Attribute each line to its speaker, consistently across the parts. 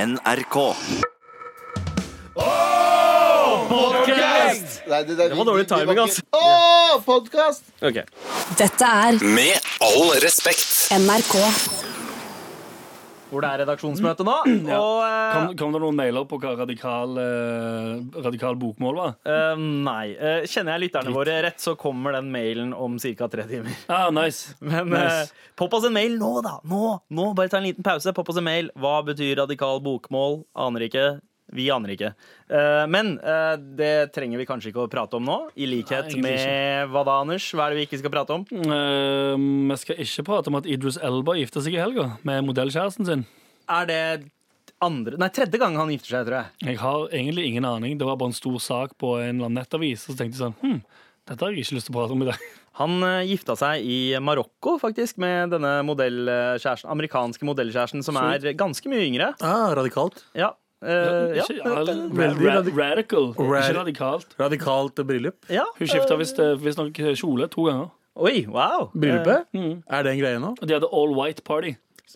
Speaker 1: NRK.
Speaker 2: Nei, det, det,
Speaker 3: Det var dårlig timing, altså.
Speaker 2: Åh, podcast!
Speaker 3: Ok.
Speaker 4: Dette er
Speaker 1: Med all respekt.
Speaker 4: NRK.
Speaker 3: Hvor det er redaksjonsmøte nå. Og eh,
Speaker 5: Kom, kom det noen mailer på hva radikal, eh, radikal bokmål var?
Speaker 3: eh, Nei. Eh, kjenner jeg lytterne våre rett, så kommer den mailen om ca. tre timer.
Speaker 5: Ah, nice.
Speaker 3: Men
Speaker 5: nice.
Speaker 3: eh, popp oss en mail nå, da! Nå! nå, Bare ta en liten pause. Popp oss en mail. Hva betyr radikal bokmål? Aner ikke. Vi aner ikke. Eh, men eh, det trenger vi kanskje ikke å prate om nå. I likhet
Speaker 5: Nei, egentlig
Speaker 3: med hva da, Anders? Hva er det vi ikke skal prate om?
Speaker 5: Eh, Vi skal ikke prate om at Idris Elba gifta seg i helga med modellkjæresten sin.
Speaker 3: Er det andre Nei, tredje gang han gifter seg, tror jeg.
Speaker 5: Jeg har egentlig ingen aning. Det var bare en stor sak på en eller annen nettavis. Og så tenkte jeg sånn hm, dette har jeg ikke lyst til å prate om i dag.
Speaker 3: Han eh, gifta seg i Marokko, faktisk, med denne modellkjæresten, amerikanske modellkjæresten, som er ganske mye yngre.
Speaker 6: Ah, radikalt.
Speaker 3: Ja. Eh, ja.
Speaker 5: Ikke, ja,
Speaker 6: veldig
Speaker 5: ra
Speaker 6: radik-
Speaker 5: radical.
Speaker 6: Rad-
Speaker 5: Ikke radikalt.
Speaker 6: Radikalt bryllup.
Speaker 3: ja. Eh,
Speaker 5: Hun skifta visstnok kjole to ganger.
Speaker 3: Oi, wow.
Speaker 6: Bryllupet? Er det en greie nå?
Speaker 5: Og de hadde all white party.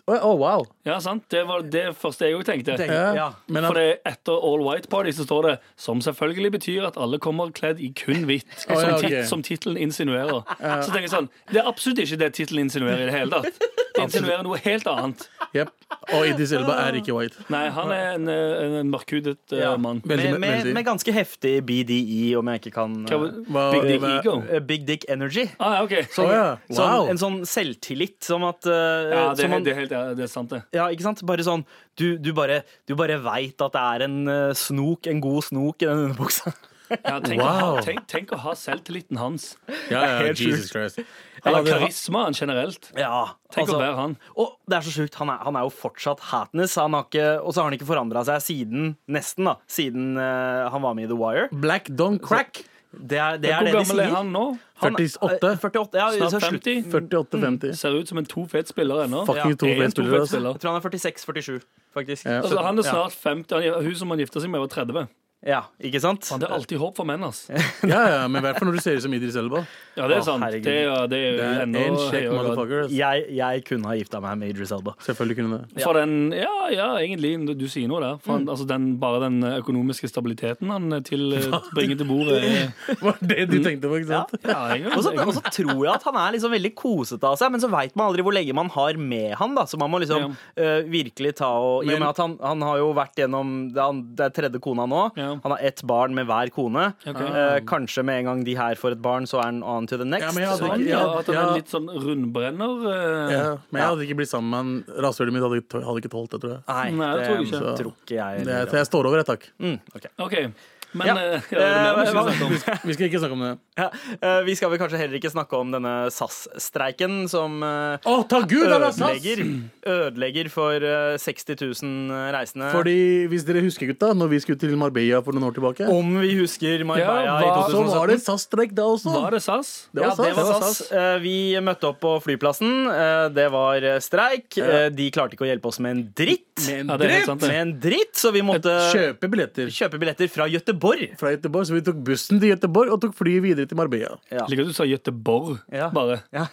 Speaker 6: Å, å, wow.
Speaker 5: Ja, sant? Det var det første jeg òg tenkte.
Speaker 3: Tenk-
Speaker 6: Ja.
Speaker 3: Ja.
Speaker 6: Men
Speaker 5: For
Speaker 6: at,
Speaker 5: det er etter All White Party så står det Som selvfølgelig betyr at alle kommer kledd i kun hvitt. Som,
Speaker 6: ja,
Speaker 5: tit-
Speaker 6: ok.
Speaker 5: som tittelen insinuerer. Så tenker jeg sånn Det er absolutt ikke det tittelen insinuerer i det hele tatt. Det insinuerer noe helt annet.
Speaker 6: Jep. Og Idris Elba er ikke white.
Speaker 5: Nei, han er en, eh, en mørkhudet eh,
Speaker 3: Ja.
Speaker 5: mann.
Speaker 6: Veldig,
Speaker 3: Med, med,
Speaker 6: veldig.
Speaker 3: med ganske heftig BDI, om jeg ikke kan
Speaker 5: Hva,
Speaker 3: eh,
Speaker 6: Hva-
Speaker 5: Big Dick
Speaker 6: hva-
Speaker 5: Ego.
Speaker 3: eh, Big Dick Energy.
Speaker 5: Ah, ja, ok.
Speaker 3: Som,
Speaker 6: Å ja.
Speaker 3: som
Speaker 6: Wow.
Speaker 3: en sånn selvtillit, som at eh,
Speaker 5: Ja, det,
Speaker 3: som man-
Speaker 5: det, er helt, ja, det er sant, det.
Speaker 3: Ja, ikke sant? Bare sånn Du, du bare, du bare veit at det er en eh, snok, en god snok, i den underbuksa.
Speaker 5: Ja, tenk, å
Speaker 6: Wow.
Speaker 5: ha, tenk, tenk å ha selvtilliten hans.
Speaker 6: Ja, ja,
Speaker 3: helt
Speaker 6: Jesus Christ.
Speaker 5: Eller
Speaker 6: hadde-
Speaker 5: karismaen generelt.
Speaker 3: Ja,
Speaker 5: Tenk
Speaker 3: altså-
Speaker 5: å være han.
Speaker 3: Og det er så sjukt, han er, han er jo fortsatt hatness, han har ikke, og så har han ikke forandra seg siden, nesten da, siden eh, han var med i The Wire.
Speaker 6: Black Don Crack.
Speaker 3: Det er det, er
Speaker 5: Hvor
Speaker 3: det de
Speaker 5: gammel
Speaker 3: sier.
Speaker 5: er han nå?
Speaker 3: Han-
Speaker 6: 48.
Speaker 3: eh, 48 ja, så
Speaker 5: Snart
Speaker 3: slutt.
Speaker 5: 50?
Speaker 6: 48-50.
Speaker 5: Ser ut som en to fet spiller ennå.
Speaker 6: Fucking to altså.
Speaker 5: Er en
Speaker 6: fete
Speaker 5: to
Speaker 6: spillere,
Speaker 5: fet spiller.
Speaker 3: Jeg tror han er 46-47, faktisk.
Speaker 6: Ja.
Speaker 5: Altså, han er
Speaker 3: Ja.
Speaker 5: snart 50. Han, hun som han gifta seg med, var 30.
Speaker 3: Ja, ikke sant?
Speaker 5: Faen, det er alltid håp for menn, ass.
Speaker 6: Ja, ja, men i hvert fall når du ser ut som Idris Elba.
Speaker 5: Ja, det er
Speaker 3: Å,
Speaker 5: sant.
Speaker 3: herregud.
Speaker 5: Det er, det er,
Speaker 6: Det
Speaker 5: jo
Speaker 6: er
Speaker 5: enda
Speaker 6: en kjekk
Speaker 5: høyere grad.
Speaker 6: motherfucker. ass.
Speaker 3: Jeg, jeg kunne ha gifta meg med Idris Elba.
Speaker 6: Selvfølgelig kunne det.
Speaker 5: For den, ja, ja, egentlig, du- du sier noe der. For han, altså, den, bare den økonomiske stabiliteten han til, bringer til bordet er-
Speaker 6: Var det du tenkte på, ikke sant?
Speaker 5: ja, jeg,
Speaker 3: Og så,
Speaker 5: jeg,
Speaker 3: og så tror jeg at han er liksom veldig kosete av seg, men så veit man aldri hvor lenge man har med han. da Så man må liksom eh, virkelig ta og I og med at han, han har jo vært gjennom Det er, det er tredje kona nå.
Speaker 5: Ja.
Speaker 3: Han har ett barn med hver kone.
Speaker 5: Ok.
Speaker 3: Eh, kanskje med en gang de her får et barn, så er han on to the next.
Speaker 6: Ja, men jeg hadde
Speaker 5: Sånn,
Speaker 6: ikke-
Speaker 5: ja,
Speaker 6: ja,
Speaker 5: at han er
Speaker 6: ja.
Speaker 5: litt sånn rundbrenner. eh.
Speaker 6: Ja, men jeg hadde ikke blitt sammen med han. Rasshølet mitt hadde, ikke- hadde ikke tålt det, tror jeg.
Speaker 3: Nei, det
Speaker 5: Nei, det tror jeg ikke.
Speaker 3: tror ikke jeg.
Speaker 6: Det, så jeg står over et takk.
Speaker 3: Mm, ok.
Speaker 5: OK. Men
Speaker 3: Ja.
Speaker 5: ja. Ja, det er mer vi skal
Speaker 3: Eh,
Speaker 5: snakke om.
Speaker 6: Vi skal ikke snakke om det.
Speaker 3: ja. eh, vi skal vel kanskje heller ikke snakke om denne SAS-streiken som eh,
Speaker 6: Å, takk Gud! han er sass!
Speaker 3: ødelegger, ødelegger for eh, 60 000
Speaker 5: Eh.
Speaker 3: reisende.
Speaker 6: Fordi hvis dere husker, gutta, når vi skulle til Marbella for noen år tilbake,
Speaker 3: Om vi husker Marbella
Speaker 5: Ja,
Speaker 3: i
Speaker 5: hva-
Speaker 6: så
Speaker 3: 2017.
Speaker 6: var det SAS-streik da også.
Speaker 5: Var det SAS?
Speaker 6: Det var
Speaker 3: ja, det
Speaker 6: SAS.
Speaker 3: var SAS. Eh, Vi møtte opp på flyplassen. Eh, Det var eh, streik. Eh, De klarte ikke å hjelpe oss med en dritt.
Speaker 5: Ja, det er helt sant, Eh,
Speaker 3: Med
Speaker 5: det.
Speaker 3: en dritt, så vi måtte
Speaker 6: Kjøpe billetter
Speaker 3: kjøpe billetter fra Gøteborg.
Speaker 6: fra Göteborg, så vi tok bussen til Göteborg og tok flyet videre til Marbella.
Speaker 3: Ja.
Speaker 5: Liker at du sa Göteborg,
Speaker 3: Ja.
Speaker 5: bare.
Speaker 3: Ja,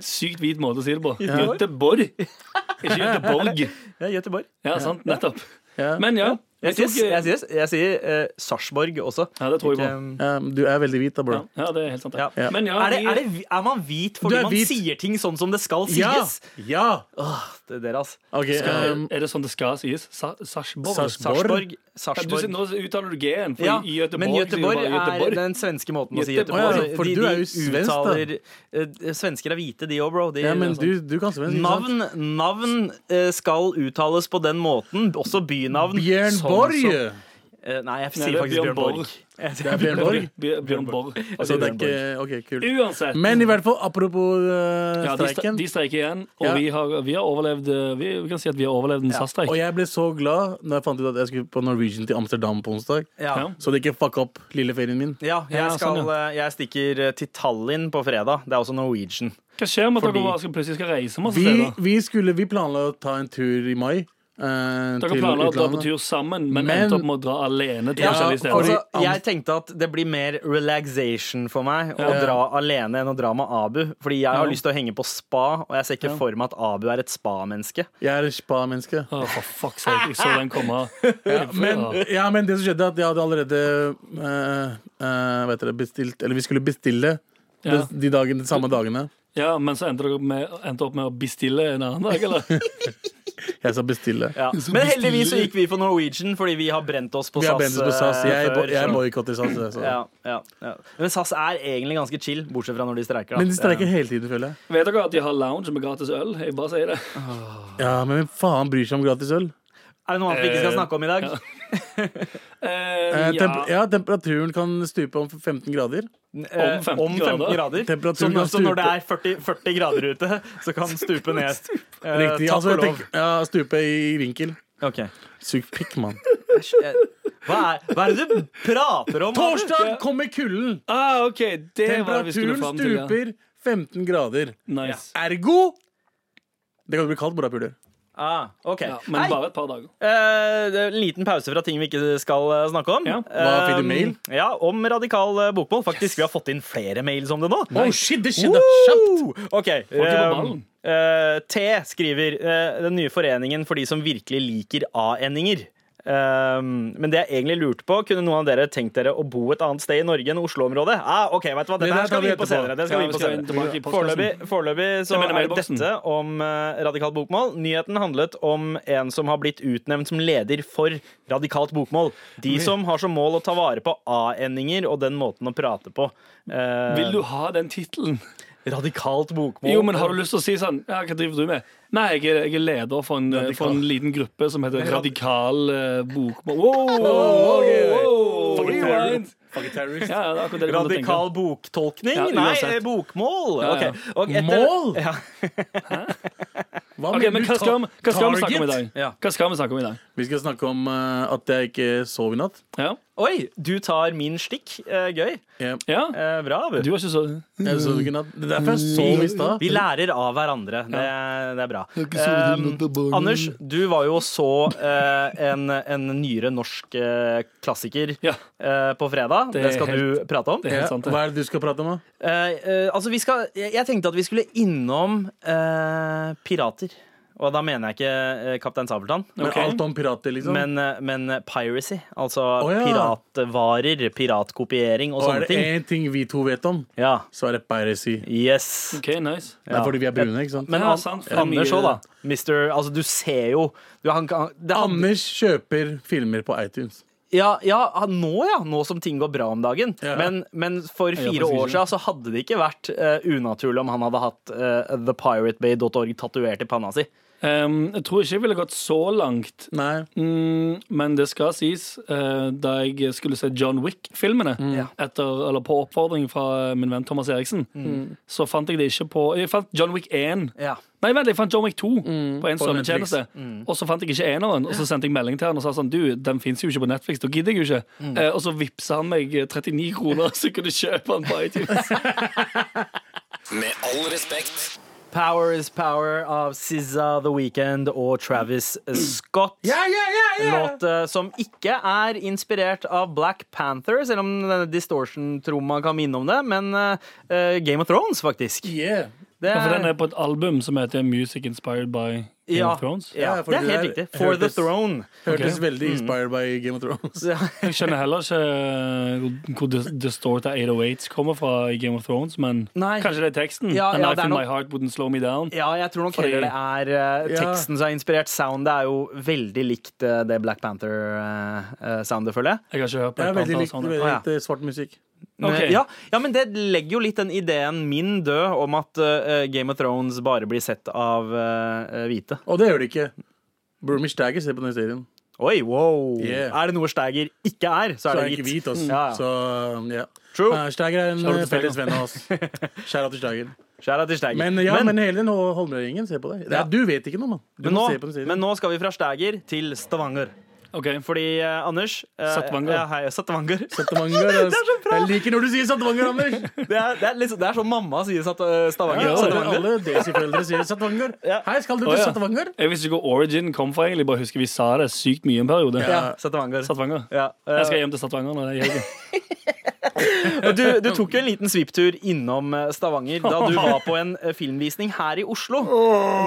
Speaker 5: Sykt hvit måte å si det på. Göteborg, ikke Göteborg.
Speaker 3: ja Gøteborg.
Speaker 5: Ja, sant, nettopp.
Speaker 6: Ja.
Speaker 5: Men ja.
Speaker 3: Jeg
Speaker 5: vi
Speaker 3: sier, jeg
Speaker 5: tok-
Speaker 3: sier, jeg sier eh, Sarpsborg også.
Speaker 5: Ja, det tror jeg på.
Speaker 3: Ikke, um,
Speaker 6: Ja, Um, du er veldig hvit da,
Speaker 5: Ja,
Speaker 6: bro.
Speaker 5: ja, det er helt sant. det.
Speaker 3: Ja.
Speaker 5: Men ja,
Speaker 3: Er, det,
Speaker 5: vi-
Speaker 3: er, det, er man hvit fordi
Speaker 6: Du er
Speaker 3: man
Speaker 6: hvit.
Speaker 3: sier ting sånn som det skal sies?
Speaker 6: Ja!
Speaker 3: Åh, det er dere, altså.
Speaker 6: Ok,
Speaker 5: er,
Speaker 6: um,
Speaker 5: er det sånn det skal sies? Sa, Sarpsborg?
Speaker 6: Sars- Borg?
Speaker 3: Sarpsborg.
Speaker 5: Ja, du, sier-
Speaker 3: Sarpsborg.
Speaker 5: nå uttaler du G-en, for
Speaker 3: Ja,
Speaker 5: i Göteborg
Speaker 3: men
Speaker 5: sier du bare
Speaker 3: Göteborg er
Speaker 5: Göteborg.
Speaker 3: den svenske måten å si
Speaker 5: Göteborg.
Speaker 3: Göteborg
Speaker 6: Å ja, for
Speaker 3: De-
Speaker 6: du
Speaker 3: de
Speaker 6: er jo svensk, da.
Speaker 3: uttaler- eh, Svensker er hvite, de òg, bro. De,
Speaker 6: ja, men
Speaker 3: altså.
Speaker 6: du, du kan svensk, ikke sant?
Speaker 3: Navn, navn eh, skal uttales på den måten, også bynavn.
Speaker 6: Bjørn
Speaker 3: sånn
Speaker 6: Borg!
Speaker 3: som- Eh, Nei, jeg
Speaker 5: Nei,
Speaker 3: sier
Speaker 5: det er
Speaker 3: faktisk
Speaker 5: Bjørn
Speaker 3: Bjørn Borg.
Speaker 5: Borg.
Speaker 3: Jeg sier
Speaker 6: Det er Bjørn Borg.
Speaker 5: Bjørn, Bjørn Borg.
Speaker 3: Altså,
Speaker 5: Altså,
Speaker 6: Så det er ikke Ok, kult.
Speaker 5: Uansett.
Speaker 6: Men i hvert fall, apropos eh,
Speaker 5: ja, de, stre-
Speaker 6: streiken.
Speaker 5: de streiker igjen, og
Speaker 6: Ja.
Speaker 5: vi, har, vi har overlevd eh, vi, vi kan si at vi har overlevd en SAS-streik.
Speaker 6: Og jeg ble så glad når jeg fant ut at jeg skulle på Norwegian til Amsterdam på onsdag.
Speaker 3: Ja.
Speaker 6: Så det ikke fucka opp lilleferien min.
Speaker 3: Ja, jeg,
Speaker 5: Ja,
Speaker 3: skal,
Speaker 5: sånn,
Speaker 3: eh, jeg stikker eh, til Tallinn på fredag. Det er også Norwegian.
Speaker 5: Hva skjer med at
Speaker 3: Fordi-
Speaker 5: dere bare skal, plutselig skal reise masse
Speaker 6: Vi,
Speaker 5: steder?
Speaker 6: vi, skulle, vi planla å ta en tur i mai, eh,
Speaker 5: Dere
Speaker 6: til
Speaker 5: planla å dra på
Speaker 6: utlandet.
Speaker 5: tur sammen, men,
Speaker 6: Men-
Speaker 5: endte opp med å dra alene til
Speaker 3: Ja,
Speaker 5: forskjellige steder.
Speaker 3: altså, jeg tenkte at det blir mer relaxation for meg å dra alene enn å dra med Abu. Fordi jeg har
Speaker 5: Ja.
Speaker 3: lyst til å henge på spa, og jeg ser ikke for meg at Abu er et spamenneske.
Speaker 6: Jeg er et spa-menneske.
Speaker 5: Å, for fuck's sake, jeg så den komme.
Speaker 6: Ja, men, ja, men det som skjedde, er at jeg hadde allerede eh, eh, vet dere, bestilt Eller vi skulle bestille de,
Speaker 5: Ja.
Speaker 6: de, dagene, de samme dagene.
Speaker 5: ja, men så endte dere opp med, endte opp med å bestille en annen dag, eller?
Speaker 6: Jeg sa bestille.
Speaker 3: Ja. Men heldigvis så gikk vi for Norwegian, fordi vi har brent oss på
Speaker 6: Vi har
Speaker 3: SAS.
Speaker 6: bensis på SAS.
Speaker 3: eh,
Speaker 6: Jeg, bo-
Speaker 3: før,
Speaker 6: jeg
Speaker 3: så-
Speaker 6: boikotter SAS. det, Så.
Speaker 3: ja, ja, ja. Men SAS er egentlig ganske chill, bortsett fra når de streiker. da.
Speaker 6: Men de streiker hele tiden, føler jeg.
Speaker 5: Vet dere at de har lounge med gratis øl? Jeg bare sier det.
Speaker 6: Ja, Men hvem faen bryr seg om gratis øl?
Speaker 3: Eh, Er det noe annet vi ikke skal
Speaker 5: Eh,
Speaker 3: snakke om i dag?
Speaker 5: Eh,
Speaker 6: Eh,
Speaker 5: ja.
Speaker 6: temp ja, temperaturen kan stupe om 15 grader.
Speaker 3: Eh,
Speaker 5: om 15 grader.
Speaker 3: grader. Så,
Speaker 6: Temperaturen
Speaker 3: når-
Speaker 6: kan
Speaker 3: så når det
Speaker 6: stupe.
Speaker 3: er 40, 40 grader ute, så kan den stupe ned. Eh,
Speaker 6: Riktig.
Speaker 3: takk
Speaker 6: altså,
Speaker 3: og
Speaker 6: jeg
Speaker 3: lov.
Speaker 6: tenker, ja, Stupe i vinkel.
Speaker 3: Ok.
Speaker 6: Sug pikk, mann.
Speaker 3: Eh, Hva, er, hva er det du prater om? Abu?
Speaker 6: Torsdag kommer kulden!
Speaker 5: Ah, OK, det var det vi skulle
Speaker 6: Temperaturen
Speaker 5: fram til. Ja.
Speaker 6: stuper 15 grader.
Speaker 5: Nice.
Speaker 6: Ergo Det kan bli kaldt, morapuler.
Speaker 3: Ah, ok.
Speaker 5: Ja,
Speaker 3: Hei,
Speaker 5: men bare et par dager.
Speaker 3: eh, det er en liten pause fra ting vi ikke skal eh, snakke om.
Speaker 5: Ja.
Speaker 6: Hva fikk du
Speaker 3: Eh,
Speaker 6: mail?
Speaker 3: Ja, Om radikal eh, bokmål. Faktisk, Vi har fått inn flere mails om det nå.
Speaker 6: Oh, shit, det skjedde kjapt!
Speaker 3: Woo! Ok.
Speaker 5: er på
Speaker 3: eh,
Speaker 5: ballen.
Speaker 3: eh, T skriver eh, den nye foreningen for de som virkelig liker a-endinger. Eh, men det jeg egentlig lurte på, kunne noen av dere tenkt dere å bo et annet sted i Norge enn Oslo-området? Ah, ok, vet du hva, Dette
Speaker 6: Det der
Speaker 3: her skal
Speaker 6: tar
Speaker 3: vi
Speaker 6: vi
Speaker 3: inn på
Speaker 6: etterpå.
Speaker 3: senere. Det skal
Speaker 5: Ja,
Speaker 3: vi inn
Speaker 5: vi
Speaker 3: på
Speaker 5: skal inn
Speaker 3: senere.
Speaker 5: tilbake i
Speaker 3: Foreløpig,
Speaker 5: postkassen.
Speaker 3: foreløpig så
Speaker 5: Jeg mener
Speaker 3: er det
Speaker 5: mailboksen.
Speaker 3: dette om eh, radikalt bokmål. Nyheten handlet om en som har blitt utnevnt som leder for radikalt bokmål. De som har som mål å ta vare på a-endinger og den måten å prate på. Eh,
Speaker 5: Vil du ha den tittelen?
Speaker 3: Radikalt bokmål.
Speaker 5: Jo, men har du lyst til å si sånn ja, Hva driver du med? Nei, jeg er, jeg er leder for en, eh, for en liten gruppe som heter Radikal eh, Bokmål. Wow, wow, wow, rewind. Ja, ja, det er akkurat det jeg kom til å tenke.
Speaker 3: Radikal boktolkning?
Speaker 5: Ja,
Speaker 3: Nei,
Speaker 5: uansett.
Speaker 3: eh, bokmål.
Speaker 5: Ja, ja.
Speaker 3: Ok, og etter-
Speaker 6: Mål?
Speaker 3: Ja.
Speaker 6: Hva
Speaker 5: Ok,
Speaker 6: mener
Speaker 5: men
Speaker 6: du,
Speaker 5: hva skal,
Speaker 6: ta-
Speaker 5: vi- hva skal vi snakke om i
Speaker 6: target?
Speaker 5: dag?
Speaker 3: Ja.
Speaker 5: Hva skal vi snakke om i dag?
Speaker 6: Vi skal snakke om eh, at jeg ikke sov i natt.
Speaker 5: Ja.
Speaker 3: Oi, du tar min stikk. Eh, gøy.
Speaker 6: Jeg,
Speaker 5: ja.
Speaker 3: Eh, bra. Abu.
Speaker 5: Du var ikke så
Speaker 6: jeg sov ikke i natt. Det er derfor jeg sov i stad.
Speaker 3: Vi lærer av hverandre. Det, det er bra. Eh, Anders, du var jo og så eh, en, en nyere norsk eh, klassiker
Speaker 5: Ja.
Speaker 3: eh, på fredag.
Speaker 5: Det
Speaker 3: Det,
Speaker 5: er
Speaker 3: skal du prate om.
Speaker 5: Det er
Speaker 6: Ja,
Speaker 5: helt sant. det.
Speaker 6: hva er det du skal prate om, da?
Speaker 3: Eh, eh, altså, vi skal, jeg jeg tenkte at vi skulle innom eh, pirater. Og da mener jeg ikke eh, Kaptein Sabeltann.
Speaker 6: Men
Speaker 5: Ok.
Speaker 6: Alt om pirater, liksom?
Speaker 3: Men, eh, men piracy, altså
Speaker 6: Å, ja.
Speaker 3: piratvarer, piratkopiering og
Speaker 6: og er
Speaker 3: sånne
Speaker 6: det
Speaker 3: ting.
Speaker 6: én ting vi to vet om,
Speaker 3: Ja,
Speaker 6: så er det piracy.
Speaker 3: yes
Speaker 5: OK, nice.
Speaker 6: Det er fordi vi er brune, ikke sant?
Speaker 3: Men
Speaker 5: Ja,
Speaker 3: An-
Speaker 5: sant, for
Speaker 3: Anders
Speaker 5: mye-
Speaker 3: òg, da. Mister, altså, du ser jo du, han, kan- det, han,
Speaker 6: Anders kjøper filmer på iTunes.
Speaker 3: ja, ja, han- nå ja, nå som ting går bra om dagen.
Speaker 6: Ja.
Speaker 3: Men, men for
Speaker 5: Ja,
Speaker 3: fire
Speaker 5: faktisk
Speaker 3: år
Speaker 5: ikke.
Speaker 3: siden så hadde det ikke vært eh, unaturlig om han hadde hatt eh, thepiratebay.org tatovert i panna si.
Speaker 5: Um, jeg tror ikke jeg ville gått så langt,
Speaker 6: Nei.
Speaker 5: mm, men det skal sies. eh, da jeg skulle se John Wick-filmene, etter- eller på oppfordring fra min venn Thomas Eriksen, så fant jeg det ikke på Jeg fant John Wick 1.
Speaker 3: Ja.
Speaker 5: Nei, vent, jeg fant John Wick 2 på en
Speaker 6: på
Speaker 5: strømmetjeneste. Og så fant jeg ikke eneren, og så sendte jeg melding til han og sa sånn Du, den fins jo ikke på Netflix, da gidder jeg jo ikke. Eh, og så vippsa han meg eh, 39 kroner, så jeg kunne kjøpe den på iTunes.
Speaker 1: Med all respekt.
Speaker 3: Power is power av SZA, The Weeknd og Travis Scott. En låt eh, som ikke er inspirert av Black Panther, selv om denne distortion-tromma kan minne om det, men eh, eh, Game of Thrones, faktisk.
Speaker 6: Yeah.
Speaker 3: Det
Speaker 5: Ja, for den er på et album som heter Music Inspired by Game
Speaker 3: ja,
Speaker 5: of Thrones.
Speaker 3: Ja,
Speaker 6: Ja, for
Speaker 3: det er
Speaker 6: det
Speaker 3: helt
Speaker 6: der
Speaker 3: riktig. For the
Speaker 6: hørtes-
Speaker 3: throne.
Speaker 6: Hørtes
Speaker 3: Mm.
Speaker 6: veldig inspired by Game of Thrones.
Speaker 3: Så,
Speaker 5: Jeg skjønner heller ikke eh, hvor dis- distorta 808s kommer fra i Game of Thrones, men
Speaker 3: Nei.
Speaker 5: kanskje det er teksten?
Speaker 3: Ja, ja,
Speaker 5: A
Speaker 3: det
Speaker 5: knife
Speaker 3: er
Speaker 5: in
Speaker 3: nok-
Speaker 5: my heart wouldn't slow me down.
Speaker 3: ja, jeg tror nok
Speaker 5: Fordi-
Speaker 3: heller det er eh,
Speaker 6: Ja.
Speaker 3: teksten som er inspirert. Soundet er jo veldig likt eh, det Black Panther-soundet, føler jeg.
Speaker 5: Jeg har ikke hørt på
Speaker 6: Det er
Speaker 5: et
Speaker 6: veldig
Speaker 5: annet
Speaker 6: likt, veldig
Speaker 5: sånt.
Speaker 3: sånn Å,
Speaker 6: likt eh, svart musikk.
Speaker 3: Men,
Speaker 5: Ok.
Speaker 3: Ja, ja, men det legger jo litt den ideen min død om at eh, Game of Thrones bare blir sett av eh, hvite.
Speaker 6: Og det gjør det ikke. Broomish Dagger ser på den serien.
Speaker 3: Oi, wow!
Speaker 6: Yeah.
Speaker 3: Er det noe Steiger ikke er, så
Speaker 6: Så
Speaker 3: er
Speaker 6: er
Speaker 3: det
Speaker 6: ikke
Speaker 3: hvit.
Speaker 6: hvit, ass.
Speaker 3: Mm. Ja, ja.
Speaker 6: Så ja.
Speaker 3: True.
Speaker 6: Eh, Steiger er en
Speaker 5: Shout out
Speaker 6: eh,
Speaker 5: til
Speaker 6: felles venn av oss. Skjæra til Steiger.
Speaker 3: Skjæra til Steiger.
Speaker 6: Men, ja, men, hele den Hol- Holmøy-gjengen ser på deg. Det er, du vet ikke noe, mann. Du
Speaker 3: men,
Speaker 6: må
Speaker 3: nå,
Speaker 6: se på den serien.
Speaker 3: men nå skal vi fra Steiger til Stavanger.
Speaker 5: OK.
Speaker 3: Fordi eh, Anders eh,
Speaker 5: Satvanger.
Speaker 3: Ja, hei, Satvanger.
Speaker 6: Satvanger.
Speaker 3: Det er så bra!
Speaker 6: Jeg liker når du sier Satvanger, Anders!
Speaker 3: Det er, det er, liksom, det er sånn mamma sier sat eh, Stavanger.
Speaker 6: Ja,
Speaker 3: Stavanger.
Speaker 6: alle desi-foreldre sier Satvanger. Hei, skal du
Speaker 5: Å,
Speaker 6: til
Speaker 5: ja.
Speaker 6: Satvanger?
Speaker 5: Jeg visste ikke hvor origin kom fra. egentlig Bare husker vi sa det sykt mye en periode.
Speaker 3: Ja, Stavanger.
Speaker 5: Stavanger.
Speaker 3: Ja, eh,
Speaker 5: Jeg skal hjem til Stavanger når det er helgen.
Speaker 3: og du, du tok jo en liten svipptur innom eh, Stavanger da du var på en eh, filmvisning her i Oslo.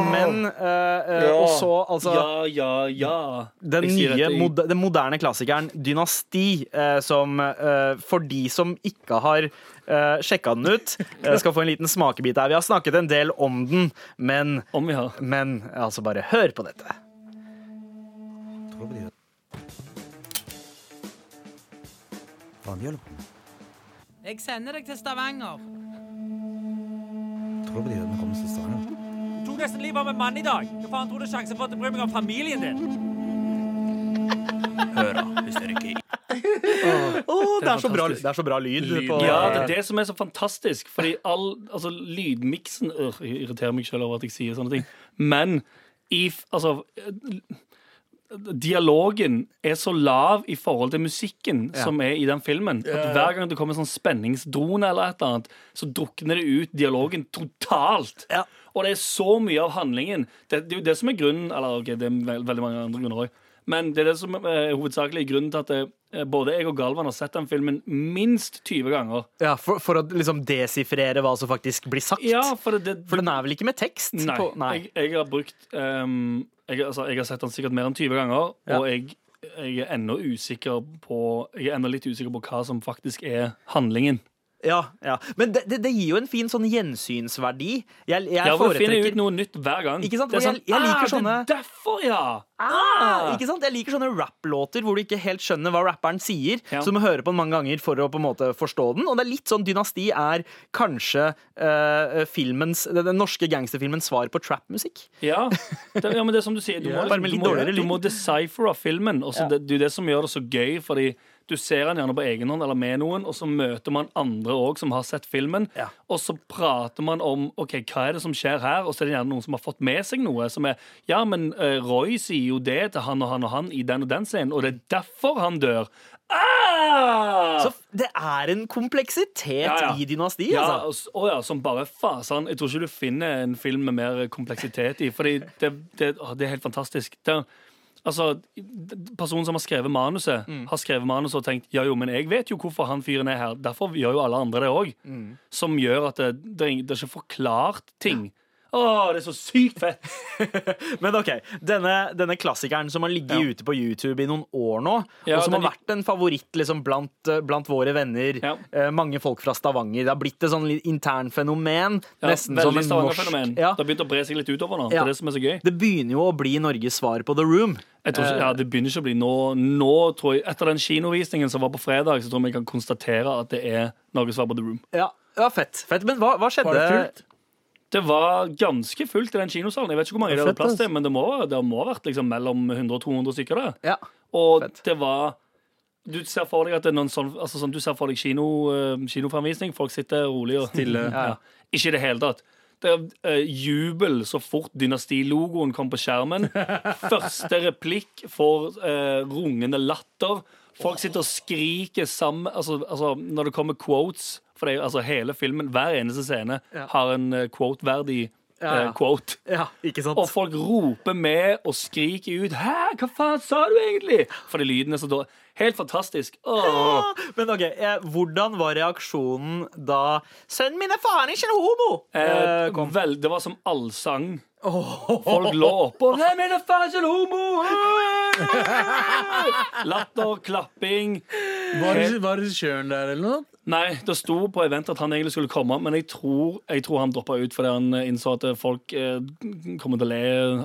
Speaker 3: Men eh, eh, Og så altså
Speaker 5: ja, ja.
Speaker 3: den
Speaker 5: Jeg sier
Speaker 3: nye,
Speaker 5: dette i-
Speaker 3: mod den moderne klassikeren Dynasti, eh, som eh, for de som ikke har eh, sjekka den ut, eh, skal få en liten smakebit her. Vi har snakket en del om den, men,
Speaker 5: Om vi har.
Speaker 3: men altså bare hør på dette.
Speaker 2: Jeg sender deg til Stavanger.
Speaker 4: Du tok nesten livet av en mann i dag. Hva faen tror du sjansen for at jeg bryr meg om familien din?
Speaker 3: Å, det, er så bra, det er så bra lyd. På,
Speaker 5: Ja, det er det som er så fantastisk. Fordi all altså, lydmiksen øh, Jeg irriterer meg selv over at jeg sier sånne ting. Men i f- Altså eh, Dialogen er så lav i forhold til musikken som er i den filmen. At Hver gang det kommer en sånn spenningsdrone, eller et eller annet, så drukner det ut dialogen totalt.
Speaker 3: Ja.
Speaker 5: Og det er så mye av handlingen. Det, det er jo det som er grunnen Eller ok, det er vel- veldig mange andre grunner òg. Men det er det som er hovedsakelig grunnen til at eh, både jeg og Galvan har sett den filmen minst 20 ganger.
Speaker 3: Ja, for, for å liksom desifrere hva som faktisk blir sagt.
Speaker 5: Ja, for det, det
Speaker 3: For den er vel ikke med tekst?
Speaker 5: Nei.
Speaker 3: På, nei.
Speaker 5: Jeg, jeg har brukt ehm, jeg, altså, jeg har sett den sikkert mer enn 20 ganger,
Speaker 3: Ja.
Speaker 5: og jeg, jeg er ennå usikker på Jeg er ennå litt usikker på hva som faktisk er handlingen.
Speaker 3: Ja, ja. Men det, det, det gir jo en fin sånn gjensynsverdi. Jeg, jeg
Speaker 5: Ja, for Du finner
Speaker 3: foretrekker
Speaker 5: ut noe nytt hver gang.
Speaker 3: Ikke sant?
Speaker 5: Det er
Speaker 3: Og jeg- jeg liker
Speaker 5: ah, Det er derfor, ja!
Speaker 3: Ah, ikke sant? Jeg liker sånne rapplåter hvor du ikke helt skjønner hva rapperen sier.
Speaker 5: Ja.
Speaker 3: Så du må høre på den mange ganger for å på en måte forstå den. Og det er litt sånn Dynasti er kanskje eh, filmens, den den norske gangsterfilmens svar på trap-musikk.
Speaker 5: Ja. Det, ja, men det er som du sier, du må, liksom-
Speaker 3: Bare med
Speaker 5: du
Speaker 3: litt
Speaker 5: må,
Speaker 3: dårligere
Speaker 5: du
Speaker 3: lyd.
Speaker 5: må deciphere filmen. Og så det, det er jo det som gjør det så gøy, fordi du ser den gjerne på egen hånd eller med noen, og så møter man andre òg som har sett filmen,
Speaker 3: Ja.
Speaker 5: og så prater man om OK, hva er det som skjer her, og så er det gjerne noen som har fått med seg noe som er Ja, men eh, Roy sier jo det til han og han og han i den og den scenen, og det er derfor han dør. Ah!
Speaker 3: Så f- det er en kompleksitet
Speaker 5: Ja, ja.
Speaker 3: i Dynasti,
Speaker 5: Ja,
Speaker 3: altså.
Speaker 5: altså, å ja, som bare fasen. Jeg tror ikke du finner en film med mer kompleksitet i, fordi det, det, å, det er helt fantastisk. Det, altså, d- personen som har skrevet manuset, har skrevet manuset og tenkt ja jo, men jeg vet jo hvorfor han fyren er her. Derfor gjør jo alle andre det òg. Som gjør at det, det, er ing- det er ikke forklart ting. Å, det er så sykt fett!
Speaker 3: Men ok, denne, denne klassikeren som har ligget
Speaker 5: Ja.
Speaker 3: ute på YouTube i noen år nå,
Speaker 5: Ja,
Speaker 3: og som
Speaker 5: den
Speaker 3: har vært en favoritt liksom, blant, eh, blant våre venner,
Speaker 5: Ja.
Speaker 3: eh, mange folk fra Stavanger. Det har blitt et sånn litt internt fenomen.
Speaker 5: Ja,
Speaker 3: nesten som
Speaker 5: veldig
Speaker 3: en norsk
Speaker 5: Stavanger-fenomen.
Speaker 3: ja.
Speaker 5: Det har begynt å bre seg litt utover nå. Det
Speaker 3: Ja.
Speaker 5: er det som er så gøy.
Speaker 3: Det begynner jo å bli Norges svar på The Room.
Speaker 5: Jeg tror
Speaker 6: Eh.
Speaker 5: ikke, ja, det begynner ikke å bli nå, nå tror jeg, Etter den kinovisningen som var på fredag, Så tror jeg vi kan konstatere at det er Norges svar på The Room.
Speaker 3: Ja, ja fett. fett. Men hva, hva skjedde?
Speaker 6: Var det kult?
Speaker 5: Det var ganske fullt i den kinosalen. Jeg vet ikke hvor mange det
Speaker 6: er
Speaker 5: hadde
Speaker 6: fett,
Speaker 5: plass til,
Speaker 6: ass.
Speaker 5: men det må, det må ha vært liksom mellom 100 og 200 stykker der.
Speaker 3: Ja.
Speaker 5: Og
Speaker 3: Fett.
Speaker 5: det var Du ser for deg at det er noen sånn, altså sånn, du ser for deg kino, eh, kinofremvisning. Folk sitter rolig og Stille. Ja. Ikke i det hele tatt. Det er eh, jubel så fort dynastilogoen kom på skjermen. Første replikk får eh, rungende latter. Folk sitter og skriker sammen altså, altså, Når det kommer quotes For det er jo altså, hele filmen, hver eneste scene,
Speaker 3: Ja.
Speaker 5: har en eh, quote-verdig
Speaker 3: Ja, ja.
Speaker 5: eh, quote.
Speaker 3: ja, ikke sant?
Speaker 5: Og folk roper med og skriker ut 'Hæ, hva faen sa du egentlig?' Fordi lyden er så dårlig. Helt fantastisk. Åh.
Speaker 3: Men ok, eh, Hvordan var reaksjonen da 'Sønnen min er faen ikke en homo!'
Speaker 5: Eh,
Speaker 3: Eh, kom.
Speaker 5: vel, det var som allsang. Folk lå oppå. Nei, men det er faen ikke en homo! Åh! Latter, klapping.
Speaker 6: Var var regissøren der, eller noe?
Speaker 5: Nei, det sto på event at han egentlig skulle komme, men jeg tror, jeg tror han droppa ut fordi han eh, innså at eh, folk eh, kommer til å le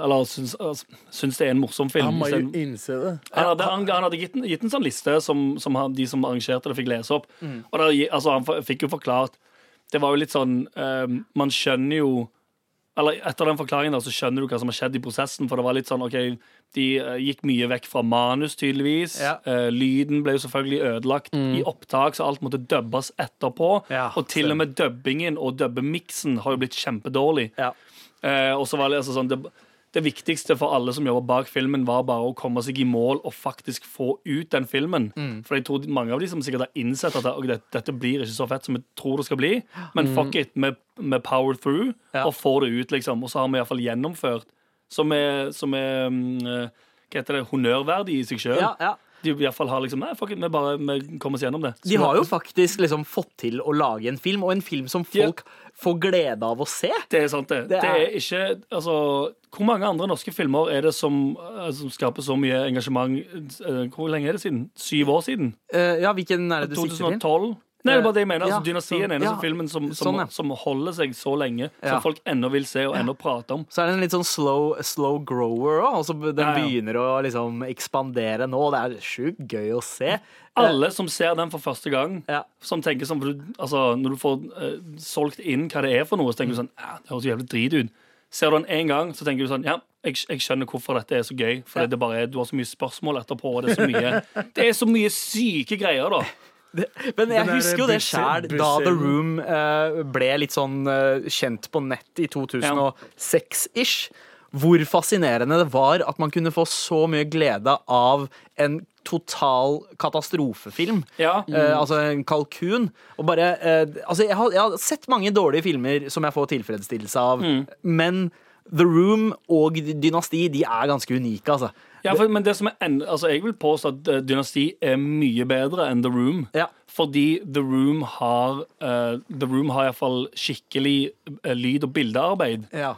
Speaker 5: eller syns, altså, syns det er en morsom film.
Speaker 6: Han må jo
Speaker 5: isteden-
Speaker 6: innse det.
Speaker 5: Han hadde, han, han hadde gitt, en- gitt en sånn liste som, som han, de som arrangerte det, fikk lese opp.
Speaker 3: Mm.
Speaker 5: Og da, gi- altså, han f- fikk jo forklart Det var jo litt sånn ehm, Man skjønner jo Eller etter den forklaringen da, så skjønner du hva som har skjedd i prosessen. For det var litt sånn, ok, De eh, gikk mye vekk fra manus, tydeligvis.
Speaker 3: Ja. Mm.
Speaker 5: Eh, lyden ble jo selvfølgelig ødelagt i opptak, så alt måtte dubbes etterpå.
Speaker 3: Ja,
Speaker 5: og til og med dubbingen og dubbemiksen har jo blitt kjempedårlig.
Speaker 3: Ja.
Speaker 5: Eh, og så var det altså sånn det, det viktigste for alle som jobber bak filmen, var bare å komme seg i mål og faktisk få ut den filmen.
Speaker 3: Mm.
Speaker 5: For jeg tror mange av de som sikkert har innsett at «Ok, det- dette blir ikke så fett som vi tror det skal bli, men fuck it, vi vi power through
Speaker 3: Mm. Ja.
Speaker 5: og får det ut, liksom. Og så har vi iallfall gjennomført, som er, som er mm, eh, hva heter det, honnørverdig i seg sjøl.
Speaker 3: Ja, ja.
Speaker 5: De i hvert fall har liksom Nei, fuck it, vi bare vi kommer oss gjennom det.
Speaker 3: De har jo faktisk liksom fått til å lage en film, og en film som folk får glede av å se.
Speaker 5: Det er sant, det.
Speaker 3: Det
Speaker 5: Det
Speaker 3: er-
Speaker 5: er, ikke Altså, hvor mange andre norske filmer er det som, eh, som skaper så mye engasjement eh, Hvor lenge er det siden? Syv år siden?
Speaker 3: Eh, ja, hvilken er det du sikter til?
Speaker 5: 2012? Nei, det er bare det jeg mener.
Speaker 3: Ja,
Speaker 5: Altså, Dynastien er den
Speaker 3: ja,
Speaker 5: eneste filmen som, som,
Speaker 3: sånn, ja.
Speaker 5: som holder seg så lenge,
Speaker 3: Ja.
Speaker 5: som folk ennå vil se og ennå prate om.
Speaker 3: Så er det en litt sånn slow, slow grower òg. Altså, den
Speaker 5: Ja, ja.
Speaker 3: begynner å liksom ekspandere nå, og det er sjukt gøy å se.
Speaker 5: Alle som ser den for første gang,
Speaker 3: Ja.
Speaker 5: som tenker sånn for du, altså, Når du får eh, solgt inn hva det er for noe, så tenker du sånn «Ah, Det høres jo jævlig drit ut. Ser du den én gang, så tenker du sånn Ja, jeg, jeg skjønner hvorfor dette er så gøy. For det bare er, du har så mye spørsmål etterpå, og det er så mye, det er så mye syke greier, da.
Speaker 3: Men jeg
Speaker 6: der
Speaker 3: husker jo det
Speaker 6: busse-
Speaker 3: sjæl, da
Speaker 6: bussen.
Speaker 3: The Room eh, ble litt sånn eh, kjent på nett i 2006-ish. Hvor fascinerende det var at man kunne få så mye glede av en total katastrofefilm.
Speaker 5: Ja.
Speaker 3: Eh, altså en kalkun. Og bare eh, Altså, jeg har, jeg har sett mange dårlige filmer som jeg får tilfredsstillelse av,
Speaker 5: Mm.
Speaker 3: men The Room og Dynasti de er ganske unike, altså.
Speaker 5: Ja, for, men det som er en, altså, Jeg vil påstå at eh, Dynasti er mye bedre enn The Room.
Speaker 3: Ja.
Speaker 5: Fordi The Room har eh, The Room har iallfall skikkelig eh, lyd- og bildearbeid.
Speaker 3: Ja.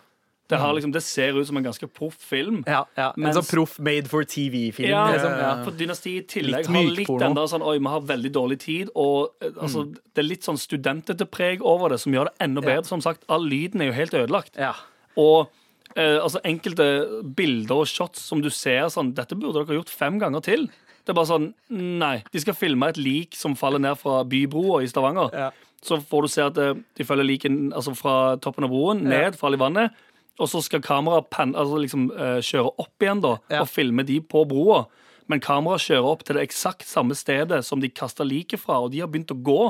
Speaker 5: Det, har, liksom, det ser ut som en ganske proff film.
Speaker 3: ja, En
Speaker 5: Mens-
Speaker 3: sånn proff made for TV-film.
Speaker 5: Ja,
Speaker 3: liksom. ja.
Speaker 5: for Dynasti i tillegg
Speaker 3: Litt
Speaker 5: har
Speaker 3: myk
Speaker 5: litt
Speaker 3: porno. Mm.
Speaker 5: den der sånn Oi, vi har veldig dårlig tid, og eh, altså, det er litt sånn studentete preg over det, som gjør det enda bedre. Som sagt, all lyden er jo helt ødelagt.
Speaker 3: Ja.
Speaker 5: Og eh, altså, enkelte bilder og shots som du ser sånn Dette burde dere gjort fem ganger til. Det er bare sånn Nei. De skal filme et lik som faller ned fra bybroa i Stavanger. Så får du se at eh, de følger liken altså, fra toppen av broen ned, faller i vannet. Og så skal kameraet pan- altså, liksom, eh, kjøre opp igjen da,
Speaker 3: Ja.
Speaker 5: og filme de på broa. Men kameraet kjører opp til det eksakt samme stedet som de kasta liket fra, og de har begynt å gå.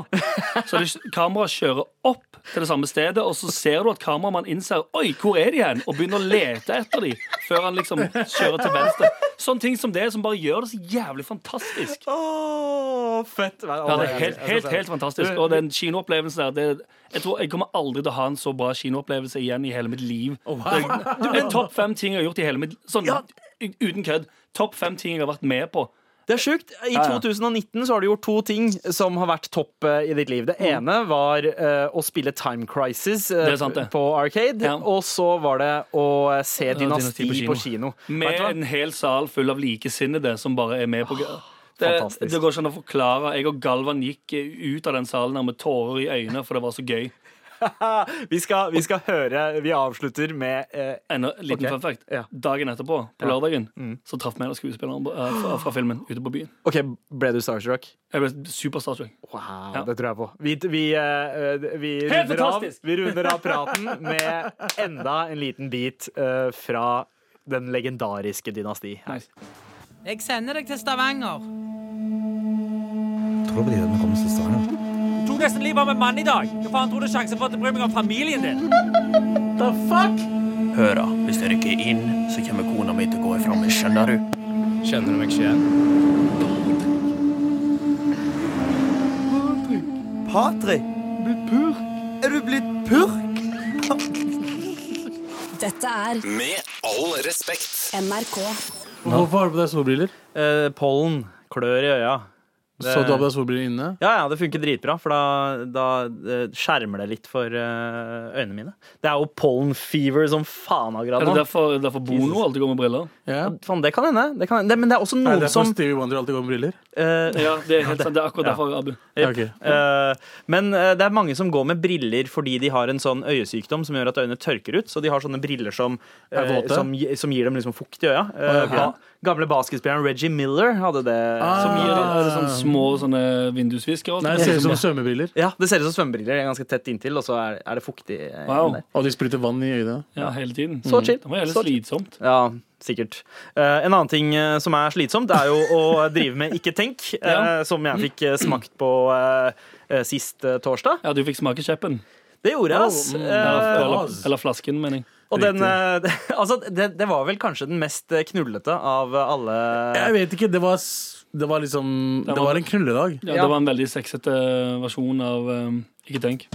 Speaker 5: Så det- kameraet kjører opp til det samme stedet, og så ser du at kameramannen innser Oi, hvor er de hen? og begynner å lete etter dem før han liksom kjører til venstre. Sånne ting som det, som bare gjør det så jævlig fantastisk.
Speaker 3: Åh, fett.
Speaker 5: Ja, det er helt, helt, helt fantastisk. Og den kinoopplevelsen der det, Jeg tror jeg kommer aldri til å ha en så bra kinoopplevelse igjen i hele mitt liv. Det er- det er topp fem ting jeg har gjort i hele mitt Sånn u- uten kødd. Topp fem ting jeg har vært med på.
Speaker 3: Det er sjukt. I 2019 så har du gjort to ting som har vært topp eh, i ditt liv. Det ene var eh, å spille Time Crisis eh,
Speaker 5: Mm. Det er sant, det.
Speaker 3: på Arcade.
Speaker 5: Ja.
Speaker 3: Og så var det å eh, se Dynasti på kino. Vet
Speaker 5: Med
Speaker 3: du hva?
Speaker 5: en hel sal full av likesinnede som bare er med på det,
Speaker 3: fantastisk.
Speaker 5: det går ikke an å forklare. Jeg og Galvan gikk eh, ut av den salen her med tårer i øynene, for det var så gøy.
Speaker 3: Vi, skal, vi skal høre Vi avslutter med eh,
Speaker 5: Enda, en liten
Speaker 3: Ok.
Speaker 5: fun fact.
Speaker 3: Ja. Mm.
Speaker 5: Dagen etterpå, på lørdagen, så traff vi en av skuespillerne eh, fra, fra filmen ute på byen.
Speaker 3: OK, ble du starstruck?
Speaker 5: Jeg ble superstarstruck.
Speaker 3: Wow,
Speaker 5: Ja.
Speaker 3: det tror jeg på. Vi, vi, eh, vi,
Speaker 5: Helt
Speaker 3: runder av,
Speaker 5: fantastisk!
Speaker 3: vi runder av praten med enda en liten bit eh, fra den legendariske Dynasti. Her.
Speaker 5: Nice.
Speaker 2: Jeg sender deg til Stavanger.
Speaker 7: Tror på de der med kommer til Stavanger.
Speaker 4: Du tok nesten livet av en mann i dag. Hva faen tror du er sjansen for at jeg bryr meg om familien din?
Speaker 8: Hør da, hvis dere ikke er inn, så kommer kona mi til å gå ifra meg, skjønner du?
Speaker 9: Kjenner du meg ikke igjen?
Speaker 8: Patrik! Er du blitt purk?
Speaker 10: Dette er
Speaker 1: Med all respekt.
Speaker 10: NRK.
Speaker 6: Hvorfor har du på deg solbriller?
Speaker 3: Eh, pollen klør i øya.
Speaker 6: Så du har på deg solbriller inne?
Speaker 3: Ja, ja, det funker dritbra, for da, da eh, skjermer det litt for eh, øynene mine. Det er jo pollen fever som faen
Speaker 5: Er
Speaker 3: akkurat
Speaker 5: det
Speaker 3: nå.
Speaker 5: derfor, derfor Bono alltid går med briller?
Speaker 6: Ja.
Speaker 3: Faen, det kan hende. Det kan, hende. det, men det er også
Speaker 6: Nei,
Speaker 3: noen
Speaker 6: det er
Speaker 3: som
Speaker 6: for Stevie Wonder alltid går med briller.
Speaker 3: eh,
Speaker 5: Ja, det er, helt sant. Det er akkurat
Speaker 3: Ja.
Speaker 5: derfor, Abu.
Speaker 3: Jepp.
Speaker 6: Ok.
Speaker 3: Eh, Men eh, det er mange som går med briller fordi de har en sånn øyesykdom som gjør at øynene tørker ut. Så de har sånne briller som, eh,
Speaker 6: Er våte?
Speaker 3: som, gi- som gir dem liksom fukt i øya. Eh,
Speaker 6: Å, ja, ok.
Speaker 3: ba- Gamle basketspilleren Reggie Miller hadde det.
Speaker 5: Som
Speaker 6: Ah.
Speaker 5: gir deg sånne små sånne vindusvisker.
Speaker 6: Nei, det ser ut som svømmebriller.
Speaker 3: Ja, Det ser ut som svømmebriller. det er Ganske tett inntil, og så er, er det fuktig. eh,
Speaker 5: Wow.
Speaker 3: inni der.
Speaker 6: Og de spruter vann i øynene.
Speaker 5: Ja, hele tiden. Mm.
Speaker 3: Så chill.
Speaker 5: Det var jævlig
Speaker 3: Så chill.
Speaker 5: slitsomt.
Speaker 3: Ja, sikkert. Eh, en annen ting eh, som er slitsomt, det er jo å drive med ikke tenk, eh,
Speaker 5: Ja.
Speaker 3: som jeg fikk eh, smakt på eh, eh, sist eh, torsdag.
Speaker 5: Ja, du fikk smake kjeppen.
Speaker 3: Det gjorde jeg, ass.
Speaker 6: Oh, mm,
Speaker 3: Eh,
Speaker 5: Eller,
Speaker 6: Ja,
Speaker 5: eller,
Speaker 6: ass.
Speaker 5: eller flasken, mener jeg.
Speaker 3: Og den, eh, altså, det, det var vel kanskje den mest eh, knullete av alle
Speaker 6: Jeg vet ikke, det var, s- det var liksom Det var en knulledag.
Speaker 5: Ja, Det var en veldig sexete versjon av eh, Ikke tenk.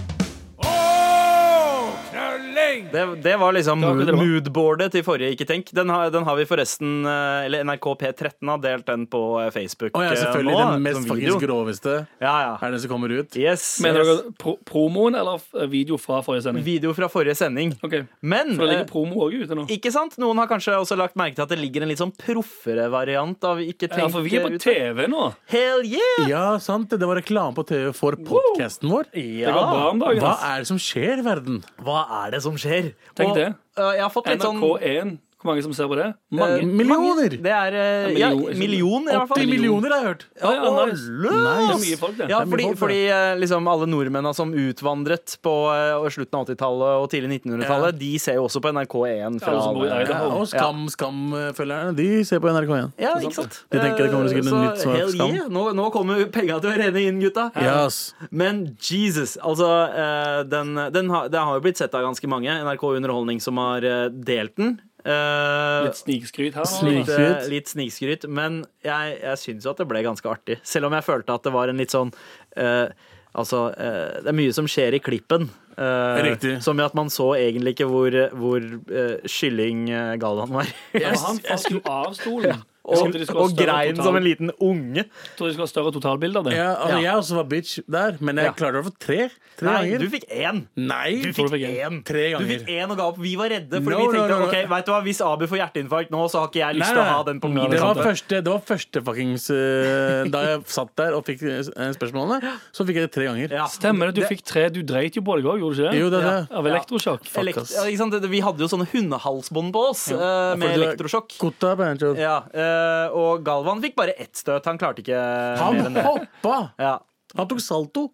Speaker 3: Det, det var liksom
Speaker 5: Det var ikke det det var.
Speaker 3: moodboardet til forrige Ikke tenk. Den har, den har vi forresten eh, Eller NRK P13 har delt den på eh, Facebook
Speaker 6: Og jeg er
Speaker 3: eh,
Speaker 6: selvfølgelig
Speaker 3: nå,
Speaker 6: den mest
Speaker 3: som video.
Speaker 6: faktisk groveste
Speaker 3: Ja,
Speaker 6: er
Speaker 3: ja.
Speaker 6: det som kommer ut.
Speaker 3: Yes.
Speaker 5: Mener
Speaker 3: yes.
Speaker 5: dere pro promoen eller f- eh, video fra forrige sending?
Speaker 3: Video fra forrige sending.
Speaker 5: Ok,
Speaker 3: Men
Speaker 5: For det
Speaker 3: eh,
Speaker 5: ligger promo òg ute nå.
Speaker 3: ikke sant? Noen har kanskje også lagt merke til at det ligger en litt sånn proffere variant av Ikke tenk.
Speaker 5: Ja, for vi er på
Speaker 3: ut.
Speaker 5: TV nå.
Speaker 3: Hell yeah!
Speaker 6: Ja, sant. Det var reklame på TV for podkasten vår.
Speaker 5: Det går bra om dagen.
Speaker 6: Hva
Speaker 5: ass.
Speaker 6: er det som skjer i verden?
Speaker 3: Hva er det som skjer?
Speaker 5: Tenk
Speaker 3: Og,
Speaker 5: det.
Speaker 3: eh, jeg har fått litt sånn Eh,
Speaker 5: NRK1. Hvor mange som ser på det? Mange.
Speaker 6: Millioner!
Speaker 3: Det er eh, ja,
Speaker 5: Ja, million-
Speaker 3: million, i hvert fall.
Speaker 6: 80 millioner har jeg hørt.
Speaker 5: Ja, ja,
Speaker 3: Å,
Speaker 5: nice. Det er
Speaker 3: løs!
Speaker 5: mye folk, det.
Speaker 3: Ja,
Speaker 6: Det er mye
Speaker 3: fordi,
Speaker 6: folk, det.
Speaker 3: fordi eh, liksom alle nordmennene som utvandret på eh, og slutten av 80-tallet og tidlig 1900-tallet, de ser jo også på NRK1 fra
Speaker 5: Alle som bor i
Speaker 3: alle-
Speaker 5: Idaho.
Speaker 6: Og Skam, Skam-følgerne, de ser på NRK1.
Speaker 3: Ja, ikke sant?
Speaker 6: De tenker det kommer sikkert en
Speaker 3: Eh,
Speaker 6: nytt sak-
Speaker 3: hell
Speaker 6: skam.
Speaker 3: yeah. Nå, nå kommer penga til å renne inn, gutta.
Speaker 6: Yes.
Speaker 3: Men Jesus, altså eh, den, den har- Det har jo blitt sett av ganske mange. NRK Underholdning som har eh, delt den. Eh,
Speaker 5: Litt snikskryt her. nå, altså.
Speaker 6: Snik.
Speaker 3: litt,
Speaker 6: Snikskryt.
Speaker 3: eh, litt snikskryt, men jeg, jeg syns jo at det ble ganske artig. Selv om jeg følte at det var en litt sånn eh, Altså, eh, det er mye som skjer i klippen. eh,
Speaker 6: Riktig.
Speaker 3: som i at man så egentlig ikke hvor, hvor eh, kylling eh, Galvan var.
Speaker 5: Ja, han falt jo av stolen.
Speaker 3: og og grein som en liten unge.
Speaker 5: Jeg trodde de skulle ha større totalbilde av det.
Speaker 6: Ja, altså,
Speaker 3: Ja.
Speaker 6: Jeg også var bitch der, men jeg klarte det for tre. Tre
Speaker 3: Nei,
Speaker 6: ganger.
Speaker 3: du fikk én.
Speaker 6: Nei,
Speaker 3: Du
Speaker 5: tror du
Speaker 3: fikk
Speaker 5: fikk én.
Speaker 3: én.
Speaker 6: tre
Speaker 3: Du
Speaker 6: ganger.
Speaker 3: fikk én og ga opp. Vi var redde, for
Speaker 6: No,
Speaker 3: vi tenkte
Speaker 6: no, no, no.
Speaker 3: ok, vet du hva, hvis Abu får hjerteinfarkt nå, så har ikke jeg lyst
Speaker 6: Nei,
Speaker 3: til å
Speaker 6: nei.
Speaker 3: ha den på min
Speaker 6: Det var
Speaker 3: samtale.
Speaker 6: første, det var første fuckings eh, Da jeg satt der og fikk eh, spørsmålene, så fikk jeg det tre ganger.
Speaker 3: Ja.
Speaker 5: Stemmer det, du fikk tre. Du dreit jo på deg òg, gjorde du ikke det?
Speaker 6: Jo, det er
Speaker 3: Ja.
Speaker 6: det.
Speaker 5: Av elektrosjokk.
Speaker 3: Elekt
Speaker 6: ass.
Speaker 3: ja, ikke sant? Det- Vi hadde jo sånne hundehalsbånd på oss eh, med
Speaker 6: For det var
Speaker 3: elektrosjokk.
Speaker 6: Kotta på en jobb.
Speaker 3: Ja, eh, og Galvan fikk bare ett støt. Han klarte ikke mer enn
Speaker 6: Han
Speaker 3: det.
Speaker 6: hoppa!
Speaker 3: Ja.
Speaker 6: Han tok salto,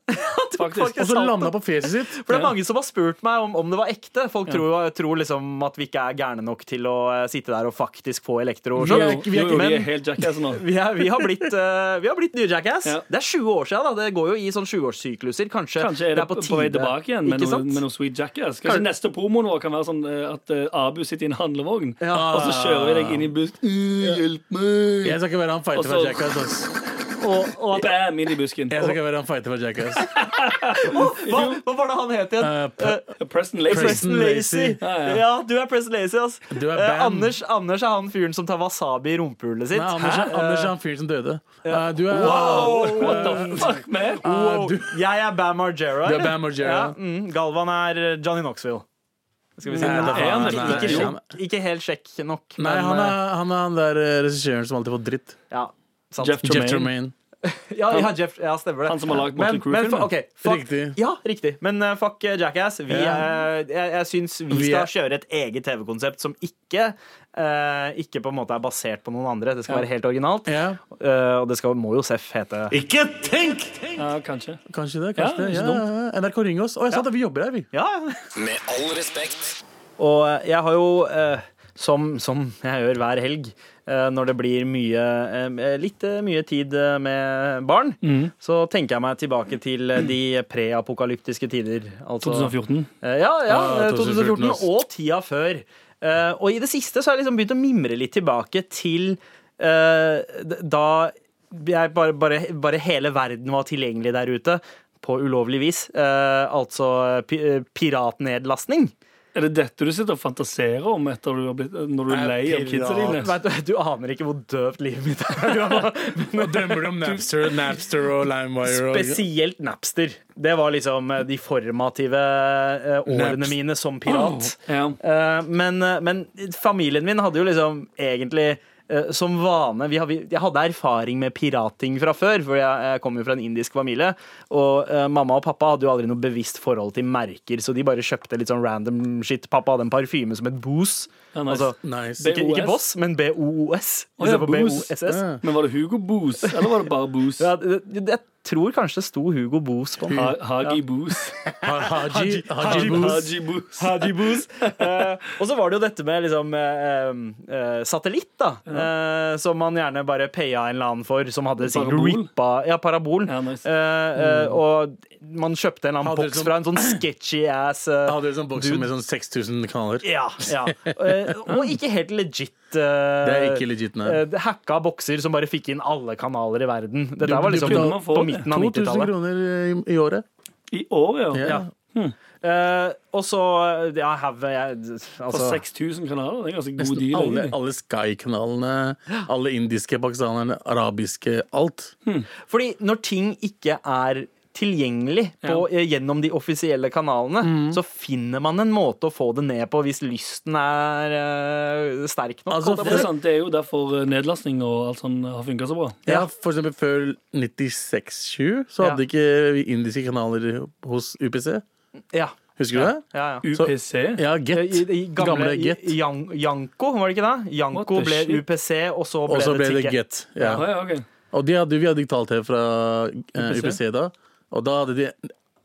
Speaker 5: Faktisk.
Speaker 6: og så landa på fjeset sitt.
Speaker 3: For det er mange som har spurt meg om, om det var ekte. Folk tror, tror liksom at vi ikke er gærne nok til å eh, sitte der og faktisk få elektro.
Speaker 5: Jo,
Speaker 3: Skjønner
Speaker 5: jo,
Speaker 3: du?
Speaker 5: jo, jo, vi
Speaker 3: men-
Speaker 5: er helt jackass nå.
Speaker 3: Vi, er, vi har blitt, eh, vi har blitt nye Jackass.
Speaker 5: Ja.
Speaker 3: Det er 20 år siden. Da. Det går jo i sånn 20-årssykluser. Kanskje,
Speaker 5: Kanskje er det på, vei tilbake igjen med
Speaker 3: Ikke
Speaker 5: noe,
Speaker 3: sant?
Speaker 5: med noe Sweet Jackass. Kanskje
Speaker 3: Kan-
Speaker 5: neste promoen vår kan være sånn eh, at eh, Abu sitter i en handlevogn,
Speaker 3: Ja.
Speaker 5: og så kjører vi deg inn i busken. Hjelp meg!
Speaker 6: Jeg skal ikke være
Speaker 5: Og
Speaker 6: han fighter fra
Speaker 5: så-
Speaker 6: Jackass. ass.
Speaker 3: og, og at,
Speaker 5: Bam, inn i busken.
Speaker 6: Jeg skal ikke være han fighter fra Jackass.
Speaker 3: hva, hva var det han het igjen?
Speaker 6: Eh, p-
Speaker 3: Eh,
Speaker 5: Preston Lacy.
Speaker 3: Preston Lacy.
Speaker 5: Ja, ja.
Speaker 3: Ja, du er Preston Lacy, ass.
Speaker 6: Du er
Speaker 3: Eh,
Speaker 6: band.
Speaker 3: Anders, Anders er han fyren som tar wasabi i rumpehullet sitt.
Speaker 6: Nei, Anders,
Speaker 3: Hæ?
Speaker 6: Anders er han fyren som døde. Eh, Du er
Speaker 3: Wow!
Speaker 5: What the fuck, man?
Speaker 6: eh,
Speaker 3: Wow.
Speaker 6: du,
Speaker 3: Jeg er Bam Margera.
Speaker 6: du er
Speaker 3: eller?
Speaker 6: Bam Margera.
Speaker 3: Ja, mm. Galvan er eh, Johnny Knoxville. Skal vi si
Speaker 6: Nei,
Speaker 3: det?
Speaker 6: det er
Speaker 5: han
Speaker 3: ikke,
Speaker 5: ikke.
Speaker 3: ikke,
Speaker 5: Jo.
Speaker 3: sjekk- ikke helt sjekk nok.
Speaker 6: Nei,
Speaker 3: men,
Speaker 6: han
Speaker 3: eh,
Speaker 6: er han, er han der eh, regissøren som alltid får dritt.
Speaker 3: ja, sant.
Speaker 5: Jeff Tremaine.
Speaker 6: Jeff Tremaine.
Speaker 3: Ja, ja, Jeff, ja, stemmer det.
Speaker 5: Han som har lagd
Speaker 3: men,
Speaker 5: Motley Crue
Speaker 3: men,
Speaker 5: filmen
Speaker 3: ok, fuck,
Speaker 6: Riktig.
Speaker 3: Ja, riktig. Men eh, fuck eh, Jackass. Vi
Speaker 6: Ja.
Speaker 3: er, jeg, jeg syns vi,
Speaker 6: Vi
Speaker 3: skal
Speaker 6: er-
Speaker 3: kjøre et eget TV-konsept som ikke eh, Ikke på en måte er basert på noen andre. Det skal
Speaker 5: Ja.
Speaker 3: være helt originalt.
Speaker 6: Ja,
Speaker 3: Eh, og det skal, må jo Seff hete.
Speaker 8: Ikke tenk!
Speaker 5: Ja, kanskje.
Speaker 6: kanskje det.
Speaker 5: Ja,
Speaker 6: kanskje
Speaker 5: ikke
Speaker 6: det. Ja,
Speaker 5: dumt.
Speaker 6: ja, ja. NRK ringer oss. Å, jeg sa det, vi jobber her, vi.
Speaker 3: Ja, ja.
Speaker 1: Med all respekt.
Speaker 3: Og eh, jeg har jo, eh, som, som jeg gjør hver helg, eh, når det blir mye, eh, litt eh, mye tid eh, med barn,
Speaker 6: Mm.
Speaker 3: så tenker jeg meg tilbake til eh, de preapokalyptiske tider. Altså,
Speaker 5: 2014.
Speaker 3: Eh, Ja, ja
Speaker 6: Ja,
Speaker 3: eh, 2014
Speaker 6: 2014
Speaker 3: og tida før. Eh, og i det siste så har jeg liksom begynt å mimre litt tilbake til eh, d- da jeg bare, bare, bare hele verden var tilgjengelig der ute. På ulovlig vis. Eh, altså pi eh, piratnedlastning.
Speaker 5: Er det dette du sitter og fantaserer om etter du har blitt, når du er lei av kidsa dine?
Speaker 3: Vet du, du aner ikke hvor døvt livet mitt er.
Speaker 6: Nå drømmer du om Napster, Napster og Limewire.
Speaker 3: Spesielt Napster. Det var liksom eh, de formative eh, årene
Speaker 6: Napst-
Speaker 3: mine som pirat.
Speaker 5: Ja.
Speaker 3: Eh, men, eh, men familien min hadde jo liksom egentlig eh, som vane vi, har- vi, Jeg hadde erfaring med pirating fra før, for jeg, jeg kom jo fra en indisk familie. Og eh, mamma og pappa hadde jo aldri noe bevisst forhold til merker, så de bare kjøpte litt sånn random shit. Pappa hadde en parfyme som het Boos.
Speaker 5: Ja, nice.
Speaker 3: altså,
Speaker 6: Nice.
Speaker 3: ikke, ikke Boss, men BOOS.
Speaker 5: Å ja,
Speaker 3: istedenfor
Speaker 5: Boos.
Speaker 3: BOSS.
Speaker 5: Men var det Hugo Boos, eller var det bare Boos?
Speaker 3: Ja, det- det- jeg tror kanskje det sto Hugo Boos på den.
Speaker 5: Ha- Hagi Boos.
Speaker 6: Haji, Haji
Speaker 5: Hagi
Speaker 6: Boos.
Speaker 5: Hagi Boos.
Speaker 3: Haji Boos. Eh, og så var det jo dette med liksom, eh, eh, satellitt, da. eh, som man gjerne bare paya en eller annen for, som hadde sikkert
Speaker 5: Parabol.
Speaker 3: rippa Ja, parabol.
Speaker 5: Ja, nice.
Speaker 3: Eh, eh, og man kjøpte en eller annen
Speaker 6: Mm. Hadde
Speaker 3: boks
Speaker 6: liksom-
Speaker 3: fra en sånn sketchy ass eh,
Speaker 6: Jeg hadde en sånn boks med sånn 6000 kanaler.
Speaker 3: Ja. ja. Eh, og ikke helt legit. eh,
Speaker 6: Det er ikke legit, nei.
Speaker 3: eh, hacka bokser som bare fikk inn alle kanaler i verden. Dette
Speaker 5: Du-
Speaker 3: var
Speaker 5: du
Speaker 3: liksom
Speaker 5: kunne man få
Speaker 3: på
Speaker 5: det.
Speaker 3: midten av
Speaker 6: 2000
Speaker 3: 90-tallet.
Speaker 6: kroner eh, i, i året.
Speaker 5: I år, ja.
Speaker 6: Ja.
Speaker 3: Eh, og så Ja, have jeg
Speaker 5: For
Speaker 3: Altså
Speaker 5: 6000 kanaler. Det er ganske god
Speaker 6: Nesten
Speaker 5: deal.
Speaker 6: alle,
Speaker 5: egentlig.
Speaker 6: alle Sky-kanalene, alle indiske, pakistanerne, arabiske, alt.
Speaker 3: Fordi når ting ikke er tilgjengelig på, eh, gjennom de offisielle kanalene, så finner man en måte å få det ned på hvis lysten er eh, sterk nok.
Speaker 6: Altså,
Speaker 3: holdt jeg
Speaker 5: Det
Speaker 3: på å
Speaker 5: er
Speaker 3: si.
Speaker 5: sant, det er jo derfor eh, nedlastning og alt sånt har funka så bra.
Speaker 6: Ja, for eksempel før 96-20 så hadde
Speaker 3: Ja.
Speaker 6: ikke vi indiske kanaler hos UPC.
Speaker 3: ja,
Speaker 6: Husker du det?
Speaker 3: ja, ja.
Speaker 5: UPC.
Speaker 6: Ja,
Speaker 3: I,
Speaker 6: Get.
Speaker 3: i, i gamle,
Speaker 6: Gamle
Speaker 3: i-
Speaker 6: Get.
Speaker 3: i Jan, Janko, var det ikke det?
Speaker 5: What
Speaker 3: Janko
Speaker 5: the
Speaker 3: ble
Speaker 5: shit?
Speaker 3: UPC, og så ble,
Speaker 6: Og så ble det
Speaker 3: Ticket.
Speaker 6: Get. Ja.
Speaker 5: Ah, ja, ok.
Speaker 6: Og de hadde, vi hadde digital-TV fra eh,
Speaker 5: UPC.
Speaker 6: UPC da. Og da hadde de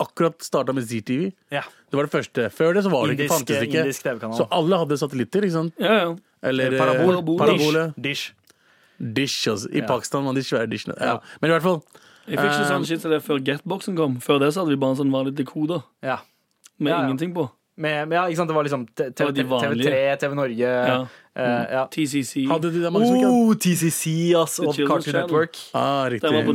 Speaker 6: akkurat starta med ZTV.
Speaker 3: Ja.
Speaker 6: Det var det første. Før det så var det ikke,
Speaker 3: Indisk-
Speaker 6: fantes det
Speaker 3: indisk
Speaker 6: ikke.
Speaker 3: TV-kanal.
Speaker 6: Så alle hadde satellitter, ikke sant?
Speaker 5: Ja, ja.
Speaker 6: Eller eh,
Speaker 3: Parabol.
Speaker 6: parabole.
Speaker 3: Dish.
Speaker 6: Dish, altså. I Pakistan var de svære dishene. Ja. Men i hvert fall.
Speaker 5: Jeg fikk ikke sånn shit som det før Getboxen kom. Før det så hadde vi bare en sånn vanlig dekoder
Speaker 3: Ja.
Speaker 5: med
Speaker 3: Ja, ja.
Speaker 5: ingenting på.
Speaker 3: Med, men ja, ikke sant? Det var liksom T-
Speaker 5: var de
Speaker 3: TV, TV3,
Speaker 5: vanlige.
Speaker 3: TV Norge
Speaker 5: Ja.
Speaker 3: eh, ja.
Speaker 5: TCC.
Speaker 6: Hadde de der mange som ikke hadde
Speaker 3: Oh, TCC ass, og
Speaker 5: Children's
Speaker 3: Cartoon
Speaker 5: Channel.
Speaker 3: Network.
Speaker 6: ah,
Speaker 5: Den var på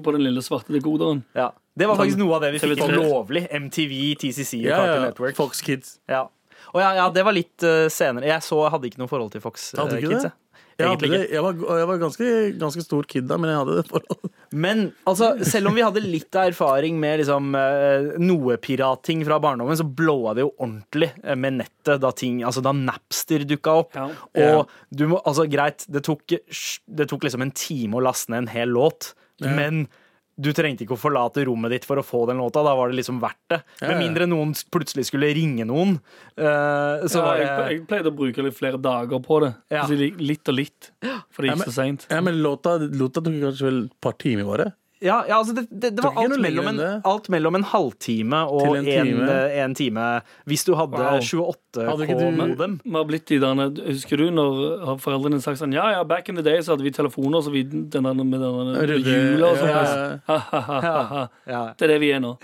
Speaker 5: 07 på den lille svarte dekoderen.
Speaker 3: Ja. Det var
Speaker 6: Sånn
Speaker 3: faktisk noe av det vi fikk
Speaker 5: TV3.
Speaker 3: lovlig. MTV, TCC og
Speaker 6: Ja,
Speaker 3: Cartoon
Speaker 6: ja.
Speaker 3: Network.
Speaker 6: Fox Kids.
Speaker 3: Ja. Og ja, ja, det var litt eh, senere. Jeg så jeg hadde ikke noe forhold til Fox
Speaker 6: Hadde
Speaker 3: eh,
Speaker 6: ikke
Speaker 3: Kids. jeg.
Speaker 6: det? Jeg, hadde
Speaker 3: Egentlig
Speaker 6: det.
Speaker 3: ikke.
Speaker 6: jeg var, jeg var ganske, ganske stor kid da, men jeg hadde det forholdet.
Speaker 3: Men altså, selv om vi hadde litt erfaring med liksom, eh, noe pirating fra barndommen, så blåa det jo ordentlig eh, med nettet da, ting, altså, da Napster dukka opp.
Speaker 5: Ja.
Speaker 3: Og du må, altså greit, det tok, det tok liksom en time å laste ned en hel låt, men du trengte ikke å forlate rommet ditt for å få den låta. Da var det liksom verdt det. Med mindre noen plutselig skulle ringe noen. eh, så
Speaker 5: Ja,
Speaker 3: var
Speaker 5: jeg,
Speaker 3: det
Speaker 5: jeg pleide å bruke litt flere dager på det.
Speaker 3: Ja.
Speaker 5: Altså, li- litt og litt, for det
Speaker 6: Ja,
Speaker 5: gikk
Speaker 6: men-
Speaker 5: så seint.
Speaker 6: Ja, men låta, låta tok kanskje vel et par timer, bare.
Speaker 3: Ja, ja altså det, det, det var
Speaker 6: Tror
Speaker 3: alt
Speaker 6: ikke noe lenger
Speaker 3: mellom, en,
Speaker 6: enn det.
Speaker 3: alt mellom en halvtime og
Speaker 6: Til
Speaker 3: en
Speaker 6: en
Speaker 3: time.
Speaker 6: time.
Speaker 3: En time hvis du hadde
Speaker 5: Wow.
Speaker 6: Hadde ikke
Speaker 3: 28K
Speaker 6: du-
Speaker 3: modem.
Speaker 5: Vi har blitt de der, Husker du når har foreldrene sagt sånn Ja, ja, back in the day så hadde vi telefoner så vi, den der, med den der
Speaker 6: Røde-
Speaker 5: hjula og sånn.
Speaker 6: ja,
Speaker 5: altså. Ha, ha, ha, ha, ha.
Speaker 3: Ja.
Speaker 5: Det er det vi er nå.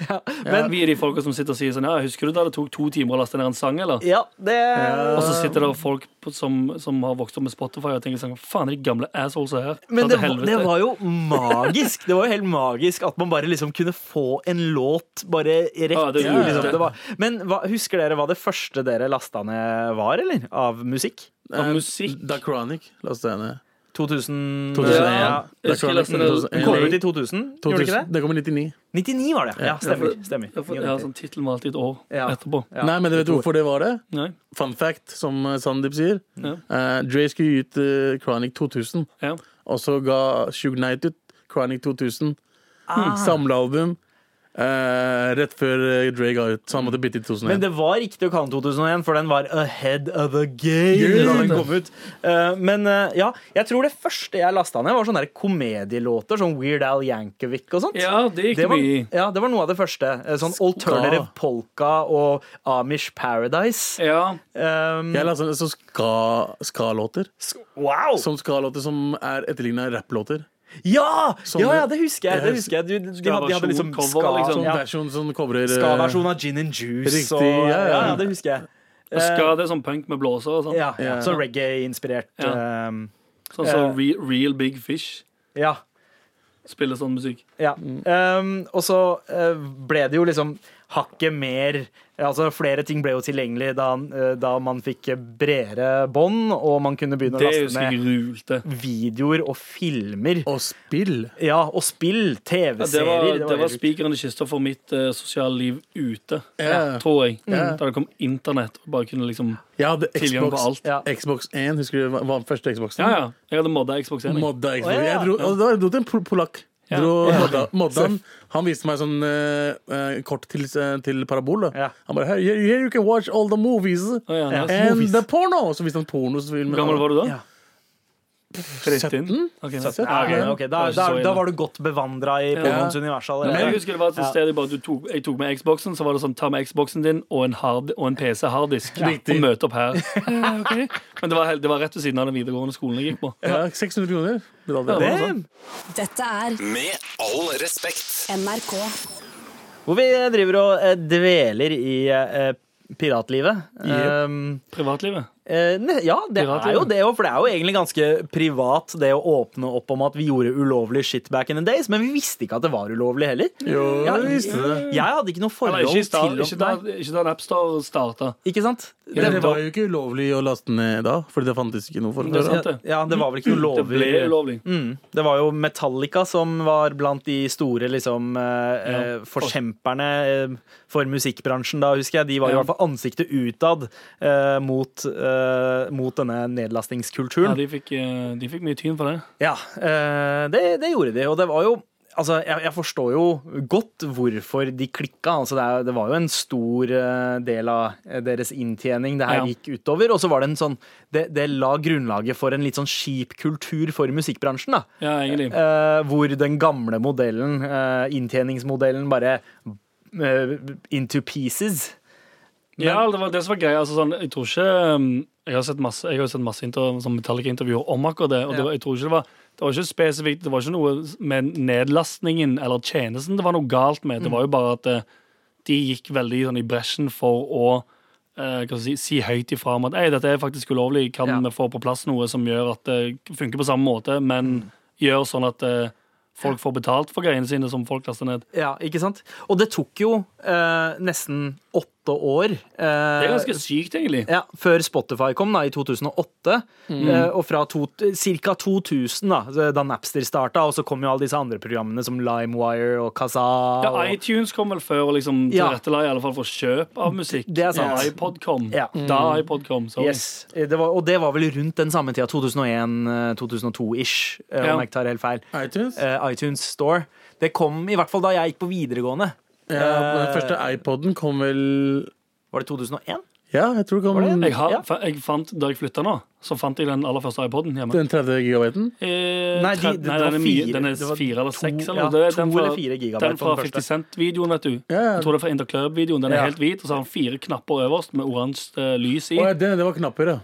Speaker 5: Men vi er de folka som sitter og sier sånn Ja, husker du da det tok to timer å laste ned en sang, eller?
Speaker 3: Ja, det
Speaker 5: Og så sitter det folk på, som, som har vokst opp med Spotify og tenker sånn Faen, de gamle assholes er her.
Speaker 3: Men
Speaker 5: Dra
Speaker 3: det,
Speaker 5: til
Speaker 3: var-
Speaker 5: helvete.
Speaker 3: det var jo magisk. Det var jo helt magisk at man bare liksom kunne få en låt bare
Speaker 5: Ja,
Speaker 3: rett
Speaker 5: det
Speaker 3: i
Speaker 5: gjorde
Speaker 3: liksom.
Speaker 5: det.
Speaker 3: det var. Men hva, husker dere hva det første dere lasta ned var, eller? Av musikk?
Speaker 5: Og musikk.
Speaker 6: Da Chronic lasta jeg ned.
Speaker 3: 2000
Speaker 6: 2001.
Speaker 3: Ja.
Speaker 5: Jeg husker jeg leste det-
Speaker 3: Den kom ut i 2000, gjorde den ikke det?
Speaker 6: det kom i 99.
Speaker 3: 99 var det, ja. Stemmer. stemmer.
Speaker 5: Jeg får- jeg har sånn tittel med alltid et år
Speaker 3: Ja.
Speaker 5: etterpå.
Speaker 3: Ja.
Speaker 6: Nei, men du vet hvorfor det var det?
Speaker 5: Nei.
Speaker 6: Fun fact, som eh, Sandeep sier.
Speaker 5: Ja.
Speaker 6: Eh, Dre skulle gi ut eh, Chronic 2000,
Speaker 5: Ja.
Speaker 6: og så ga Shug Knight ut Chronic 2000.
Speaker 3: Ah.
Speaker 6: Samlealbum. eh, rett før eh, Dre ga ut, så han måtte bytte i 2001.
Speaker 3: Men det var riktig å kalle den 2001, for den var ahead of the game da den kom ut. Eh, men eh, ja, jeg tror det første jeg lasta ned, var sånne der komedielåter. Sånn Weird Al Yankovic og sånt.
Speaker 5: ja, det gikk
Speaker 3: Det
Speaker 5: det
Speaker 3: var,
Speaker 5: mye i.
Speaker 3: ja, det var noe av det første. Eh, Sånn Alternative Polka og Amish Paradise.
Speaker 5: Ja.
Speaker 3: Um,
Speaker 6: Jeg la sånn så ska, ska-låter.
Speaker 3: wow!
Speaker 6: Sånn ska-låter som er etterligna rapplåter.
Speaker 3: Ja!
Speaker 6: Sånne-
Speaker 3: ja! Ja, det husker jeg. Det husker jeg. Du, de, hadde, de hadde liksom
Speaker 5: Ska-versjon,
Speaker 3: ska,
Speaker 5: cover, liksom.
Speaker 6: Sånn
Speaker 3: ja,
Speaker 6: versjon som covrer eh,
Speaker 3: ska-versjon av Gin and Juice.
Speaker 6: Riktig,
Speaker 3: og,
Speaker 6: ja,
Speaker 3: ja,
Speaker 6: ja.
Speaker 3: ja, det husker jeg.
Speaker 5: Og Ska det er sånn punk med blåser og sånn.
Speaker 3: Eh, Ja, ja.
Speaker 6: Ja.
Speaker 3: Sånn reggae-inspirert.
Speaker 5: Ja.
Speaker 3: Um,
Speaker 5: Sånn som Re Real Big Fish
Speaker 3: ja.
Speaker 5: spiller sånn musikk.
Speaker 3: Ja. Um, og så eh, ble det jo liksom hakket mer Altså Flere ting ble jo tilgjengelig da, eh, da man fikk bredere bånd, og man kunne begynne å
Speaker 5: Det
Speaker 3: laste
Speaker 5: husker
Speaker 3: ned
Speaker 5: jeg rulte.
Speaker 3: videoer og filmer.
Speaker 6: eh, Og spill.
Speaker 3: Ja, og spill,
Speaker 5: Ja, det var,
Speaker 3: TV-serier.
Speaker 5: det var spikeren i kista for mitt eh, sosiale liv ute,
Speaker 6: Ja.
Speaker 5: tror jeg.
Speaker 6: Ja.
Speaker 5: Da det kom internett og bare kunne liksom
Speaker 6: Jeg hadde
Speaker 5: tilgang på
Speaker 6: Xbox,
Speaker 5: alt.
Speaker 3: Ja.
Speaker 6: Xbox 1. Husker du hva hva var den første Xboxen?
Speaker 5: Ja, ja. Jeg hadde modda Xbox 1. jeg.
Speaker 6: Modda Xbox.
Speaker 3: Å, ja, ja.
Speaker 6: Jeg dro, og da dro til en pol- polakk.
Speaker 5: Ja.
Speaker 6: Dro modda, modda han. Han viste meg sånn eh, eh, kort til, til parabol. Da.
Speaker 3: Ja.
Speaker 6: Han bare here, here you can watch all the movies
Speaker 5: Å, ja, nice.
Speaker 6: and the porno! Så viste han pornofilmen.
Speaker 5: Hvor gammel var du da?
Speaker 3: Ja.
Speaker 5: Rett inn? Ok, nei.
Speaker 3: Ja, ok,
Speaker 5: Ja,
Speaker 3: ok, da, da,
Speaker 5: ikke så
Speaker 3: da
Speaker 5: ille.
Speaker 3: var du godt bevandra i pornoens univers
Speaker 5: Men jeg
Speaker 3: allerede.
Speaker 5: husker det var et sted jeg bare du tok, jeg tok med Xboxen, så var det sånn ta med Xboxen din og en, hard, og en PC harddisk og møte opp her. Eh, ok. Men det var, helt- det var rett ved siden av den videregående skolen jeg gikk på.
Speaker 6: Ja, 600 kroner. betalte jeg.
Speaker 5: Det var
Speaker 3: Damn.
Speaker 7: Dette er
Speaker 1: Med all respekt.
Speaker 7: NRK.
Speaker 3: Hvor vi driver og eh, dveler i eh, piratlivet. Um,
Speaker 5: Privatlivet.
Speaker 3: eh, ne- ja, det
Speaker 5: Piratlivet.
Speaker 3: er jo det, og for det er jo egentlig ganske privat det å åpne opp om at vi gjorde ulovlig shit back in the days, men vi visste ikke at det var ulovlig heller.
Speaker 6: Jo,
Speaker 3: Ja,
Speaker 6: jeg visste det.
Speaker 3: Jeg hadde ikke noe
Speaker 5: Eller
Speaker 3: forhold
Speaker 5: ikke, i start,
Speaker 3: til
Speaker 5: ikke, da,
Speaker 3: Nei,
Speaker 5: ikke da AppStore starta.
Speaker 3: Ikke sant?
Speaker 6: Men
Speaker 3: Det
Speaker 6: det var jo ikke ulovlig å laste ned da, Fordi det fantes ikke noe for
Speaker 5: Det er
Speaker 6: det.
Speaker 5: sant, det.
Speaker 3: ja, det var vel ikke noe
Speaker 5: Det
Speaker 3: lover
Speaker 5: ble ulovlig.
Speaker 3: Mm. Det var jo Metallica som var blant de store liksom, eh, eh, forkjemperne eh, for musikkbransjen da, husker jeg. De var i
Speaker 5: Ja.
Speaker 3: hvert fall ansiktet utad eh, mot, eh, mot denne
Speaker 5: Ja,
Speaker 3: nedlastingskulturen.
Speaker 5: de, fikk, eh, de fikk mye tyn for det.
Speaker 3: Ja, eh, det, det gjorde de, og det var jo Altså, jeg, jeg forstår jo godt hvorfor de klikka. Altså, det, er, det var jo en stor eh, del av eh, deres inntjening det her
Speaker 5: Ja.
Speaker 3: gikk utover. Og så var det en sånn det, det la grunnlaget for en litt sånn skip kultur for musikkbransjen, da.
Speaker 5: Ja, egentlig.
Speaker 3: Eh, hvor den gamle modellen, eh, inntjeningsmodellen, bare eh, into pieces.
Speaker 5: Ja, det var det som var greia. Altså, sånn, jeg tror ikke um, Jeg har sett masse, jeg har jo sett masse inter, sånn Metallica-intervjuer om akkurat det. Og det
Speaker 3: Ja.
Speaker 5: var, jeg tror ikke det var Det var ikke spesifikt Det var ikke noe med nedlastningen eller tjenesten det var noe galt med.
Speaker 3: Mm.
Speaker 5: Det var jo bare at eh, de gikk veldig sånn, i bresjen for å eh, hva skal jeg si, si høyt ifra om at Ei, dette er faktisk ulovlig. Kan
Speaker 3: Ja.
Speaker 5: vi få på plass noe som gjør at det funker på samme måte, men
Speaker 3: Mm.
Speaker 5: gjør sånn at eh, folk får betalt for greiene sine som folk laster ned?
Speaker 3: Ja, ikke sant? Og det tok jo eh, nesten åtte år. eh,
Speaker 5: Det er ganske sykt, egentlig.
Speaker 3: ja, før Spotify kom da, i 2008,
Speaker 5: Mm.
Speaker 3: eh, og fra to, ca. 2000 da, da Napster starta, og så kom jo alle disse andre programmene som LimeWire og Kazaa.
Speaker 5: Ja,
Speaker 3: og-
Speaker 5: iTunes kom vel før og liksom
Speaker 3: Ja.
Speaker 5: tilrettela i alle fall for kjøp av musikk.
Speaker 3: Det er sant.
Speaker 5: Ja, iPod kom.
Speaker 3: Ja.
Speaker 5: Da iPod kom, sorry.
Speaker 3: Yes. Eh, Det var, og det var vel rundt den samme tida, eh, 2001-2002-ish,
Speaker 5: Ja.
Speaker 3: eh, om jeg ikke tar helt feil.
Speaker 6: iTunes? Ja,
Speaker 3: eh, iTunes Store. Det kom i hvert fall da jeg gikk på videregående.
Speaker 6: på den første
Speaker 5: Eh.
Speaker 6: iPoden kom vel
Speaker 3: Var det 2001?
Speaker 6: Ja, jeg tror det kom
Speaker 5: Jeg har,
Speaker 3: Ja.
Speaker 5: fa- jeg fant, da jeg flytta nå, så fant jeg den aller første iPoden hjemme.
Speaker 6: den 30 gigabyten.
Speaker 5: Eh,
Speaker 3: Nei, de-
Speaker 5: tre-
Speaker 3: det
Speaker 5: nei,
Speaker 3: var
Speaker 5: den er mye.
Speaker 3: fire-
Speaker 5: Den er
Speaker 3: det var
Speaker 5: fire eller
Speaker 3: to-
Speaker 5: seks.
Speaker 3: ja,
Speaker 5: eller noe. Det er
Speaker 3: to
Speaker 5: den fra-
Speaker 3: eller fire gigabyte
Speaker 5: Den
Speaker 3: på
Speaker 5: fra
Speaker 3: den
Speaker 5: 50
Speaker 3: første.
Speaker 5: Cent-videoen, vet du.
Speaker 6: Ja.
Speaker 5: Jeg tror det er fra Interclub-videoen. Den er
Speaker 3: Ja.
Speaker 5: helt hvit, og så har den fire knapper øverst med oransje eh, lys i.
Speaker 6: Å, ja, det, det var knapper, ja.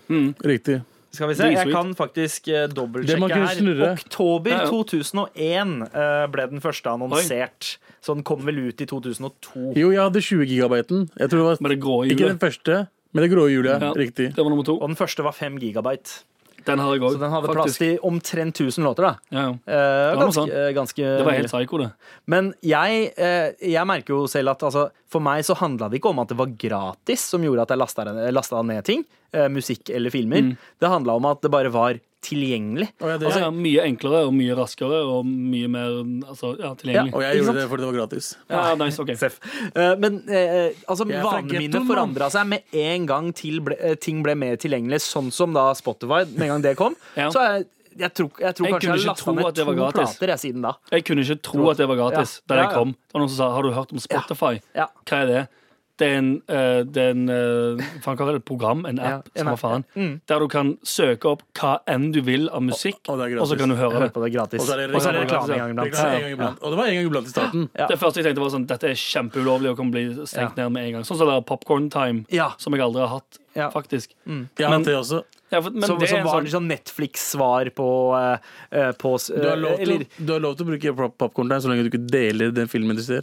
Speaker 6: Riktig.
Speaker 3: Skal vi se,
Speaker 5: Dritsweet.
Speaker 3: Jeg kan faktisk eh,
Speaker 6: Det må
Speaker 3: dobbeltsjekke
Speaker 6: kunne
Speaker 3: her.
Speaker 6: snurre.
Speaker 3: Oktober
Speaker 5: Ja, ja.
Speaker 3: 2001 eh, ble den første annonsert. Så den kom vel ut i 2002.
Speaker 6: Jo, jeg hadde 20 gigabyten. Jeg tror det var
Speaker 5: Med det grå
Speaker 6: Ikke den
Speaker 5: hjulet.
Speaker 6: første, men det grå hjulet.
Speaker 5: Ja,
Speaker 6: Riktig.
Speaker 5: Det var nummer to.
Speaker 3: Og den første var 5 gigabyte.
Speaker 5: Den har jeg òg.
Speaker 3: Så den hadde plass til omtrent 1000 låter. da
Speaker 5: Ja, ja.
Speaker 3: Eh,
Speaker 5: Det var noe
Speaker 3: ganske,
Speaker 5: sånn.
Speaker 3: eh, ganske
Speaker 5: Det var helt
Speaker 3: mye.
Speaker 5: psyko, det.
Speaker 3: Men jeg, eh, jeg merker jo selv at altså, for meg så handla det ikke om at det var gratis som gjorde at jeg lasta lasta ned ting. Eh, musikk eller filmer.
Speaker 5: Mm.
Speaker 3: Det handla om at det bare var tilgjengelig.
Speaker 6: Å, ja, det,
Speaker 5: Altså, ja, mye enklere og mye raskere og mye mer altså, ja, tilgjengelig.
Speaker 6: Og jeg gjorde det fordi det var gratis.
Speaker 5: Ja, nice, ok.
Speaker 3: Seff. Eh, men eh, altså,
Speaker 6: Jeg er fra
Speaker 3: vanene mine
Speaker 6: ghettoen, mann.
Speaker 3: forandra seg med en gang til ble, eh, ting ble mer tilgjengelig, sånn som da Spotify, med en gang det kom.
Speaker 5: Ja.
Speaker 3: Så jeg, jeg tror, jeg tror kanskje
Speaker 5: Jeg kunne
Speaker 3: jeg
Speaker 5: ikke
Speaker 3: har
Speaker 5: tro
Speaker 3: lasta ned
Speaker 5: at det
Speaker 3: to
Speaker 5: var gratis.
Speaker 3: plater jeg, siden da.
Speaker 5: Jeg kunne ikke tro at det var gratis
Speaker 3: Ja.
Speaker 5: da
Speaker 3: Ja,
Speaker 5: jeg
Speaker 3: ja.
Speaker 5: kom. Det var noen som sa, har du hørt om Spotify?
Speaker 3: Ja.
Speaker 5: Hva er det? Det er en, eh, det er en eh, faen, hva er det? et program, en app,
Speaker 3: en
Speaker 5: samme
Speaker 3: app, Mm.
Speaker 5: faen, der du kan søke opp hva enn du vil av musikk,
Speaker 6: og det er gratis.
Speaker 5: og så kan du
Speaker 3: Jeg
Speaker 5: høre
Speaker 3: hører
Speaker 5: det.
Speaker 3: på det gratis.
Speaker 6: Og så er det
Speaker 5: reklame.
Speaker 3: reklame en gang iblant.
Speaker 6: Det er en gang iblant. Og det var en gang iblant i starten.
Speaker 3: Ja.
Speaker 5: Det første jeg tenkte var sånn, dette er kjempeulovlig og kan bli stengt ned med en gang. Sånn som det er Popcorn Time,
Speaker 3: Ja.
Speaker 5: som jeg aldri har hatt,
Speaker 3: Ja. Mm.
Speaker 5: faktisk.
Speaker 6: Jeg
Speaker 5: Men-
Speaker 6: hadde det også.
Speaker 5: Ja, for, men
Speaker 3: som,
Speaker 5: det er
Speaker 3: som
Speaker 5: en
Speaker 3: var
Speaker 5: sånn,
Speaker 3: litt sånn Netflix-svar på, eh, eh, på s-
Speaker 6: Du har lov til,
Speaker 3: eller-
Speaker 6: du har lov til å bruke popkorn der så lenge du ikke deler den filmen du ser.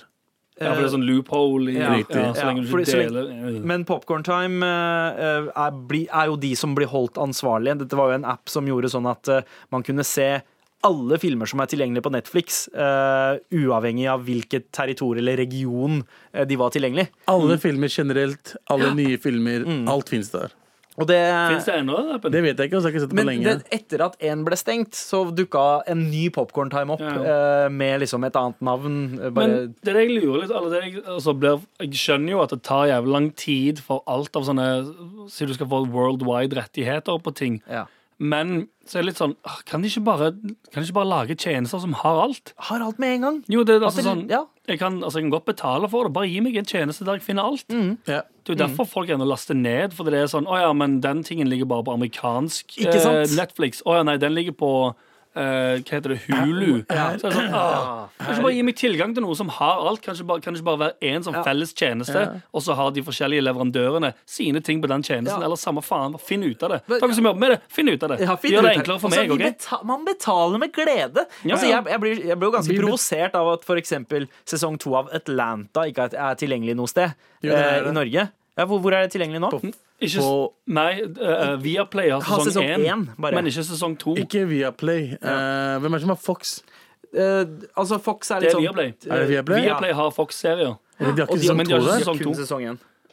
Speaker 5: ja, for det er sånn loophole i, ja,
Speaker 3: eh, Ja.
Speaker 5: så
Speaker 3: Ja,
Speaker 5: lenge du
Speaker 3: fordi
Speaker 5: ikke
Speaker 3: så lenge-
Speaker 5: deler. ja.
Speaker 3: Men Popcorn Time eh, eh, er, bli, er jo de som blir holdt ansvarlige. Dette var jo en app som gjorde sånn at eh, man kunne se alle filmer som er tilgjengelige på Netflix, eh, uavhengig av hvilket territorium eller region eh, de var tilgjengelig.
Speaker 6: Alle filmer generelt, alle nye filmer, alt fins der.
Speaker 3: Og det,
Speaker 5: Finnes det ennå, den appen?
Speaker 6: Det vet jeg ikke, altså, jeg har ikke sett det på
Speaker 3: men
Speaker 6: lenge.
Speaker 3: det, etter at én ble stengt, så dukka en ny Popcorn Time opp eh, med liksom et annet navn. eh, Bare
Speaker 5: Men det er det jeg lurer litt eller det jeg, altså, blir, jeg skjønner jo at det tar jævlig lang tid for alt av sånne Si du skal få worldwide rettigheter på ting.
Speaker 3: Ja.
Speaker 5: Men så er det litt sånn ah, Kan de ikke bare, kan de ikke bare lage tjenester som har alt?
Speaker 3: Har alt med en gang.
Speaker 5: Jo, det er altså
Speaker 3: det-
Speaker 5: sånn
Speaker 3: ja.
Speaker 5: jeg, kan, altså, jeg kan godt betale for det. Bare gi meg en tjeneste der jeg finner alt.
Speaker 3: Mhm.
Speaker 6: Ja.
Speaker 5: Det er
Speaker 3: Mm.
Speaker 5: jo derfor folk ennå laster ned. Fordi det er sånn Å ja, men den tingen ligger bare på amerikansk
Speaker 3: Ikke sant?
Speaker 5: eh, Netflix. Å ja, nei, den ligger på eh, hva heter det? Hulu. Så er det sånn, ah, kan ikke bare gi meg tilgang til noe som har alt? Kan ikke bare, kan ikke bare være én som felles tjeneste, og så har de forskjellige leverandørene sine ting på den tjenesten?
Speaker 3: Ja.
Speaker 5: Eller samme faen, bare finn ut av det.
Speaker 3: Men-
Speaker 5: Dere som jobber med det, finn ut av det.
Speaker 3: Ja, finn
Speaker 5: Gjør det
Speaker 3: ut her.
Speaker 5: enklere for
Speaker 3: Altså,
Speaker 5: meg.
Speaker 3: vi
Speaker 5: ok?
Speaker 3: beta- man betaler med glede.
Speaker 5: Ja,
Speaker 3: altså,
Speaker 5: ja.
Speaker 3: jeg, jeg, blir, jeg blir jo ganske
Speaker 6: Vi bet-
Speaker 3: provosert av at f.eks. sesong to av Atlanta ikke er er tilgjengelig noe sted
Speaker 6: Jo, det er
Speaker 3: eh,
Speaker 6: det.
Speaker 3: i Norge. Ja, hvor, hvor er det tilgjengelig nå?
Speaker 5: Ikke, s-
Speaker 6: på-
Speaker 5: nei, eh, Viaplay har
Speaker 3: Har
Speaker 5: sesong
Speaker 3: sesong
Speaker 5: én,
Speaker 3: én, bare.
Speaker 5: men ikke sesong to.
Speaker 6: Ikke Viaplay. Eh, hvem er det som har Fox?
Speaker 3: Eh, altså, Fox er
Speaker 5: Det
Speaker 3: litt
Speaker 5: er
Speaker 3: sånn
Speaker 5: Viaplay.
Speaker 6: Er det Viaplay?
Speaker 3: Ja.
Speaker 5: Viaplay har Fox-serier.
Speaker 6: Men De har
Speaker 3: Og
Speaker 6: ikke
Speaker 3: de-
Speaker 6: sesong
Speaker 5: men de har
Speaker 6: to
Speaker 5: ikke
Speaker 6: der.
Speaker 5: sesong
Speaker 3: kun
Speaker 5: to.
Speaker 3: sesong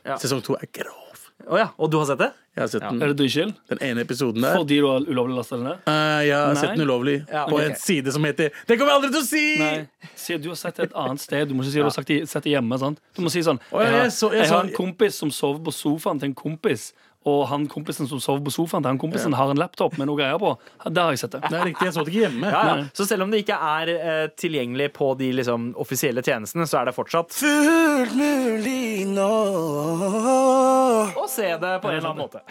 Speaker 3: én.
Speaker 6: Sesong to er grov.
Speaker 3: Å ja. Og du har sett det?
Speaker 6: Jeg har sett den.
Speaker 5: Er det dritkjill?
Speaker 6: Den ene episoden der.
Speaker 5: Fordi du har ulovlig lasta den ned?
Speaker 6: Eh, jeg har
Speaker 5: Nei.
Speaker 6: sett den ulovlig
Speaker 3: Ja,
Speaker 6: på
Speaker 3: ok.
Speaker 6: en side som heter Det kommer jeg aldri til å si!
Speaker 5: Nei. Si at du har sett det et annet sted. Du må ikke si at du har sagt det- sett det hjemme. Sant? Du må si sånn
Speaker 6: Å, jeg
Speaker 5: har-
Speaker 6: så- jeg
Speaker 5: jeg har
Speaker 6: så-
Speaker 5: en kompis som sover på sofaen til en kompis. Og han kompisen som sover på sofaen til han kompisen, har en laptop med noe greier på. Der har jeg sett det.
Speaker 6: Det er riktig, jeg så det ikke hjemme.
Speaker 3: Ja, ja. Så selv om det ikke er eh, tilgjengelig på de liksom, offisielle tjenestene, så er det fortsatt å se det på en eller annen måte.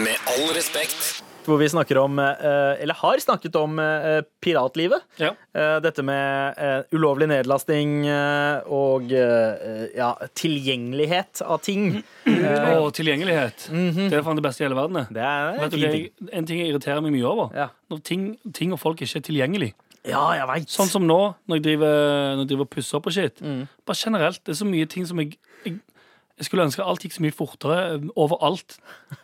Speaker 1: Med all respekt.
Speaker 3: Hvor vi snakker om, eh, eller har snakket om, eh, piratlivet.
Speaker 5: Ja.
Speaker 3: Eh, Dette med eh, ulovlig nedlasting eh, og eh, ja, tilgjengelighet av
Speaker 5: Mm.
Speaker 3: ting.
Speaker 5: Og tilgjengelighet. Det er faen det beste i hele verden. det.
Speaker 3: Det er
Speaker 5: Vet
Speaker 3: en
Speaker 5: du,
Speaker 3: fin
Speaker 5: hva
Speaker 3: ting.
Speaker 5: jeg, en ting jeg irriterer meg mye over,
Speaker 3: Ja.
Speaker 5: når ting, ting og folk ikke er tilgjengelig.
Speaker 3: Ja, jeg veit.
Speaker 5: Sånn som nå, når jeg driver, når jeg driver og pusser opp og shit. Bare generelt, det er så mye ting som jeg, jeg Jeg skulle ønske alt gikk så mye fortere eh, overalt.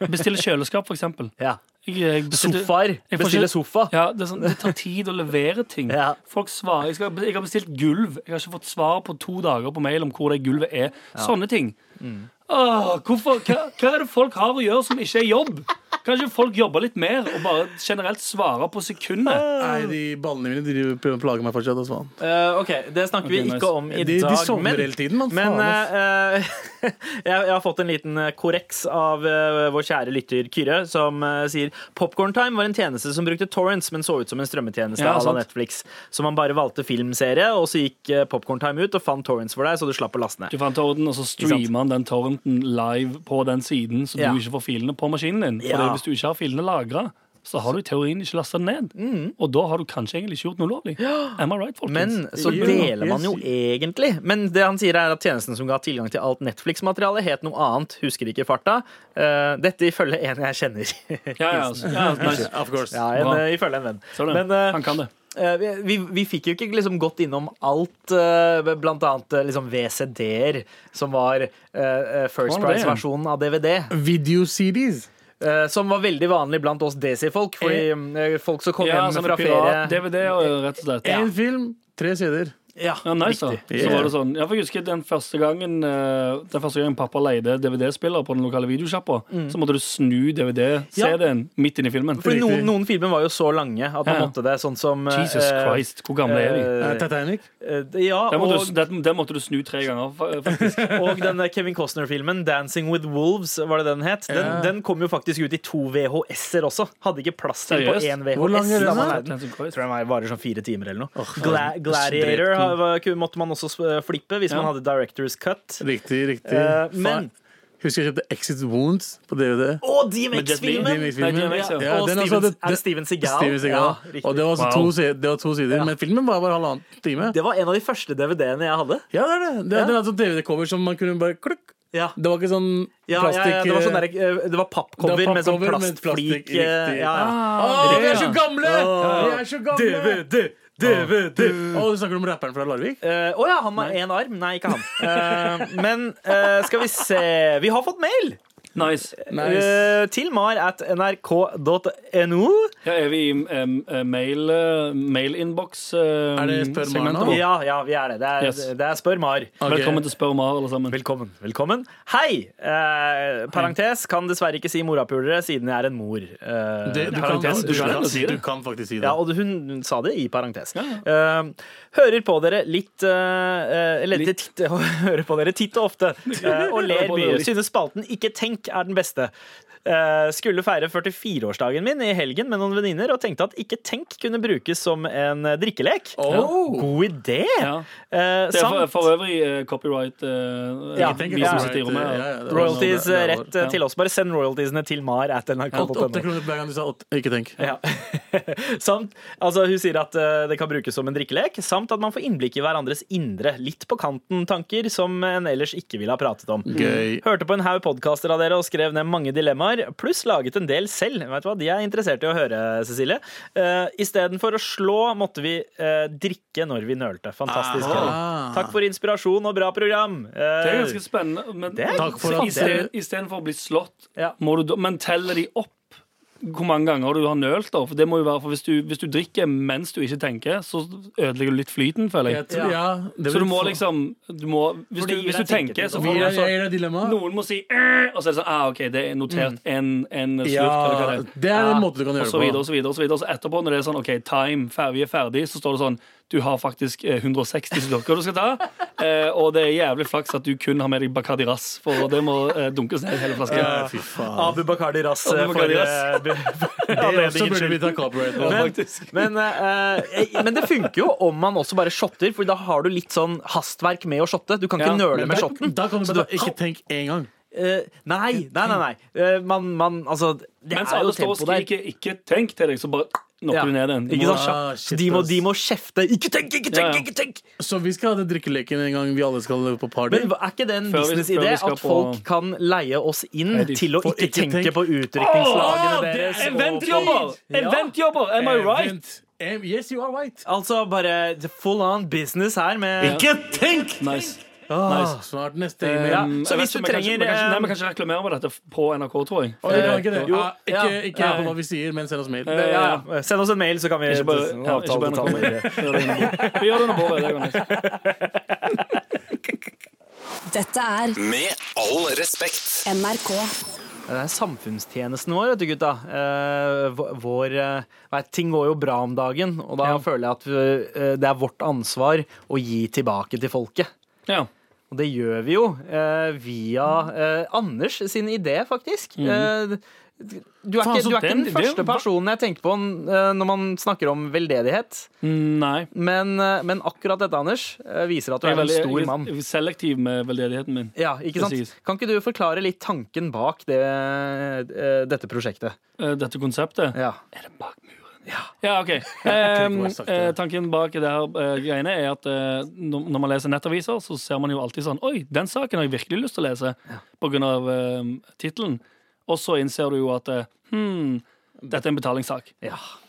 Speaker 5: Bestille kjøleskap, for eksempel.
Speaker 3: ja.
Speaker 5: Jeg, jeg bestilte-
Speaker 3: Sofaer.
Speaker 5: Jeg får
Speaker 3: Bestille
Speaker 5: ikke-
Speaker 3: sofa.
Speaker 5: Ja, det, er sånn, det tar tid å levere ting.
Speaker 3: Ja.
Speaker 5: Folk svarer jeg, skal, jeg har bestilt gulv. Jeg har ikke fått svar på to dager på mail om hvor det gulvet er. Sånne ting.
Speaker 3: Mm.
Speaker 5: Åh, hvorfor, hva, hva er det folk har å gjøre som ikke er jobb? Kan ikke folk jobbe litt mer og bare generelt svare på sekundet?
Speaker 6: Nei, de ballene mine de prøver å plage meg fortsatt. Altså. faen.
Speaker 3: Eh, OK, det snakker
Speaker 5: Ok,
Speaker 3: vi
Speaker 5: nice.
Speaker 3: ikke om i
Speaker 6: De,
Speaker 3: dag.
Speaker 6: de sovner
Speaker 3: men-
Speaker 6: hele tiden, mann.
Speaker 3: Men
Speaker 6: Faen, ass.
Speaker 3: eh, eh, jeg, jeg har fått en liten eh, korreks av eh, vår kjære lytter Kyrre, som eh, sier Popcorntime var en tjeneste som brukte torrents, men så ut som en strømmetjeneste à
Speaker 5: Ja,
Speaker 3: la
Speaker 5: sant.
Speaker 3: Netflix. Så man bare valgte filmserie, og så gikk eh, Popcorntime ut og fant torrents for deg, så du slapp å laste ned.
Speaker 5: Du fant torrenten, og så streamer han den torrenten live på den siden, så
Speaker 3: Ja.
Speaker 5: du ikke får filene på maskinen din.
Speaker 3: Ja.
Speaker 5: Fordi hvis du ikke har filene lagra, så har du i teorien ikke lasta den ned. Og da har du kanskje egentlig ikke gjort noe ulovlig. Am I right, folkens?
Speaker 3: Mm. Men så
Speaker 6: Ja,
Speaker 3: deler man jo
Speaker 6: yes.
Speaker 3: egentlig. Men det han sier er at tjenesten som ga tilgang til alt Netflix-materiale, het noe annet. Husker ikke i farta. Eh, dette ifølge en jeg kjenner.
Speaker 5: ja, ja, altså, ja, nice.
Speaker 6: Of course.
Speaker 3: ja, en,
Speaker 5: Bra.
Speaker 3: eh, ifølge en venn.
Speaker 5: Så det.
Speaker 3: Men eh,
Speaker 5: han kan det.
Speaker 3: eh, vi, vi, vi fikk jo ikke liksom gått innom alt, eh, blant annet eh, liksom VCD-er, som var eh, eh, First
Speaker 5: Hva var det?
Speaker 3: Price-versjonen av DVD.
Speaker 6: Video CDs.
Speaker 3: eh, som var veldig vanlig blant oss desi-folk. Fordi eh, folk som kom
Speaker 5: Ja,
Speaker 3: hjem
Speaker 5: sånn
Speaker 3: fra ferie
Speaker 5: pirat-DVD, rett og slett.
Speaker 6: Én film, tre CD-er.
Speaker 3: Ja,
Speaker 5: Ja, nice, da.
Speaker 6: Riktig.
Speaker 5: Så var det sånn. Ja, for Jeg husker den første gangen eh, Den første gangen pappa leide DVD-spiller på den lokale videosjappa, så måtte du snu DVD-CD-en midt inn i filmen.
Speaker 3: For
Speaker 6: Riktig.
Speaker 3: noen, noen filmer var jo så lange at man
Speaker 5: Ja.
Speaker 3: måtte det. Sånn som eh,
Speaker 5: Jesus Christ, hvor gamle er de?
Speaker 6: Eh,
Speaker 3: eh,
Speaker 6: Titanic.
Speaker 3: eh, ja,
Speaker 5: Den måtte,
Speaker 3: og,
Speaker 5: du, den, den måtte du snu tre ganger, fa- eh, faktisk.
Speaker 3: og den der Kevin Costner-filmen 'Dancing with Wolves', var det den het? Den, den kom jo faktisk ut i to VHS-er også. Hadde ikke plass til på
Speaker 5: Seriøst?
Speaker 3: én
Speaker 6: Hvor lang
Speaker 3: VHS.
Speaker 6: er den
Speaker 3: da man
Speaker 6: da?
Speaker 3: leide den. Jeg tror den var- varer sånn fire timer eller noe. Gla
Speaker 6: så
Speaker 3: Gladiator har- var- ku- måtte man også eh, flippe hvis man
Speaker 5: Ja.
Speaker 3: hadde Directors Cut.
Speaker 6: Riktig, riktig.
Speaker 3: Eh,
Speaker 6: Faen.
Speaker 3: men
Speaker 6: Husker jeg kjøpte Exit Wounds på DVD.
Speaker 3: Og DMX-filmen!
Speaker 5: Med Jet Li. Nei, DMX, ja.
Speaker 3: Ja, og
Speaker 6: liksom. den også
Speaker 3: Steven-
Speaker 6: hadde-
Speaker 3: er det Steven Seagal?
Speaker 6: Steven Seagal.
Speaker 3: Ja, riktig.
Speaker 6: og det var, altså
Speaker 5: Wow.
Speaker 6: to, se- det var to sider, men filmen var bare halvannen time.
Speaker 3: Det var en av de første DVD-ene jeg hadde.
Speaker 6: Ja, det er det. Det,
Speaker 3: Ja.
Speaker 6: det er altså DVD-cover som man kunne bare klukk.
Speaker 3: Ja.
Speaker 6: Det var ikke sånn
Speaker 3: Ja,
Speaker 6: plastikk
Speaker 3: ja, ja, det var, sånn
Speaker 6: eh,
Speaker 3: der, eh, det var pappcover
Speaker 6: Det var
Speaker 3: med sånn
Speaker 6: pappcover med
Speaker 3: plastflik.
Speaker 6: plastikk,
Speaker 3: eh,
Speaker 6: riktig. Ah.
Speaker 3: Ja, ja.
Speaker 6: Å, vi er
Speaker 5: Ja.
Speaker 6: så gamle! Vi er så gamle!
Speaker 3: DVD!
Speaker 6: Å, du snakker om rapperen fra Larvik?
Speaker 3: Eh, Å ja, han har én arm. Nei, ikke han. Eh, men eh, skal vi se Vi har fått mail!
Speaker 5: Nice.
Speaker 3: eh, til mar at nrk.no.
Speaker 5: Ja, er vi i em, eh, mail, eh, mail-inbox? eh,
Speaker 6: Er det Spør
Speaker 5: segmentet
Speaker 6: Mar nå?
Speaker 5: vårt?
Speaker 3: Ja, ja, vi er det. Det er,
Speaker 5: Yes.
Speaker 3: det er Spør Mar.
Speaker 6: Ok.
Speaker 5: Velkommen til Spør Mar, alle sammen.
Speaker 3: Velkommen. velkommen Hei! Eh, parentes kan dessverre ikke si morapulere siden jeg er en mor. Eh,
Speaker 6: Det- du, kan,
Speaker 5: parentes,
Speaker 6: du,
Speaker 5: du kan
Speaker 6: kan,
Speaker 5: jo si det.
Speaker 6: du kan faktisk si det.
Speaker 3: Ja, og hun hun sa det i parentes. Eh, hører på dere litt eh, eh, Eller
Speaker 5: Litt.
Speaker 3: titt- hører på dere titt og ofte eh, og ler
Speaker 5: Hører på dere
Speaker 3: mye.
Speaker 5: litt.
Speaker 3: Synes spalten Ikke tenk er den beste. Eh, skulle feire 44-årsdagen min i helgen med noen venninner og tenkte at ikke tenk kunne brukes som en eh, drikkelek. God idé!
Speaker 5: Ja.
Speaker 3: Eh,
Speaker 5: Det er for,
Speaker 3: samt-
Speaker 5: for øvrig eh, copyright eh,
Speaker 3: Ja.
Speaker 5: vi som sitter i rommet. Ja.
Speaker 3: Royalties eh, rett eh,
Speaker 5: ja.
Speaker 3: til oss. Bare send royaltiesene til mar at nrk.no.
Speaker 6: Åtte kroner hver gang du sa åtte. Ikke tenk.
Speaker 3: Ja. samt, altså Hun sier at eh, det kan brukes som en drikkelek, samt at man får innblikk i hverandres indre, litt på kanten-tanker som en ellers ikke ville ha pratet om.
Speaker 6: Gøy.
Speaker 3: Hørte på en haug podkaster av dere og skrev ned mange dilemmaer, pluss laget en del selv. Vet du hva, De er interessert i å høre, Cecilie. Uh, Istedenfor å slå måtte vi eh, drikke når vi nølte. Fantastisk.
Speaker 6: Ah.
Speaker 3: Takk for inspirasjon og bra program. Eh,
Speaker 5: Det er ganske spennende. Men
Speaker 3: Det er- Takk
Speaker 6: for at dere-
Speaker 5: istedenfor å bli slått,
Speaker 3: Ja.
Speaker 5: må du, da- men teller de opp hvor mange ganger du har nølt. da? For det må jo være, for hvis du, hvis du drikker mens du ikke tenker, så ødelegger du litt flyten, føler
Speaker 6: Jeg
Speaker 5: jeg.
Speaker 6: tror, ja.
Speaker 5: Så
Speaker 6: det sånn-
Speaker 5: du
Speaker 6: vil
Speaker 5: må
Speaker 6: få-
Speaker 5: liksom du må, Hvis du,
Speaker 11: det gir
Speaker 5: hvis
Speaker 11: deg
Speaker 5: du tenker,
Speaker 11: tenketid, da.
Speaker 5: så får du
Speaker 6: Gir jeg-
Speaker 5: sånn
Speaker 6: gir deg
Speaker 3: Ah.
Speaker 6: dilemma?
Speaker 5: Noen må si «Eh», Og så er det sånn ah, OK, det er notert
Speaker 3: Mm.
Speaker 5: en, en slurk, eller hva
Speaker 6: Ja,
Speaker 5: det er. Ah.
Speaker 6: det er en måte du kan
Speaker 5: Og
Speaker 6: gjøre
Speaker 5: så videre, og
Speaker 6: det på.
Speaker 5: så videre, og så videre. Og så etterpå, når det er sånn OK, time, fer- vi er ferdig, så står det sånn Du har faktisk eh, 160 slurker du skal ta, eh, og det er jævlig flaks at du kun har med deg Bacardi Ras, for det må eh, dunkes ned hele flasken.
Speaker 6: Ja, Fy faen.
Speaker 3: Abu Bakardi Ras.
Speaker 5: Abu
Speaker 3: eh,
Speaker 5: Bakar
Speaker 3: for,
Speaker 5: de
Speaker 3: eh,
Speaker 5: Ras.
Speaker 3: bu- for
Speaker 6: Det
Speaker 3: anledningen
Speaker 6: også burde
Speaker 3: skyld.
Speaker 6: vi ta copyright på.
Speaker 3: Men, men, eh, eh, men det funker jo om man også bare shotter, for da har du litt sånn hastverk med å shotte. Du kan ikke
Speaker 5: Ja,
Speaker 3: nøle
Speaker 6: Men
Speaker 3: med
Speaker 6: da-
Speaker 3: shotten.
Speaker 6: Da kan du
Speaker 3: Så
Speaker 6: bare
Speaker 3: du-
Speaker 6: ikke tenk én gang.
Speaker 3: Eh, nei, nei, nei. nei. Eh, man, man, altså, det
Speaker 5: Mens
Speaker 3: er jo
Speaker 5: alle står og
Speaker 3: tempo der.
Speaker 5: skriker 'ikke tenk' til deg, så bare knocker
Speaker 3: Ja.
Speaker 5: du ned den. Du
Speaker 3: Ikke
Speaker 5: må-
Speaker 3: sant?
Speaker 6: Ah,
Speaker 3: Så
Speaker 6: shit,
Speaker 3: de, må,
Speaker 6: ass.
Speaker 3: de må kjefte. Ikke tenk, ikke
Speaker 5: Ja,
Speaker 3: tenk!
Speaker 5: ja.
Speaker 3: ikke tenk
Speaker 6: Så vi skal ha den drikkeleken en gang vi alle skal på party.
Speaker 3: Men hva- Er ikke det en
Speaker 5: Før vi- før
Speaker 3: businessidé
Speaker 5: vi skal
Speaker 3: at folk
Speaker 5: på-
Speaker 3: kan leie oss inn
Speaker 5: de
Speaker 3: til å
Speaker 6: får
Speaker 3: ikke
Speaker 6: ikke
Speaker 3: tenke
Speaker 6: tenke.
Speaker 3: på utrykningslagene deres? og-
Speaker 5: Ah, Eventjobber! Eventjobber! Am I right?
Speaker 6: Eh, Vent. Em, Yes, you are right.
Speaker 3: Altså bare full on business her med
Speaker 12: Ikke tenk!
Speaker 5: Nice.
Speaker 6: Ah, Snart neste e-mail.
Speaker 3: Ja,
Speaker 5: Um,
Speaker 3: så
Speaker 5: jeg vet
Speaker 3: hvis
Speaker 5: ikke,
Speaker 3: du
Speaker 5: vi kan ikke-
Speaker 3: trenger,
Speaker 5: vi kan ikke- Nei,
Speaker 3: eh,
Speaker 5: Vi kan ikke reklamere med dette på NRK, tror jeg.
Speaker 6: Å, vi kan ikke det.
Speaker 5: Jo,
Speaker 6: Ah, ikke
Speaker 3: ja.
Speaker 6: ikke hør på hva vi sier, men send oss mail.
Speaker 5: Eh,
Speaker 3: ja, ja. Send oss en mail, så kan vi
Speaker 5: Ikke bare, ja, ikke
Speaker 3: avtale
Speaker 5: bare NRK.
Speaker 3: detaljer.
Speaker 5: Gjør det under bordet. Vi gjør det under bordet. det går nice.
Speaker 9: Dette er
Speaker 1: Med all respekt.
Speaker 9: NRK.
Speaker 3: Ja, Det er samfunnstjenesten vår, vet du gutta. Eh, vå- vår, eh, vet, ting går jo bra om dagen, og da føler jeg at eh, det er vårt ansvar å gi tilbake til folket.
Speaker 5: Ja.
Speaker 3: Og det gjør vi jo eh, via eh, Anders sin idé, faktisk. Eh, du er
Speaker 5: Mhm. Faen,
Speaker 3: ikke, du
Speaker 5: så
Speaker 3: er ikke
Speaker 5: den
Speaker 3: den
Speaker 5: ideen-
Speaker 3: første personen jeg tenker på eh, når man snakker om veldedighet,
Speaker 5: Nei.
Speaker 3: men, eh, men akkurat dette, Anders, eh, viser at du
Speaker 5: Jeg er
Speaker 3: er en
Speaker 5: veldig
Speaker 3: stor mann.
Speaker 5: jeg er selektiv med veldedigheten min.
Speaker 3: Ja, ikke sant?
Speaker 5: Precis.
Speaker 3: Kan ikke du forklare litt tanken bak det, eh, dette prosjektet?
Speaker 5: Eh, Dette konseptet.
Speaker 3: Ja.
Speaker 5: Bak muren. Ja, OK. Ehm, eh, tanken bak det her eh, greiene er at eh, når når man leser nettaviser, så ser man jo alltid sånn Oi, den saken har jeg virkelig lyst til å lese, på grunn av eh, tittelen. Og så innser du jo at eh, hmm, dette er en betalingssak.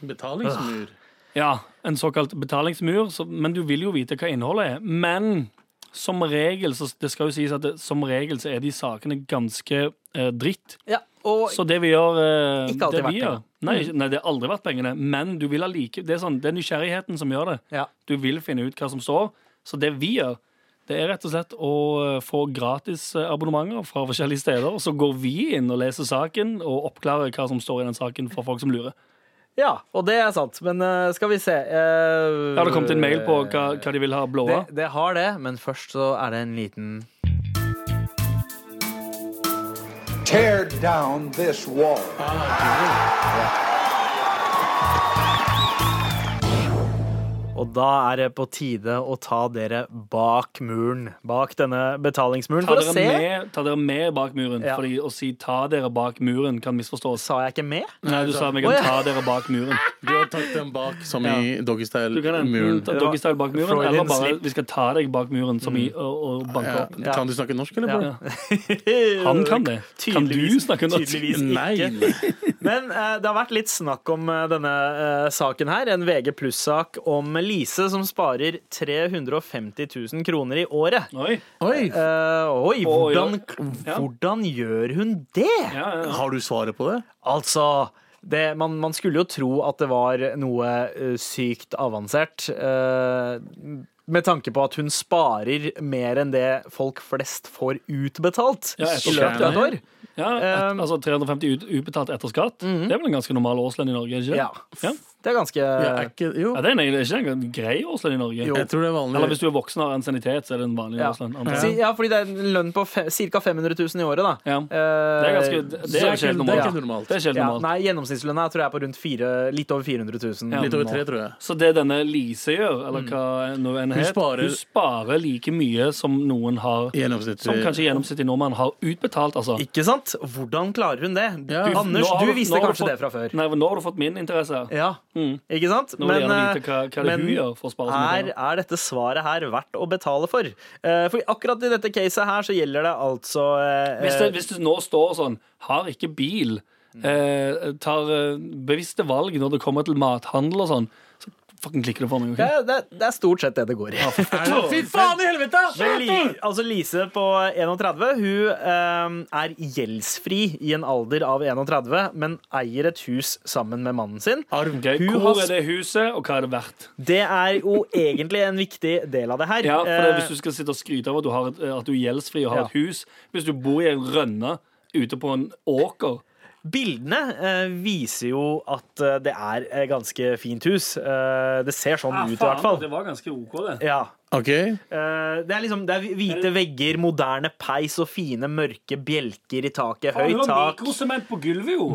Speaker 6: Betalingsmur.
Speaker 5: Ja, en såkalt betalingsmur, så, men du vil jo vite hva innholdet er. Men som regel, så det skal jo sies at det, som regel så er de sakene ganske eh, dritt.
Speaker 3: Ja, og
Speaker 5: Så det vi gjør eh,
Speaker 3: Ikke alltid
Speaker 5: det
Speaker 3: verdt Mm.
Speaker 5: vi gjør-
Speaker 3: pengene.
Speaker 5: Nei, ikke- nei, det har aldri vært pengene, men du vil allike, det, er sånn, det er nysgjerrigheten som gjør det.
Speaker 3: Ja.
Speaker 5: Du vil finne ut hva som står. Så det vi gjør, det er rett og slett å eh, få gratis eh, abonnementer fra forskjellige steder, og så går vi inn og leser saken og oppklarer hva som står i den saken for folk som lurer.
Speaker 3: ja, og det er sant, men eh, skal vi se uh,
Speaker 5: Jeg hadde kommet en mail på hva, hva de vil ha blå
Speaker 3: det,
Speaker 5: av.
Speaker 3: det har det, men først så er det en liten
Speaker 2: Tear down this wall.
Speaker 3: Og da er det på tide å ta dere bak muren. Bak denne betalingsmuren.
Speaker 5: Ta
Speaker 3: For å
Speaker 5: dere,
Speaker 3: se
Speaker 5: med, ta dere med bak muren.
Speaker 3: Ja.
Speaker 5: Fordi å si 'ta dere bak muren' kan misforstås.
Speaker 3: Sa jeg ikke med?
Speaker 5: Nei, du sa vi
Speaker 3: Å, ja.
Speaker 5: kan ta dere bak muren.
Speaker 6: Du har tatt den bak, som i
Speaker 5: Du kan
Speaker 6: doggystyle-muren. Eh,
Speaker 5: enten ta doggystyle bak muren,
Speaker 3: Freudian
Speaker 5: eller bare
Speaker 3: slip.
Speaker 5: 'vi skal ta deg bak muren', som
Speaker 3: Mm.
Speaker 5: i å, å banke
Speaker 6: Ja.
Speaker 5: opp.
Speaker 6: Kan du snakke norsk, eller?
Speaker 5: Ja.
Speaker 6: bro?
Speaker 5: Han kan det. Kan du
Speaker 3: Tydeligvis-
Speaker 5: snakke norsk?
Speaker 3: tydeligvis ikke.
Speaker 6: Nei.
Speaker 3: Men eh, det har vært litt snakk om eh, denne eh, saken her. En VG pluss-sak om Lise som sparer 350 000 kroner i året.
Speaker 5: Oi.
Speaker 6: Oi!
Speaker 3: Eh, oi,
Speaker 5: Oi,
Speaker 3: hvordan,
Speaker 5: ja.
Speaker 3: hvordan gjør hun det?
Speaker 5: Ja, ja.
Speaker 6: Har du svaret på det?
Speaker 3: Altså det, man, man skulle jo tro at det var noe eh, sykt avansert. eh, med tanke på at hun sparer mer enn det folk flest får utbetalt
Speaker 5: Ja,
Speaker 3: i løpet av et år.
Speaker 5: ja et,
Speaker 3: Um, Mhm.
Speaker 5: altså 350 ut, ubetalt etter skatt. Det er vel en ganske normal årslønn i Norge? ikke?
Speaker 3: Ja.
Speaker 5: Ja.
Speaker 3: Det er ganske
Speaker 6: Ja, er ikke, jo.
Speaker 5: Ja, det er en, ikke en grei årslønn i Norge.
Speaker 6: Jeg tror det er
Speaker 5: Eller
Speaker 6: vanlig.
Speaker 5: hvis du er voksen og har ansiennitet, så er det en vanlig
Speaker 3: ja.
Speaker 5: årslønn. antar
Speaker 3: Si-
Speaker 5: jeg.
Speaker 3: ja, fordi det er en lønn på fe- ca. 500 000 i året, da.
Speaker 5: Ja.
Speaker 3: Eh,
Speaker 5: Det er ganske Det
Speaker 6: Så
Speaker 5: er jo ikke helt
Speaker 6: det er
Speaker 5: normalt.
Speaker 6: ikke normalt.
Speaker 5: Det er ikke helt
Speaker 3: ja,
Speaker 5: normalt.
Speaker 3: Nei, gjennomsnittslønna tror jeg er på rundt fire, litt over 400 000.
Speaker 5: Ja.
Speaker 6: Litt over tre, tror jeg.
Speaker 5: Så det denne Lise gjør,
Speaker 3: Mm.
Speaker 5: eller hva nå enn het,
Speaker 6: sparer-
Speaker 5: hun sparer like mye som noen har
Speaker 6: I gjennomsnitt.
Speaker 5: Som kanskje gjennomsnittlig nordmann har utbetalt, altså.
Speaker 3: Ikke sant? Hvordan klarer hun det?
Speaker 6: Ja.
Speaker 3: Du, Anders,
Speaker 5: Nå har-
Speaker 3: du
Speaker 5: nå
Speaker 3: visste
Speaker 5: har du
Speaker 3: kanskje det
Speaker 5: fått-
Speaker 3: fra før.
Speaker 5: Nei, men nå har du fått min interesse. her.
Speaker 3: Ja, ikke sant?
Speaker 5: Nå vil jeg gjerne
Speaker 3: eh,
Speaker 5: vite hva, hva det er hun gjør for å spare så mye
Speaker 3: er,
Speaker 5: penger.
Speaker 3: er dette svaret her verdt å betale for? Eh, for akkurat i dette caset her så gjelder det altså eh, Mm.
Speaker 5: Hvis det, hvis det nå står sånn Har ikke bil. Eh, tar eh, bevisste valg når det kommer til mathandel og sånn. Så fucking klikker det for meg. ok?
Speaker 3: eh, det, det er stort sett det det går i.
Speaker 6: Fy faen i helvete!
Speaker 3: Men Li- altså Lise på 31 Hun eh, er gjeldsfri i en alder av 31, men eier et hus sammen med mannen sin.
Speaker 6: Arv.
Speaker 5: Ok,
Speaker 3: Hun
Speaker 5: Hvor
Speaker 3: har
Speaker 5: er det huset, og hva er det verdt?
Speaker 3: Det er jo egentlig en viktig del av det her.
Speaker 5: Ja, for det,
Speaker 3: Eh,
Speaker 5: Hvis du skal sitte og skryte av at du, har et, at du er gjeldsfri og har
Speaker 3: Ja.
Speaker 5: et hus Hvis du bor i en rønne ute på en åker
Speaker 3: Bildene eh, viser jo at eh, det er et ganske fint hus. Eh, det ser sånn ut, i hvert fall.
Speaker 5: Ah, Det var ganske OK, det.
Speaker 3: Ja.
Speaker 6: OK.
Speaker 3: Eh, det er liksom det er hvite vegger, moderne peis og fine, mørke bjelker i taket.
Speaker 5: Hun
Speaker 3: Høyt
Speaker 5: har
Speaker 3: tak. Mm.
Speaker 5: mikrosement på gulvet, jo.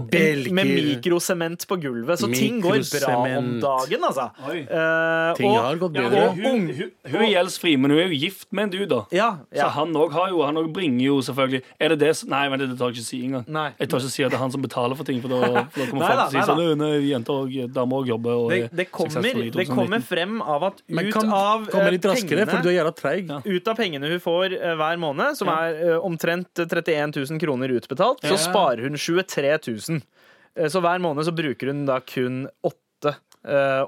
Speaker 3: Med mikrosement på gulvet. Så ting går bra om
Speaker 6: Mikrosement.
Speaker 3: dagen, altså.
Speaker 5: Oi.
Speaker 3: Eh,
Speaker 6: Ting
Speaker 3: og-
Speaker 6: har gått
Speaker 5: Ja,
Speaker 6: bedre.
Speaker 5: hun, hun, hun, hun er gjeldsfri, men hun er jo gift med en du, da.
Speaker 3: Ja,
Speaker 5: Så
Speaker 3: ja.
Speaker 5: han òg har jo Han også bringer jo selvfølgelig Er det det som Nei, vent, det tar jeg ikke å si engang.
Speaker 3: Nei.
Speaker 5: Jeg tar ikke å si at det er han som betaler for ting, for da, for da kommer
Speaker 3: Nei da,
Speaker 5: folk til å si
Speaker 3: nei da.
Speaker 5: sånn «Nei, nei, Jenter og damer òg jobber og
Speaker 3: Det,
Speaker 5: er
Speaker 3: det, kommer,
Speaker 5: suksessfulle i
Speaker 3: det
Speaker 5: 2019».
Speaker 3: kommer frem av at ut
Speaker 6: Men kan
Speaker 3: av eh,
Speaker 6: komme litt raskere,
Speaker 3: pengene
Speaker 6: for du er jævla treig.
Speaker 3: ut av pengene hun får eh, hver måned, som er eh, omtrent 31 000 kroner utbetalt, så sparer hun 23 000. Eh, Så hver måned så bruker hun da kun 8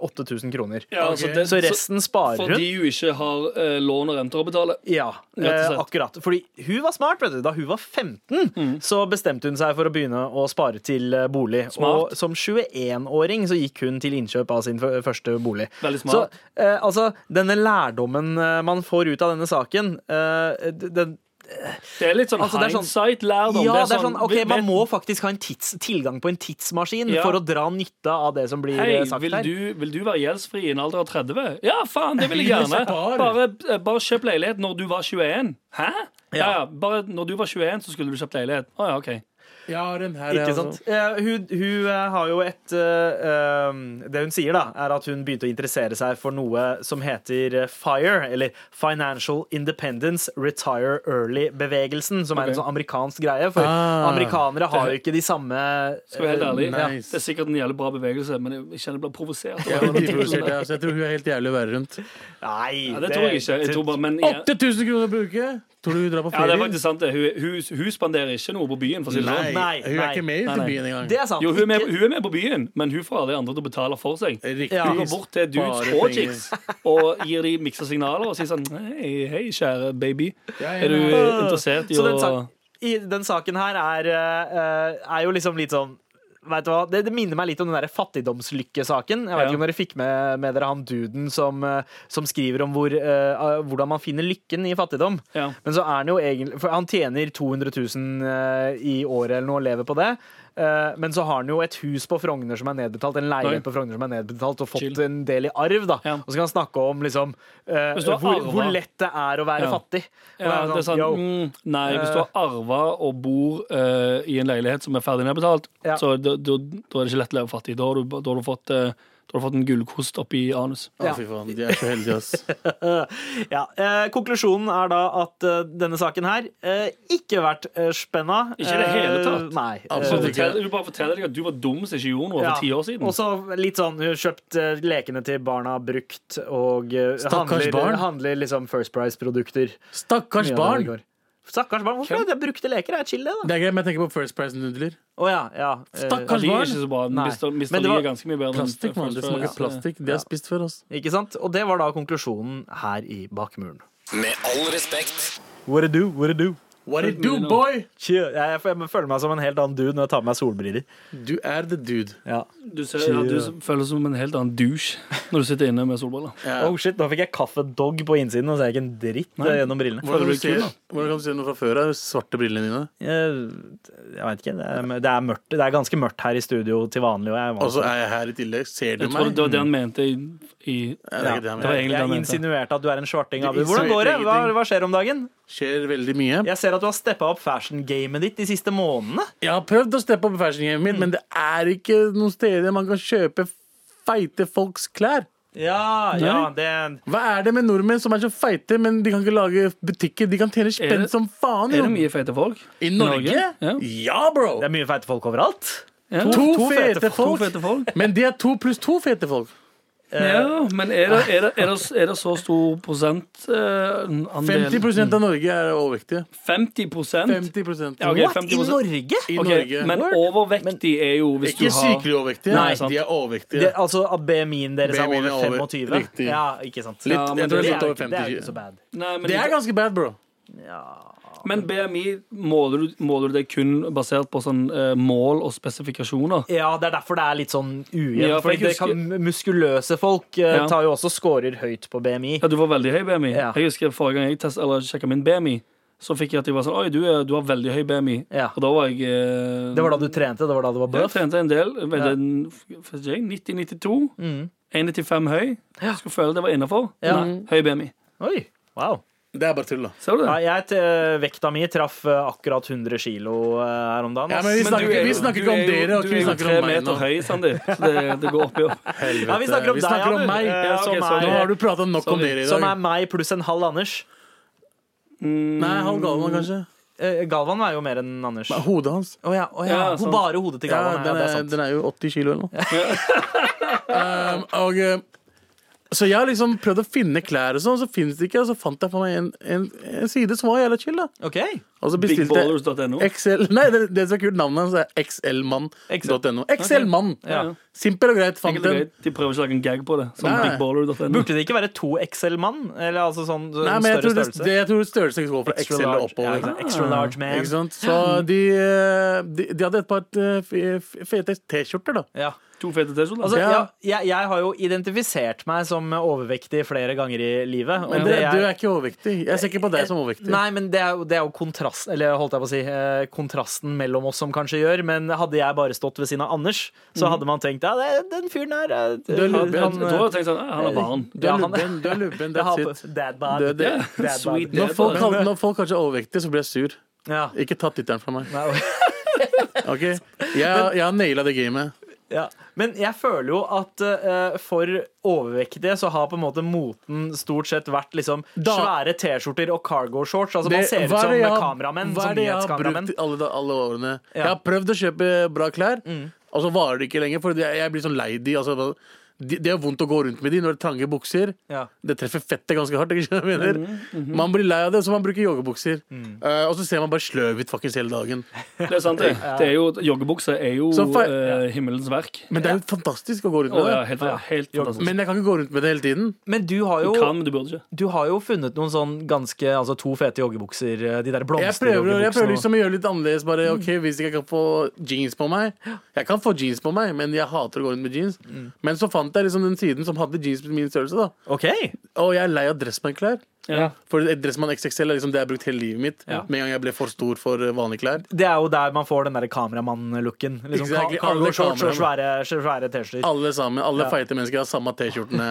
Speaker 3: 8000 kroner.
Speaker 5: Ja, altså, det-
Speaker 3: Så resten sparer hun.
Speaker 5: Fordi hun ikke har eh, lån og renter å betale.
Speaker 3: Ja,
Speaker 5: og
Speaker 3: eh,
Speaker 5: slett.
Speaker 3: akkurat. Fordi hun var smart. vet du Da hun var 15,
Speaker 5: Mm.
Speaker 3: så bestemte hun seg for å begynne å spare til eh, bolig.
Speaker 5: Smart.
Speaker 3: Og som 21-åring så gikk hun til innkjøp av sin f- første bolig.
Speaker 5: Veldig smart.
Speaker 3: Så eh, altså, denne lærdommen eh, man får ut av denne saken eh, d- den,
Speaker 5: Det er litt sånn
Speaker 3: Altså, det er sånn-
Speaker 5: hindsight-lærdom.
Speaker 3: Ja, det er sånn, ok,
Speaker 5: vet-
Speaker 3: Man må faktisk ha en tids, tilgang på en tidsmaskin
Speaker 5: Ja.
Speaker 3: for å dra nytte av det som blir
Speaker 5: Hei,
Speaker 3: eh, sagt
Speaker 5: vil
Speaker 3: her.
Speaker 5: du, vil du være gjeldsfri i en alder av 30? Ja, faen, det vil jeg gjerne.
Speaker 6: Spar.
Speaker 5: Bare, eh, bare kjøp leilighet når du var 21. Hæ? Ja, ja, bare når du var 21, så skulle du kjøpt leilighet. Å ja, OK.
Speaker 6: Ja, den her, altså.
Speaker 3: Ikke sant? Eh, hun hun eh, har jo et eh, um, Det hun sier, da, er at hun begynte å interessere seg for noe som heter eh, FIRE, eller Financial Independence Retire Early-bevegelsen, som er en
Speaker 5: Ok.
Speaker 3: sånn amerikansk greie. For
Speaker 6: Ah.
Speaker 3: amerikanere har jo ikke de samme
Speaker 5: Skal være helt ærlig.
Speaker 6: Eh, nice.
Speaker 5: Det er sikkert en jævlig bra bevegelse, men jeg jeg kjenner jeg blir provosert.
Speaker 6: Jeg, blir provosert, jeg, altså. jeg tror hun er helt jævlig å være rundt.
Speaker 3: Nei,
Speaker 5: Ja, det tror jeg ikke. Jeg tror bare, men, ja,
Speaker 6: 8000 kroner å bruke! Tror du hun drar på
Speaker 5: ja, det er
Speaker 6: ferie?
Speaker 5: faktisk sant. det. Hun, hun, hun spanderer ikke noe på byen, for å si det sånn.
Speaker 3: Nei,
Speaker 6: hun er
Speaker 3: nei.
Speaker 6: ikke med ut
Speaker 5: Nei,
Speaker 6: til
Speaker 5: nei.
Speaker 6: byen engang.
Speaker 3: Det er sant.
Speaker 5: Jo, hun er, med,
Speaker 3: Ikke-
Speaker 5: hun er med på byen, men hun får alle de andre til å betale for seg.
Speaker 6: Riktig.
Speaker 3: Ja.
Speaker 5: Hun går bort til dudes
Speaker 6: Bare
Speaker 5: og
Speaker 6: penger.
Speaker 5: chicks og gir de miksa signaler og sier sånn Hei, hei, kjære baby.
Speaker 6: Ja, ja,
Speaker 5: Er du
Speaker 6: ja.
Speaker 5: interessert i
Speaker 3: Så
Speaker 5: å
Speaker 3: den, sak, i, den saken her er, eh, eh, er jo liksom litt sånn Vet du hva? Det, det minner meg litt om den der fattigdomslykkesaken. Jeg vet
Speaker 5: Ja.
Speaker 3: ikke om dere fikk med, med dere han duden som, eh, som skriver om hvor, eh, hvordan man finner lykken i fattigdom.
Speaker 5: Ja.
Speaker 3: Men så er han jo egentlig For han tjener 200 000 eh, i året eller noe og lever på det. Eh, Men så har han jo et hus på Frogner som er nedbetalt, en leilighet på
Speaker 5: Oi.
Speaker 3: Frogner som er nedbetalt, og fått
Speaker 5: Chill.
Speaker 3: en del i arv. da
Speaker 5: Ja.
Speaker 3: Og så kan han snakke om liksom eh,
Speaker 5: Hvis du har
Speaker 3: hvor,
Speaker 5: arvet-
Speaker 3: hvor lett det er å være
Speaker 5: Ja.
Speaker 3: fattig. Og
Speaker 5: Ja,
Speaker 3: jeg
Speaker 5: det er sånn,
Speaker 3: yo. Eh.
Speaker 5: mm, nei, Hvis du har arva og bor eh, i en leilighet som er ferdig nedbetalt,
Speaker 3: Ja.
Speaker 5: så da, da, da er det ikke lett å leve fattig. Da har du, da har du, fått, eh, da har du fått en gullkost oppi anus.
Speaker 6: Å, fy faen, de er så heldige, ass.
Speaker 3: Ja, eh, Konklusjonen er da at eh, denne saken her eh, ikke vært eh, spenna.
Speaker 5: Ikke i det hele
Speaker 3: Eh,
Speaker 5: tatt.
Speaker 3: Nei.
Speaker 5: Så
Speaker 6: Absolutt.
Speaker 3: Eh,
Speaker 5: fortell, du bare forteller deg at du var dum som ikke gjorde noe
Speaker 3: ja.
Speaker 5: for ti år siden.
Speaker 3: Og så litt sånn hun har kjøpt eh, lekene til barna brukt og eh,
Speaker 6: Stakkars
Speaker 3: handler,
Speaker 6: barn.
Speaker 3: handler liksom First Price-produkter.
Speaker 6: Stakkars
Speaker 3: Mye av det
Speaker 6: barn!
Speaker 3: går. Stakkars barn. Hvorfor er det brukte leker? Det er chill, det, da.
Speaker 6: Det er greit, men jeg tenker på First
Speaker 5: Mm,
Speaker 6: Price-nudler.
Speaker 3: Å ja, ja. Eh,
Speaker 5: Ja,
Speaker 6: Stakkars
Speaker 5: de er
Speaker 6: barn!
Speaker 5: ikke så bra.
Speaker 3: Nei.
Speaker 5: Mister,
Speaker 3: Men
Speaker 5: mister
Speaker 3: det
Speaker 5: de
Speaker 3: var
Speaker 5: er ganske mye bedre. enn
Speaker 6: Plastikk, mann. Det
Speaker 5: First
Speaker 6: smaker
Speaker 5: Price.
Speaker 6: plastikk. De har spist før, ass.
Speaker 3: Ikke sant? Og det var da konklusjonen her i Bakmuren.
Speaker 1: Med all respekt.
Speaker 3: What it do, what it do.
Speaker 6: What it do, boy?
Speaker 3: Chill. Jeg, jeg, jeg føler meg som en helt annen dude når jeg tar på meg solbriller.
Speaker 6: Du er the dude.
Speaker 3: Ja.
Speaker 5: Du, ser, ja, du s- føles som en helt annen douche når du sitter inne med solbriller.
Speaker 3: Oh shit, Nå fikk jeg kaffedog på innsiden, og så er jeg ikke en dritt eh, gjennom brillene.
Speaker 6: Hvordan kan
Speaker 5: du
Speaker 6: du se,
Speaker 5: kul, da?
Speaker 6: hvordan kan du se noe fra før av? Svarte brillene dine.
Speaker 3: Jeg, jeg vet ikke, det er, det, er mørkt, det er ganske mørkt her i studio til vanlig. Og jeg, er
Speaker 6: Og
Speaker 3: vant
Speaker 6: så er jeg her i tillegg. Ser du
Speaker 5: Jeg tror
Speaker 6: meg? Mm.
Speaker 5: det var det han mente i, i
Speaker 6: Ja, det er ikke det
Speaker 5: Det
Speaker 6: jeg
Speaker 5: var egentlig det
Speaker 6: mener.
Speaker 5: han
Speaker 3: jeg
Speaker 5: mente.
Speaker 3: insinuerte at du er en svarting.
Speaker 6: Du
Speaker 3: Abu. Hvordan går det? Hva, hva skjer om dagen?
Speaker 6: Skjer veldig mye.
Speaker 3: Jeg ser at du har steppa opp fashion-gamet ditt de siste månedene.
Speaker 6: Jeg har prøvd å steppe opp fashion-gamet mitt,
Speaker 5: Mm.
Speaker 6: men det er ikke noen steder man kan kjøpe feite folks klær.
Speaker 3: Ja, ja, det
Speaker 6: Hva er det med nordmenn som er så feite, men de kan ikke lage butikker? De kan tjene
Speaker 5: Er
Speaker 6: spenn
Speaker 5: det-
Speaker 6: som faen,
Speaker 5: Er
Speaker 6: jo!
Speaker 5: det mye feite folk?
Speaker 6: I Norge?
Speaker 5: Ja.
Speaker 6: Ja, bro!
Speaker 3: Det er mye feite folk overalt.
Speaker 5: Ja.
Speaker 6: To, fete,
Speaker 5: To
Speaker 6: folk. Eh,
Speaker 5: fete folk.
Speaker 6: Men de er to pluss to fete folk.
Speaker 5: Ja, men er det, er det, er det, er det så stor eh, prosentandel
Speaker 6: 50 av Norge er overvektige.
Speaker 5: 50 prosent?
Speaker 6: 50
Speaker 5: Mm. Ja, ok,
Speaker 3: What?
Speaker 5: 50
Speaker 3: I Norge?
Speaker 6: I
Speaker 5: Ok,
Speaker 6: Norge.
Speaker 5: Men overvektig er jo hvis du
Speaker 6: ikke
Speaker 5: har
Speaker 6: sykelig overvektige.
Speaker 5: Nei, sant.
Speaker 6: de er overvektige.
Speaker 3: Det, altså at BMI-en deres er
Speaker 6: BMI-en er
Speaker 3: over
Speaker 6: over.
Speaker 3: 25?
Speaker 6: Riktig.
Speaker 3: Ja, ikke sant.
Speaker 6: Litt,
Speaker 5: Ja, men
Speaker 6: jeg tror
Speaker 5: det
Speaker 3: det
Speaker 6: det
Speaker 3: er
Speaker 6: er litt
Speaker 3: jo
Speaker 6: over
Speaker 3: ikke, det er jo ikke
Speaker 6: 50.
Speaker 3: så bad.
Speaker 5: Nei, men,
Speaker 6: Det er ganske bad, bro.
Speaker 5: men BMI, måler du, måler du det kun basert på sånn eh, mål og spesifikasjoner?
Speaker 3: Ja, det er derfor det er litt sånn ujevnt.
Speaker 5: Ja, for
Speaker 3: fordi
Speaker 5: jeg
Speaker 3: det
Speaker 5: husker-
Speaker 3: kan, muskuløse folk eh,
Speaker 5: Ja.
Speaker 3: tar jo også scorer høyt på BMI.
Speaker 5: Ja, du var veldig høy BMI.
Speaker 3: Ja.
Speaker 5: Jeg husker forrige gang jeg test, eller sjekka min BMI, så fikk jeg at de var sånn Oi, du, er- du har veldig høy BMI.
Speaker 3: Ja.
Speaker 5: Og da var jeg eh,
Speaker 3: Det var da du trente? Det var da du var
Speaker 5: Jeg
Speaker 3: buff?
Speaker 5: trente en del. vet du, f- f- jeg, 90-92.
Speaker 6: Mm.
Speaker 5: 1,95 høy. Skulle føle det var innafor.
Speaker 3: Ja.
Speaker 5: Høy BMI.
Speaker 3: Oi, wow.
Speaker 6: Det er bare tull, da.
Speaker 5: Ser du det?
Speaker 3: Ja, jeg, t- vekta mi traff eh, akkurat 100 kilo eh, her om dagen.
Speaker 6: Ja,
Speaker 3: ass.
Speaker 6: men vi
Speaker 5: Men du er
Speaker 6: snakker, vi
Speaker 5: jo-
Speaker 6: snakker
Speaker 5: du
Speaker 6: ikke om
Speaker 5: er jo-
Speaker 6: dere,
Speaker 5: Du
Speaker 6: og ikke vi
Speaker 5: er jo
Speaker 6: snakker
Speaker 5: tre
Speaker 6: om meg nå.
Speaker 5: meter høy, Sandeep. Så det, det går opp i opp.
Speaker 3: Ja, vi snakker om
Speaker 6: Vi
Speaker 3: deg,
Speaker 6: snakker om
Speaker 3: Abu.
Speaker 6: meg.
Speaker 3: Eh,
Speaker 5: Ja, ok,
Speaker 3: som,
Speaker 5: sorry.
Speaker 6: Nå har
Speaker 3: er,
Speaker 6: du prata nok om dere i
Speaker 3: som er
Speaker 6: dag.
Speaker 3: meg pluss en halv Anders.
Speaker 6: Nei, halv Galvan, kanskje.
Speaker 3: Eh, Galvan veier jo mer enn Anders. Å
Speaker 6: Hodet hans.
Speaker 3: ja, å ja.
Speaker 5: Ja,
Speaker 3: Ho-
Speaker 5: sant.
Speaker 3: Bare hodet til
Speaker 6: Ja,
Speaker 3: Galvan. Ja,
Speaker 6: den,
Speaker 3: det er
Speaker 6: er,
Speaker 3: sant.
Speaker 6: den er jo 80 kilo eller noe. um, og, eh, så jeg har liksom prøvd å finne klær, og sånn, så finnes det ikke. Og så fant jeg for meg en, en, en side som var jævla chill. da
Speaker 3: Ok.
Speaker 6: Og så bestilte jeg
Speaker 5: Bigballers.no.
Speaker 6: XL, nei, det, det som er kult navnet hans, er xlmann.no. XL-mann.
Speaker 5: Ja.
Speaker 6: Simpel og greit. Fant
Speaker 5: Enkelt og
Speaker 6: den.
Speaker 5: greit. De prøver ikke å lage en gag på det. Som
Speaker 6: Nei.
Speaker 5: bigballer.no.
Speaker 3: Burde det ikke være to XL-mann? Eller altså sånn så-
Speaker 6: Nei,
Speaker 3: en
Speaker 6: men
Speaker 3: større
Speaker 6: jeg tror, det,
Speaker 3: størrelse?
Speaker 6: det, jeg tror størrelsen går fra
Speaker 3: Extra
Speaker 6: XL og
Speaker 3: large, ja,
Speaker 6: oppover.
Speaker 3: ikke sant? Extra large man.
Speaker 6: Ikke sant? Så de, eh, de, de hadde et par eh, f- f- fete T-skjorter, da.
Speaker 3: Ja.
Speaker 5: To fete T-skjorter.
Speaker 3: Altså,
Speaker 6: Ja.
Speaker 3: ja, jeg, jeg har jo identifisert meg som overvektig flere ganger i livet. og
Speaker 6: Men det,
Speaker 3: det er-
Speaker 6: du er ikke overvektig. Jeg ser ikke på deg som overvektig.
Speaker 3: Nei, men det er, jo- det er jo kontrast, eller holdt jeg på å si, eh, kontrasten mellom oss som kanskje gjør. Men hadde jeg bare stått ved siden av Anders, så hadde man tenkt ja, det, den fyren her eh,
Speaker 6: lubben.
Speaker 5: jeg
Speaker 3: han,
Speaker 5: tror jeg har tenkt sånn «Ah, Han er barn.
Speaker 6: Du
Speaker 3: Ja, han-
Speaker 6: er lubben, du er lubben,
Speaker 3: det har på-
Speaker 6: that's it.
Speaker 3: Dad bod.
Speaker 6: Det- det-
Speaker 3: Dad bod.
Speaker 5: Sweet
Speaker 6: Når
Speaker 5: dad.
Speaker 6: folk,
Speaker 5: bod.
Speaker 6: kall- når folk kanskje er overvektige, så blir jeg sur.
Speaker 3: Ja.
Speaker 6: Ikke ta tittelen fra meg.
Speaker 3: Nei,
Speaker 6: Ok? Jeg, jeg har naila det gamet.
Speaker 3: Ja. Men jeg føler jo at eh, for overvektige så har på en måte moten stort sett vært liksom
Speaker 6: Da-
Speaker 3: svære T-skjorter og cargo shorts. Altså
Speaker 6: Det-
Speaker 3: Man ser ut
Speaker 6: hva er
Speaker 3: som
Speaker 6: det jeg har-
Speaker 3: kameramenn.
Speaker 6: Hva er
Speaker 3: Som
Speaker 6: det jeg har brukt
Speaker 3: nyhetskameramenn.
Speaker 6: i alle, da- alle årene?
Speaker 3: Ja. Mm.
Speaker 6: Jeg har prøvd å kjøpe bra klær, og så varer det ikke lenger. For jeg, jeg blir sånn lei de. Altså, hva- de- det er vondt å gå rundt med de når det er trange bukser.
Speaker 3: Ja. Mm, mm-hmm.
Speaker 6: Det treffer fettet ganske hardt. Ikke sant, jeg mener? Man blir lei av det, så man bruker joggebukser. Eh, og så ser man bare sløv ut fuckings hele dagen.
Speaker 5: Det er sant, det. det er jo, joggebukse er jo
Speaker 6: Så fa-
Speaker 5: eh, himmelens verk.
Speaker 6: Men det er jo fantastisk å gå rundt
Speaker 5: Å,
Speaker 6: med
Speaker 5: ja,
Speaker 6: det.
Speaker 5: helt, helt fantastisk.
Speaker 6: Men jeg kan ikke gå rundt med det hele tiden.
Speaker 3: Men du har,
Speaker 5: du kan,
Speaker 3: jo,
Speaker 5: men du burde ikke.
Speaker 3: du har jo funnet noen sånn ganske altså to fete joggebukser. eh, De der
Speaker 6: Jeg prøver, jeg prøver
Speaker 3: blomsterjoggebuksene. og-
Speaker 6: liksom å gjøre litt annerledes. Bare, ok, Hvis jeg kan få jeans på meg Jeg kan få jeans på meg, men jeg hater å gå rundt med jeans.
Speaker 5: Mm.
Speaker 6: Men så fant jeg liksom den siden som hadde jeans på min størrelse. da
Speaker 3: OK!
Speaker 6: Og jeg er lei av Dressmann-klær.
Speaker 5: Ja.
Speaker 6: For et Dressmann XXL er liksom det jeg har brukt hele livet mitt. Med en gang jeg ble for stor for eh, vanlige klær.
Speaker 3: Det er jo der man får den der kameramann-looken. Liksom, ka-
Speaker 6: Exactly, alle
Speaker 3: Cargo shorts og svære, svære T-skjorter.
Speaker 6: Alle sammen, alle feite mennesker har samme T-skjortene.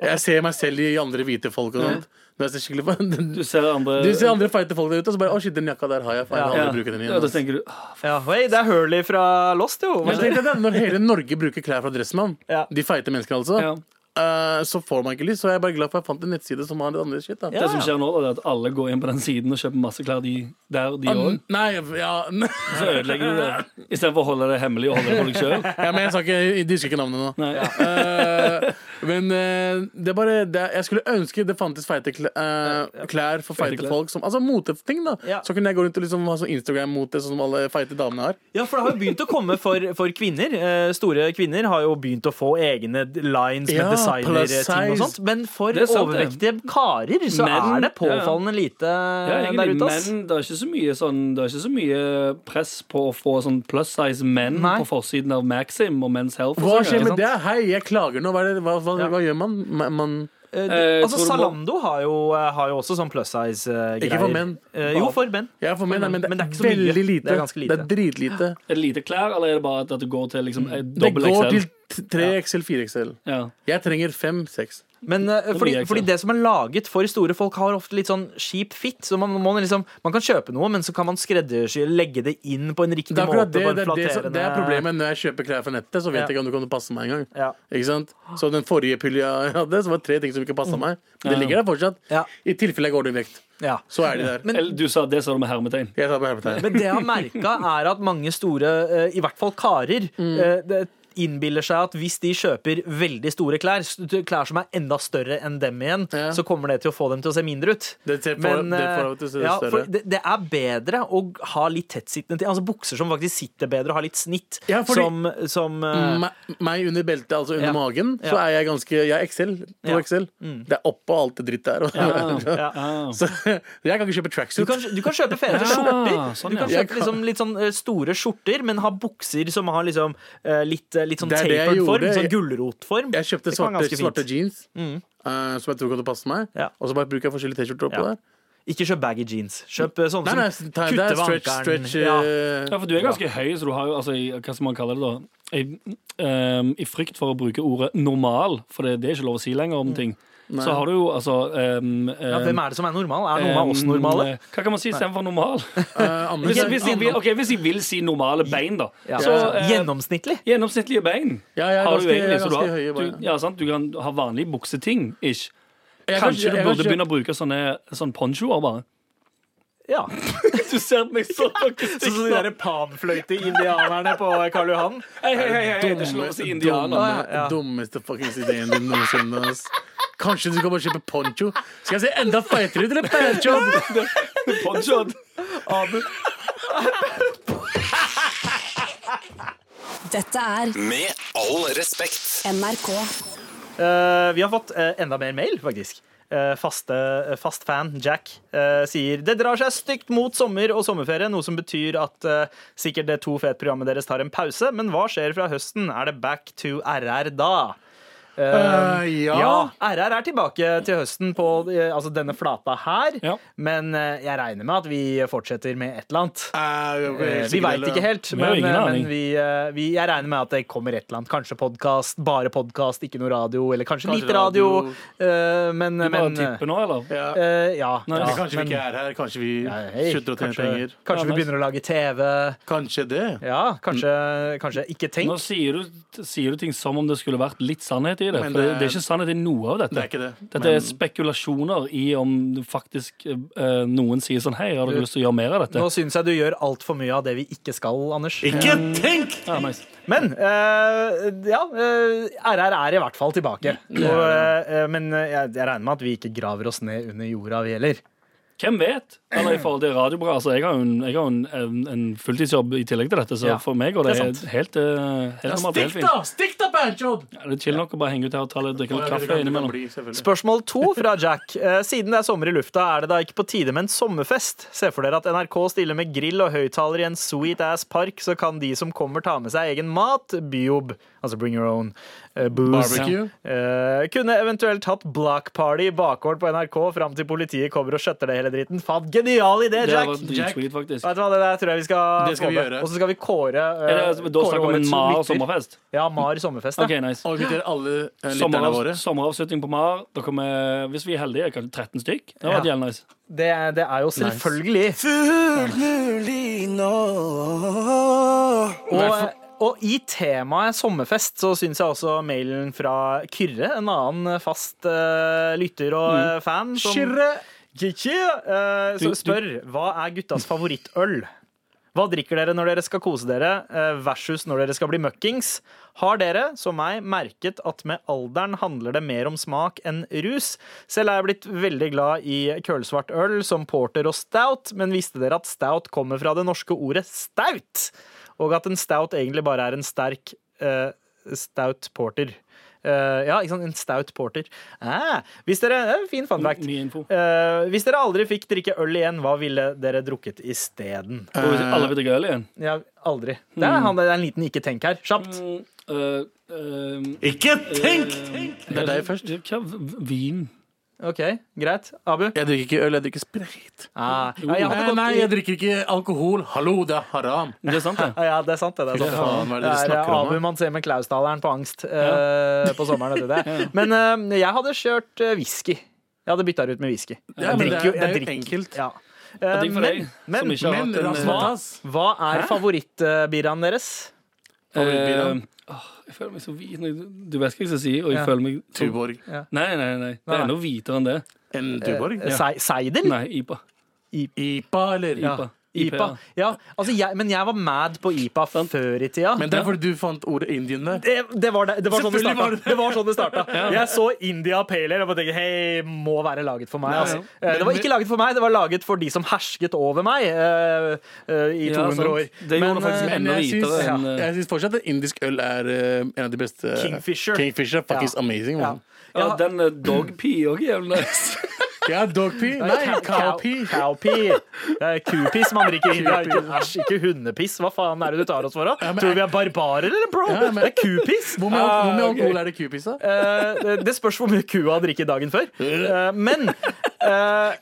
Speaker 6: jeg ser meg selv i andre hvite folk og sånt. Når jeg ser skikkelig på
Speaker 5: Mm. Du ser andre
Speaker 6: Du ser andre feite folk der ute, og så bare Å, shit, den jakka der har jeg. Faen, jeg vil
Speaker 5: ja.
Speaker 6: aldri bruke den
Speaker 5: Ja, da
Speaker 6: igjen. altså.
Speaker 5: tenker du «Ah,
Speaker 3: Ja, hei, det er Hurley fra Lost, jo.
Speaker 6: Men tenk deg det, når hele Norge bruker klær fra Dressmann,
Speaker 3: Ja.
Speaker 6: de feite menneskene altså,
Speaker 5: Ja.
Speaker 6: eh, så får man ikke lyst. Så jeg er bare glad for at jeg fant en nettside som har litt annerledes shit. Da.
Speaker 5: Det som skjer nå, da, det er at alle går inn på den siden og kjøper masse klær de, der, de òg.
Speaker 6: Mm, Nei, ja, ja,
Speaker 5: Så ødelegger du det. Istedenfor å holde det hemmelig og holde det for deg sjøl.
Speaker 6: men jeg sa ikke Jeg husker ikke navnet nå. Eh, men eh, det er bare det, er- Jeg skulle ønske det fantes feite kl eh, klær for feite
Speaker 5: klær.
Speaker 6: folk. Som, altså moteting, da.
Speaker 3: Ja.
Speaker 6: Så kunne jeg gå rundt og liksom ha sånn Instagram-mote, sånn som alle feite damene har.
Speaker 3: Ja, for det har jo begynt å komme for, for kvinner. Eh, store kvinner har jo begynt å få egne d- lines
Speaker 6: Ja.
Speaker 3: med
Speaker 6: plus
Speaker 3: designer-ting
Speaker 6: size.
Speaker 3: og sånt. Men for
Speaker 5: Det er sant, det.
Speaker 3: overvektige karer så
Speaker 5: Men-
Speaker 3: er det påfallende lite
Speaker 5: Ja,
Speaker 3: der
Speaker 5: egentlig,
Speaker 3: ute. ass.
Speaker 5: men det er, ikke så mye sånn, det er ikke så mye press på å få sånn plus size menn
Speaker 3: Nei.
Speaker 5: på forsiden av Maxim og Men's Health. og
Speaker 6: Hva
Speaker 5: sånn,
Speaker 6: skjer
Speaker 5: ikke
Speaker 6: med
Speaker 5: sant?
Speaker 6: det? Hei, jeg klager nå. Hva, er det, hva, hva,
Speaker 3: Ja.
Speaker 6: hva gjør man? Ma- man
Speaker 3: Eh,
Speaker 5: Eh,
Speaker 3: altså,
Speaker 5: tror du må-
Speaker 3: Zalando har jo, har jo også sånn plus size-greier.
Speaker 6: Ikke for menn.
Speaker 3: Eh, jo, for menn.
Speaker 6: jeg er for meg, nei, men det er,
Speaker 3: Men det er ikke så mye.
Speaker 6: veldig lite.
Speaker 3: Det er ganske lite.
Speaker 6: Det er dritlite.
Speaker 5: Er det lite klær, eller er det bare at det går til liksom, eh,
Speaker 6: Det
Speaker 5: dobbel XL?
Speaker 6: går til t- 3XL, 4XL.
Speaker 5: Ja.
Speaker 6: Jeg trenger 5-6.
Speaker 3: Men eh, fordi,
Speaker 5: mye ekstra.
Speaker 3: fordi det som er laget for store folk, har ofte litt sånn skip fit. Så man, må liksom, man kan kjøpe noe, men så kan man skreddersy legge det inn på en riktig
Speaker 6: Det er akkurat
Speaker 3: måte.
Speaker 6: det,
Speaker 3: på en
Speaker 6: det, er det, som- det er
Speaker 3: flatterende-
Speaker 6: problemet når jeg kjøper klær fra nettet. Så vet
Speaker 3: Ja.
Speaker 6: jeg ikke om du kan passe meg engang.
Speaker 3: Ja.
Speaker 6: Ikke sant? Så den forrige pulja jeg hadde, så var det tre ting som ikke passa meg. Men det ligger der fortsatt.
Speaker 3: Ja.
Speaker 6: I tilfelle jeg går ned i vekt.
Speaker 3: Ja.
Speaker 6: Så er de der.
Speaker 3: Men-
Speaker 5: Eller, du sa det sa du med hermetegn.
Speaker 6: Jeg tar på hermetegn.
Speaker 3: Men det jeg har merka, er at mange store, eh, i hvert fall karer,
Speaker 6: Mm.
Speaker 3: eh, det innbiller seg at hvis de kjøper veldig store klær, s- klær som er enda større enn dem igjen,
Speaker 6: Ja.
Speaker 3: så kommer det til å få dem til å se mindre ut.
Speaker 6: Det ser for- det
Speaker 3: eh,
Speaker 6: får dem til å se
Speaker 3: ja, for
Speaker 6: større.
Speaker 3: det, det er bedre å ha litt tettsittende ting. Altså bukser som faktisk sitter bedre og har litt snitt,
Speaker 6: Ja, fordi-
Speaker 3: som, som eh,
Speaker 6: Me- Meg under beltet, altså under
Speaker 3: Ja.
Speaker 6: magen, så
Speaker 3: Ja.
Speaker 6: er jeg ganske Jeg er XL.
Speaker 3: Ja. Mm.
Speaker 6: To XL. Det er oppå alt det dritt der.
Speaker 5: Ah.
Speaker 6: Så jeg kan ikke kjøpe
Speaker 3: du
Speaker 6: tracksuit.
Speaker 3: kan, du kan kjøpe fete skjorter.
Speaker 5: sånn,
Speaker 3: Du kan
Speaker 5: ja.
Speaker 6: Jeg
Speaker 3: kjøpe liksom litt sånn eh, store skjorter, men ha bukser som har liksom eh, litt, eh, litt sånn
Speaker 6: Det er det jeg
Speaker 3: tapered form.
Speaker 6: gjorde.
Speaker 3: Sånn gulrotform.
Speaker 6: Jeg kjøpte
Speaker 3: Det kan være ganske
Speaker 6: svarte,
Speaker 3: fint. Mm.
Speaker 6: svarte jeans, eh, som jeg tror kan passe meg.
Speaker 3: Ja.
Speaker 6: Og så bare bruker jeg forskjellige T-skjorter oppå
Speaker 3: Ja.
Speaker 6: der.
Speaker 3: Ikke kjøp baggy jeans. Kjøp eh, sånne
Speaker 6: Nei, nei,
Speaker 3: som
Speaker 6: ta- det
Speaker 3: kutter
Speaker 6: er
Speaker 3: ved
Speaker 6: stretch,
Speaker 3: ankelen.
Speaker 6: stretch
Speaker 3: Ja.
Speaker 6: eh,
Speaker 5: Ja, for du er ganske høy, så du har jo altså, i, hva skal man kalle det da? I, ehm, I frykt for å bruke ordet normal, for det, det er ikke lov å si lenger om ting. Så har du jo altså ehm,
Speaker 3: Ja,
Speaker 5: ehm,
Speaker 3: hvem er det som er normal? Er noen
Speaker 6: um,
Speaker 3: av oss normale?
Speaker 5: ehm, Hva kan man si istedenfor normal?
Speaker 6: eh, Anders,
Speaker 5: Hvis, hvis, jeg vil, ok, hvis jeg vil si normale bein, da.
Speaker 3: Ja.
Speaker 5: Så, eh,
Speaker 3: Gjennomsnittlig?
Speaker 5: Gjennomsnittlige bein
Speaker 6: Ja, jeg er
Speaker 5: har du
Speaker 6: ganske- jeg er
Speaker 5: egentlig. Så du,
Speaker 6: ganske høye
Speaker 5: har,
Speaker 6: bein.
Speaker 5: du, ja, sant? du kan ha vanlige bukseting. Ish.
Speaker 6: Jeg kan-
Speaker 5: Kanskje du
Speaker 6: jeg kan
Speaker 5: burde
Speaker 6: kjøpe-
Speaker 5: begynne å bruke sånne, sånne ponchoer, bare.
Speaker 3: Ja.
Speaker 5: Du ser på meg så
Speaker 3: Sånn som de der panfløyte-indianerne på Karl Johan?
Speaker 5: Hei, hei, hei, hei, det er ikke lov å si indianer.
Speaker 6: Dumme,
Speaker 3: ja.
Speaker 6: Dummeste fuckings ideen din noensinne. ass. Kanskje du skal bare kjøpe poncho? Skal jeg se enda feitere ut, eller poncho?
Speaker 5: Poncho.
Speaker 9: Dette er
Speaker 1: Med all respekt.
Speaker 9: NRK.
Speaker 3: Eh, vi har fått eh, enda mer mail, faktisk. Eh, faste, eh, fast fan Jack eh, sier det drar seg stygt mot sommer og sommerferie, noe som betyr at eh, sikkert det to fete programmet deres tar en pause, men hva skjer fra høsten? Er det back to RR da?
Speaker 6: Eh, ja.
Speaker 3: Ja, RR er tilbake til høsten på eh, altså denne flata her.
Speaker 5: Ja.
Speaker 3: Men eh, jeg regner med at vi fortsetter med et eller annet. Eh,
Speaker 6: Eh,
Speaker 3: Vi veit ikke helt,
Speaker 5: Vi har
Speaker 3: men,
Speaker 5: ingen
Speaker 3: eh,
Speaker 5: aning.
Speaker 3: men vi, eh, vi, jeg regner med at det kommer et eller annet. Kanskje podkast, bare podkast, ikke noe radio, eller kanskje,
Speaker 6: Kanskje
Speaker 3: lite radio. eh, Men,
Speaker 5: Du bare
Speaker 3: men
Speaker 5: tipper nå, eller?
Speaker 6: Ja.
Speaker 3: eh, Ja.
Speaker 5: Nei,
Speaker 3: ja.
Speaker 6: kanskje vi ikke er her. Kanskje vi
Speaker 3: Hei,
Speaker 6: slutter å tjene
Speaker 3: kanskje,
Speaker 6: penger.
Speaker 3: kanskje vi
Speaker 5: Ja, nice.
Speaker 3: begynner å lage TV.
Speaker 6: Kanskje det.
Speaker 3: Ja, kanskje, kanskje ikke
Speaker 5: Nå
Speaker 3: tenk.
Speaker 5: sier du, sier du ting som om det skulle vært litt sannhet i det.
Speaker 6: Men
Speaker 5: For det,
Speaker 6: det-
Speaker 5: det er ikke sannhet i noe av dette.
Speaker 6: Det er ikke det.
Speaker 5: Dette
Speaker 6: Men-
Speaker 5: er spekulasjoner i om det faktisk eh, noen sier sånn Hei, har dere lyst til å gjøre mer av dette?
Speaker 3: Nå syns jeg du gjør altfor mye av det vi ikke skal, Anders. Eh,
Speaker 6: Ikke tenk!
Speaker 5: Ja, nice.
Speaker 3: Men eh, ja, eh, RR er i hvert fall tilbake. Og, eh, men jeg, jeg regner med at vi ikke graver oss ned under jorda, vi heller.
Speaker 5: Hvem vet? Eller i forhold til radiobra. Altså, jeg har jo en, jeg har jo en, en, en fulltidsjobb i tillegg til dette, så
Speaker 3: Ja,
Speaker 5: for meg går det,
Speaker 3: det er
Speaker 5: helt, helt, eh, helt normalt.
Speaker 6: Stikk
Speaker 5: Helt fint.
Speaker 6: da! Stikk da, Bancho!
Speaker 5: Ja, Det er chill nok å bare henge ut her og ta litt, drikke litt kaffe innimellom.
Speaker 6: Spør
Speaker 3: Spørsmål to fra Jack. Eh, Siden det er sommer i lufta, er det da ikke på tide med en sommerfest? Se for dere at NRK stiller med grill og høyttaler i en sweet ass park, så kan de som kommer ta med seg egen mat, biob, altså bring your own, eh, booze.
Speaker 6: Barbecue.
Speaker 3: Eh, kunne eventuelt hatt block party i bakgård på NRK fram til politiet kommer og skjøtter det hele dritten. Faen, genial idé,
Speaker 5: Det
Speaker 3: Jack!
Speaker 5: var dritsweet, faktisk.
Speaker 3: Vet du hva, det der tror jeg vi skal
Speaker 6: Det skal
Speaker 3: få
Speaker 6: vi
Speaker 3: med.
Speaker 6: gjøre.
Speaker 3: Og så skal vi kåre eh,
Speaker 5: Er det, altså, da
Speaker 3: kåre
Speaker 5: snakker vi om en
Speaker 3: årets
Speaker 5: Mar
Speaker 3: lytter.
Speaker 5: sommerfest?
Speaker 3: Ja, Mar sommerfest. ja.
Speaker 5: Ok, nice.
Speaker 6: Og inviterer alle eh, lytterne
Speaker 5: Sommeravs-
Speaker 6: våre.
Speaker 5: Sommeravslutning på Mar. Da kommer, hvis vi er heldige, kanskje 13 stykk. Det hadde
Speaker 3: Ja.
Speaker 5: vært jævlig nice.
Speaker 3: Det, er- det er jo selvfølgelig. Og, og i temaet sommerfest så syns jeg også mailen fra Kyrre, en annen fast eh, lytter og eh, fan, som
Speaker 6: Kyrre!
Speaker 3: Kyrre, eh, som spør hva er guttas favorittøl? Hva drikker dere når dere skal kose dere, eh, versus når dere skal bli møkkings? Har dere, som meg, merket at med alderen handler det mer om smak enn rus? Selv er jeg blitt veldig glad i kølsvart øl som porter og stout, men visste dere at stout kommer fra det norske ordet staut? Og at en stout egentlig bare er en sterk eh, stout porter. Eh, ja, ikke sant? En staut porter. Eh, hvis dere, eh, fin fun fact.
Speaker 5: Ny info.
Speaker 3: Eh, hvis dere aldri fikk drikke øl igjen, hva ville dere drukket isteden?
Speaker 5: Og hvis alle vil drikke øl igjen
Speaker 3: Ja, aldri. Det er, han, det er en liten ikke-tenk her. Kjapt.
Speaker 5: Øh, øh,
Speaker 6: Ikke tenk!
Speaker 5: Det er deg først. Hva, vin
Speaker 6: Mm.
Speaker 3: Ok, Greit. Abu?
Speaker 6: Jeg drikker ikke øl, jeg drikker sprit.
Speaker 3: Ah, ja, jeg hadde
Speaker 6: Nei,
Speaker 3: gått
Speaker 6: nei,
Speaker 3: i-
Speaker 6: jeg drikker ikke alkohol. Hallo, det er haram.
Speaker 5: Det er sant, det.
Speaker 3: Ah, ja, det er sant, det. Det er, sant, det.
Speaker 6: faen, hva
Speaker 3: det
Speaker 6: er det dere
Speaker 3: er eh,
Speaker 6: snakker om,
Speaker 3: Abu
Speaker 6: da?
Speaker 3: man ser med Klausdaleren på angst eh, på sommeren. Vet du det. Men eh, jeg hadde kjørt eh, whisky. Jeg hadde bytta det ut med whisky.
Speaker 6: Ja, men det
Speaker 3: drikker
Speaker 6: er,
Speaker 3: jo-
Speaker 6: det er
Speaker 3: jeg
Speaker 6: jo
Speaker 3: drikker.
Speaker 6: enkelt.
Speaker 3: Ja.
Speaker 5: Jeg
Speaker 3: Eh,
Speaker 5: drikker for deg,
Speaker 3: men men,
Speaker 5: som ikke har
Speaker 6: Men
Speaker 5: hatt en,
Speaker 6: Rasmatas
Speaker 3: hva er favorittbiraen deres?
Speaker 5: eh, åh, Jeg føler meg så hvit. når jeg- Du vet hva jeg skal si, og jeg
Speaker 3: Ja.
Speaker 5: føler meg
Speaker 6: Tuborg.
Speaker 5: Nei, nei, nei. Det
Speaker 3: Nei.
Speaker 5: er noe hvitere enn det.
Speaker 6: En Tuborg?
Speaker 3: Ja. Seider?
Speaker 5: Nei, IPA.
Speaker 6: IPA, eh, eller?
Speaker 5: IPA.
Speaker 3: IPA.
Speaker 5: IPA.
Speaker 3: Ja, altså jeg, men jeg var mad på IPA før i tida.
Speaker 6: Men det er fordi du fant ordet Indian der.
Speaker 3: det, det, var det, det var sånn det
Speaker 6: Selvfølgelig
Speaker 3: starta.
Speaker 6: var det det.
Speaker 3: Det var sånn det starta. Jeg så India Pale Ale og bare tenkte hei, må være laget for meg. Altså. Eh, Det var ikke laget for meg, det var laget for de som hersket over meg eh, eh, i 200
Speaker 5: sant.
Speaker 3: år.
Speaker 5: Det gjorde
Speaker 3: Men,
Speaker 5: faktisk
Speaker 3: eh,
Speaker 5: enda
Speaker 6: jeg syns-
Speaker 5: hvitere enn eh,
Speaker 6: Jeg syns fortsatt at indisk øl er eh, en av de beste.
Speaker 3: Kingfisher.
Speaker 6: Kingfisher er faktisk
Speaker 3: Ja.
Speaker 6: amazing.
Speaker 3: ja.
Speaker 6: Man.
Speaker 5: Ja, den eh, dog pee òg er jævlig nice.
Speaker 6: Ja, dogpee. Nei,
Speaker 3: Cow-
Speaker 6: cowpee.
Speaker 3: cow- Cowpee. Det er kupiss man drikker i India. Ikke, æsj, ikke hundepiss. Hva faen er det du tar oss for? da?
Speaker 6: men-
Speaker 3: Tror du vi er barbarer, eller, bro?
Speaker 6: Ja, men-
Speaker 3: Det er kupiss.
Speaker 6: Hvor mye,
Speaker 5: Ah,
Speaker 6: hvor mye
Speaker 5: ok.
Speaker 6: alkohol er det i kupiss, da?
Speaker 3: Eh, det, det spørs hvor mye kua drikker dagen før. Eh, men eh,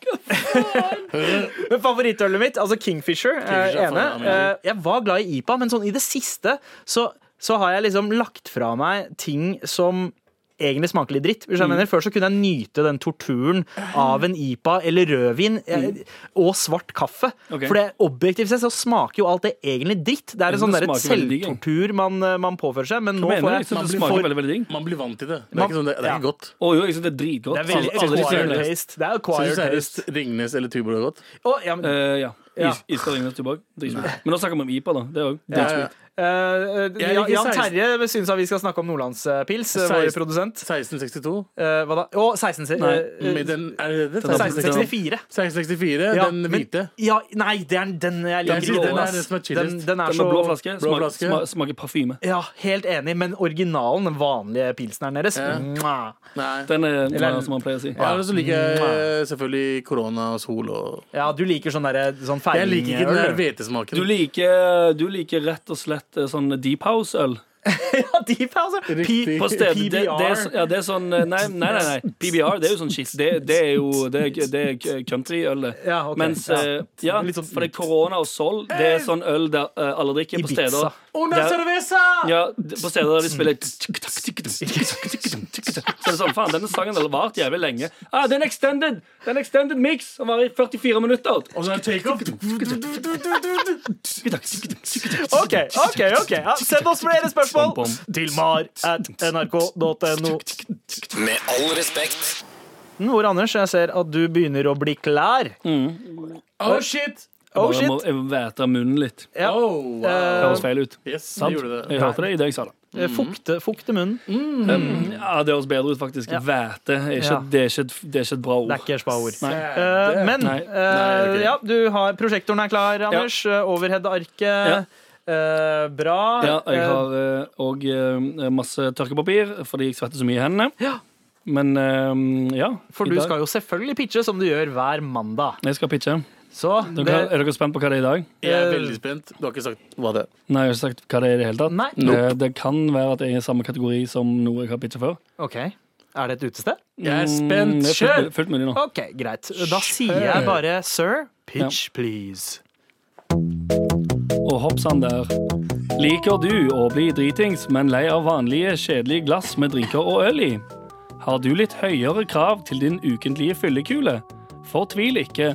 Speaker 3: Men favorittølet mitt, altså Kingfisher, er
Speaker 6: Kingfisher er
Speaker 3: ene.
Speaker 6: faen meg
Speaker 3: Eh, jeg var glad i IPA, men sånn i det siste så, så har jeg liksom lagt fra meg ting som egentlig smaker litt dritt. Hvis jeg
Speaker 5: Mm.
Speaker 3: mener, Før så kunne jeg nyte den torturen av en IPA eller rødvin eh, og svart kaffe.
Speaker 5: Mm. Ok.
Speaker 3: For det objektivt sett så smaker jo alt det egentlig dritt. Det er en
Speaker 5: Men
Speaker 3: sånn
Speaker 5: det
Speaker 3: der
Speaker 5: smaker veldig digg,
Speaker 3: selvtortur man, eh, man påfører seg. Men nå får
Speaker 5: Mener du?
Speaker 3: jeg
Speaker 5: Jeg synes
Speaker 6: man
Speaker 5: det
Speaker 6: blir
Speaker 5: smaker
Speaker 6: for-
Speaker 5: veldig, veldig digg.
Speaker 6: Man blir vant til det. Det er
Speaker 3: Man-
Speaker 6: ikke, sånn, det, det er
Speaker 3: ja.
Speaker 6: ikke godt.
Speaker 5: Å jo, jeg synes det er
Speaker 3: Det
Speaker 5: dritgodt.
Speaker 3: er veldig
Speaker 5: Alle- alle de sier
Speaker 3: acquired
Speaker 5: det.
Speaker 3: taste. Det er
Speaker 6: Jeg
Speaker 3: acquired
Speaker 6: synes
Speaker 3: taste.
Speaker 6: seriøst Ringnes eller Tuborg er godt.
Speaker 3: Å, ja, men,
Speaker 5: Eh, ja.
Speaker 3: Ja.
Speaker 5: Is- Iskald ingen tilbake. Men nå snakker vi om IPA, da. Det er jo
Speaker 6: Ja,
Speaker 5: dritsmooth.
Speaker 6: ja.
Speaker 3: eh, eh,
Speaker 6: Jeg liker
Speaker 3: Jan
Speaker 6: 16.
Speaker 3: Terje syns at vi skal snakke om Nordlandspils, eh, vår
Speaker 6: 16.
Speaker 3: produsent.
Speaker 6: 1662.
Speaker 3: Eh, hva da? Å, 16, eh,
Speaker 5: Nei,
Speaker 3: eh,
Speaker 6: Med den, er det det? 1664.
Speaker 3: 1664.
Speaker 6: 1664
Speaker 3: Ja,
Speaker 6: den
Speaker 3: men-
Speaker 6: hvite.
Speaker 3: Ja, nei, det er den jeg
Speaker 6: Den,
Speaker 3: liker.
Speaker 5: blå,
Speaker 6: den er
Speaker 5: ass.
Speaker 6: den som er
Speaker 3: Den,
Speaker 6: chillest.
Speaker 3: den er
Speaker 5: Den med blå
Speaker 3: så
Speaker 5: flaske
Speaker 6: Blå
Speaker 5: smaker,
Speaker 6: flaske.
Speaker 5: sma- smaker parfyme.
Speaker 3: Ja, helt enig, men originalen, den vanlige pilsneren deres mwah.
Speaker 6: Nei.
Speaker 5: Den er
Speaker 3: Eller-
Speaker 5: som man pleier å si.
Speaker 6: Ja, og så liker jeg eh, selvfølgelig korona og sol og
Speaker 3: Ja, du liker sånn derre sånn
Speaker 6: Jeg liker ikke den der
Speaker 3: feilingøl. du.
Speaker 5: Du
Speaker 6: hvetesmaken.
Speaker 5: liker, du liker rett og slett eh, sånn deep house-øl.
Speaker 3: Ja, deep house. altså. P-
Speaker 6: Riktig.
Speaker 5: På stedet. Det, det, er, så-
Speaker 3: PBR.
Speaker 5: ja, det er sånn eh, Nei, nei, nei. nei. PBR det er jo sånn skitt. Det, det er jo det er, det er countryøl, det.
Speaker 3: Ja, ok.
Speaker 5: Mens
Speaker 3: Ja.
Speaker 5: eh, ja,
Speaker 3: Litt sånn-
Speaker 5: for det er korona og sol. Det er sånn øl der eh, alle drikker på
Speaker 3: Ibiza.
Speaker 5: steder.
Speaker 6: Una
Speaker 5: der-
Speaker 6: cerveza!
Speaker 5: Ja, d- på steder der de spiller Så er det sånn, faen, denne sangen har vart jævlig lenge. Ah, det er en extended Det er en extended mix som varer i 44 minutter.
Speaker 6: Og så er det takeoff.
Speaker 3: OK, ok, ok. Ja, send oss flere spørsmål
Speaker 5: Bom,
Speaker 3: til mar at nrk.no.
Speaker 1: Med all respekt.
Speaker 3: Hvor, Anders, jeg ser at du begynner å bli klær.
Speaker 5: Mm.
Speaker 6: Oh, shit!
Speaker 3: Oh,
Speaker 5: Jeg må
Speaker 3: shit.
Speaker 5: jeg må væte munnen litt. Det
Speaker 3: Ja.
Speaker 6: Oh, wow.
Speaker 5: høres feil ut.
Speaker 6: Yes,
Speaker 5: Sant?
Speaker 6: det gjorde det.
Speaker 5: Jeg hørte det i det jeg sa det.
Speaker 3: Eh, Fukte, fukte munnen.
Speaker 5: Ja, det høres bedre ut, faktisk. Væte. er
Speaker 3: Mm.
Speaker 5: ikke-
Speaker 3: Ja.
Speaker 5: Det, er ikke et- det er ikke et bra ord.
Speaker 3: Det er ikke et bra ord.
Speaker 5: Nei.
Speaker 3: Eh, men
Speaker 5: Nei.
Speaker 3: eh,
Speaker 6: Nei, ok.
Speaker 3: ja, du har, prosjektoren er klar, Anders. Eh, Overhead-arket. Eh, bra.
Speaker 5: Ja, jeg
Speaker 3: Eh,
Speaker 5: har òg masse tørkepapir fordi jeg svetter så mye i hendene.
Speaker 3: Ja.
Speaker 5: Men eh, ja.
Speaker 3: for du skal jo selvfølgelig pitche, som du gjør hver mandag.
Speaker 5: Jeg skal pitche.
Speaker 3: Så
Speaker 5: Dere,
Speaker 3: det,
Speaker 5: Er dere spent på hva det er i dag?
Speaker 6: Jeg er veldig spent. Du har ikke sagt hva det er.
Speaker 5: Nei, jeg har ikke sagt hva det er i det hele tatt.
Speaker 3: Nei.
Speaker 5: Det, det kan være at jeg er i samme kategori som noe jeg har pitcha før. Mm,
Speaker 3: OK. Er det et utested?
Speaker 6: Mm, Jeg er spent.
Speaker 5: Det er fullt,
Speaker 6: Kjør!
Speaker 5: mulig- fullt mulig nå.
Speaker 3: OK, greit. Da sier jeg bare sir, pitch please.
Speaker 5: Og hopp sann der. Liker du å bli dritings, men lei av vanlige, kjedelige glass med drinker og øl i? Har du litt høyere krav til din ukentlige fyllekule? Fortvil ikke.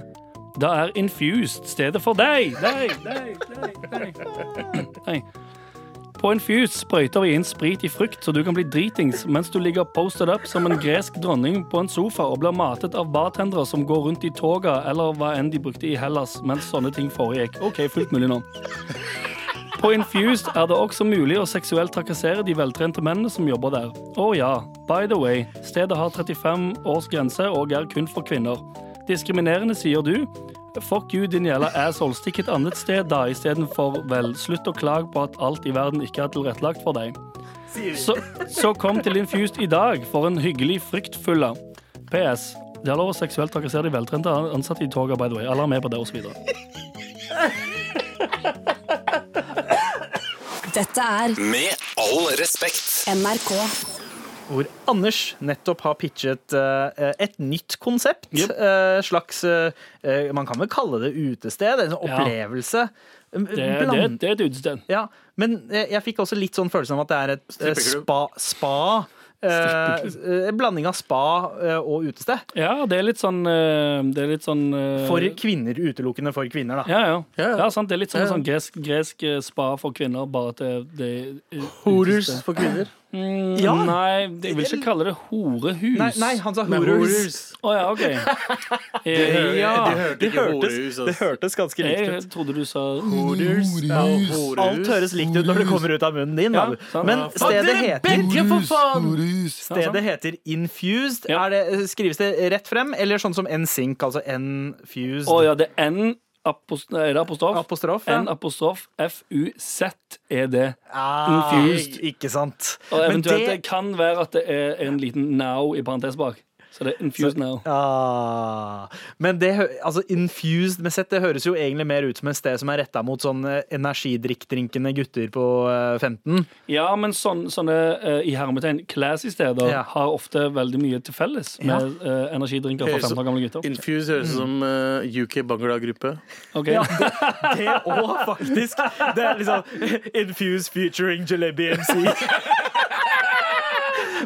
Speaker 5: Da er Infused stedet for deg. Deg, deg, deg, deg. Nei. På Infused sprøyter vi inn sprit i frukt, så du kan bli dritings mens du ligger posted up som en gresk dronning på en sofa og blir matet av bartendere som går rundt i toga eller hva enn de brukte i Hellas mens sånne ting foregikk. OK, fullt mulig nå. På Infused er det også mulig å seksuelt trakassere de veltrente mennene som jobber der. Å ja, by the way, stedet har 35 års grense og er kun for kvinner. Diskriminerende, sier du. Fuck you, din jævla asshole. Stikk et annet sted da, istedenfor vel, slutt å klage på at alt i verden ikke er tilrettelagt for deg. Så, så kom til Infused i dag for en hyggelig fryktfulle. PS. Det er lov å seksuelt trakassere de veltrente ansatte i toga, by the way. Alle er med på det, og så videre.
Speaker 9: Dette er
Speaker 1: Med all respekt.
Speaker 9: NRK.
Speaker 3: hvor Anders nettopp har pitchet eh, et nytt konsept.
Speaker 5: Yep.
Speaker 3: Eh, slags eh, eh, Man kan vel kalle det utested? En sånn opplevelse? Eh,
Speaker 5: Det, det,
Speaker 3: Bland-
Speaker 5: det er et utested.
Speaker 3: Ja, men jeg, jeg fikk også litt sånn følelsen av at det er et eh, spa,
Speaker 6: Strippeklubb.
Speaker 3: spa eh, eh, En blanding av spa eh, og utested.
Speaker 5: Ja, det er litt sånn eh, Det er litt sånn eh,
Speaker 3: For kvinner, utelukkende for kvinner, da.
Speaker 5: ja, ja.
Speaker 6: Ja, ja.
Speaker 5: ja, sant. Det er litt sånn,
Speaker 6: Ja, ja.
Speaker 5: sånn gresk, gresk eh, spa for kvinner, bare at det, det er
Speaker 6: Horus
Speaker 5: utested.
Speaker 6: for kvinner.
Speaker 5: Mm,
Speaker 3: Ja.
Speaker 5: Nei, jeg vil ikke kalle det horehus.
Speaker 3: Nei, nei, han sa
Speaker 6: Nei,
Speaker 3: horus.
Speaker 5: Å ja, OK.
Speaker 6: De
Speaker 5: Eh,
Speaker 6: hører-
Speaker 5: ja.
Speaker 6: de hørte ikke horehus.
Speaker 3: Det hørtes ganske likt
Speaker 5: Jeg
Speaker 3: ut.
Speaker 5: trodde du sa
Speaker 6: Horus. Ja, horus.
Speaker 3: Alt høres likt ut når det kommer ut av munnen din.
Speaker 5: Ja,
Speaker 3: da.
Speaker 5: sant.
Speaker 3: Men
Speaker 5: Ja, fuck
Speaker 3: stedet heter
Speaker 6: for faen! sånn.
Speaker 3: Stedet heter Infused.
Speaker 5: Ja.
Speaker 3: Er det, skrives det rett frem, eller sånn som NSYNC, altså N-fused?
Speaker 5: Å ja, det er N apos- nei, er det apostrof?
Speaker 3: Apostrof. ja.
Speaker 5: N apostrof F-U-Z er det.
Speaker 3: Ah,
Speaker 5: Infused.
Speaker 3: Ikke sant.
Speaker 5: E Og
Speaker 3: Men
Speaker 5: eventuelt det...
Speaker 3: det-
Speaker 5: kan være at det er en liten now i parentes bak. Så det er infused now.
Speaker 3: Ah, men det, hø- altså infused med sett, det høres jo egentlig mer ut som et sted som er retta mot sånn eh, energidrikkdrinkende gutter på eh, 15.
Speaker 5: Ja, men sånn, sånne eh, i hermetegn classy steder
Speaker 3: Ja.
Speaker 5: har ofte veldig mye til felles
Speaker 3: Ja.
Speaker 5: med eh, energidrinker
Speaker 6: Høres
Speaker 5: for 15
Speaker 6: ut-
Speaker 5: år gamle gutter.
Speaker 6: Infuse høres ut som eh, UK Bangla-gruppe.
Speaker 5: Ok.
Speaker 3: Det òg, faktisk. Det er liksom Infused featuring Jalebi MC.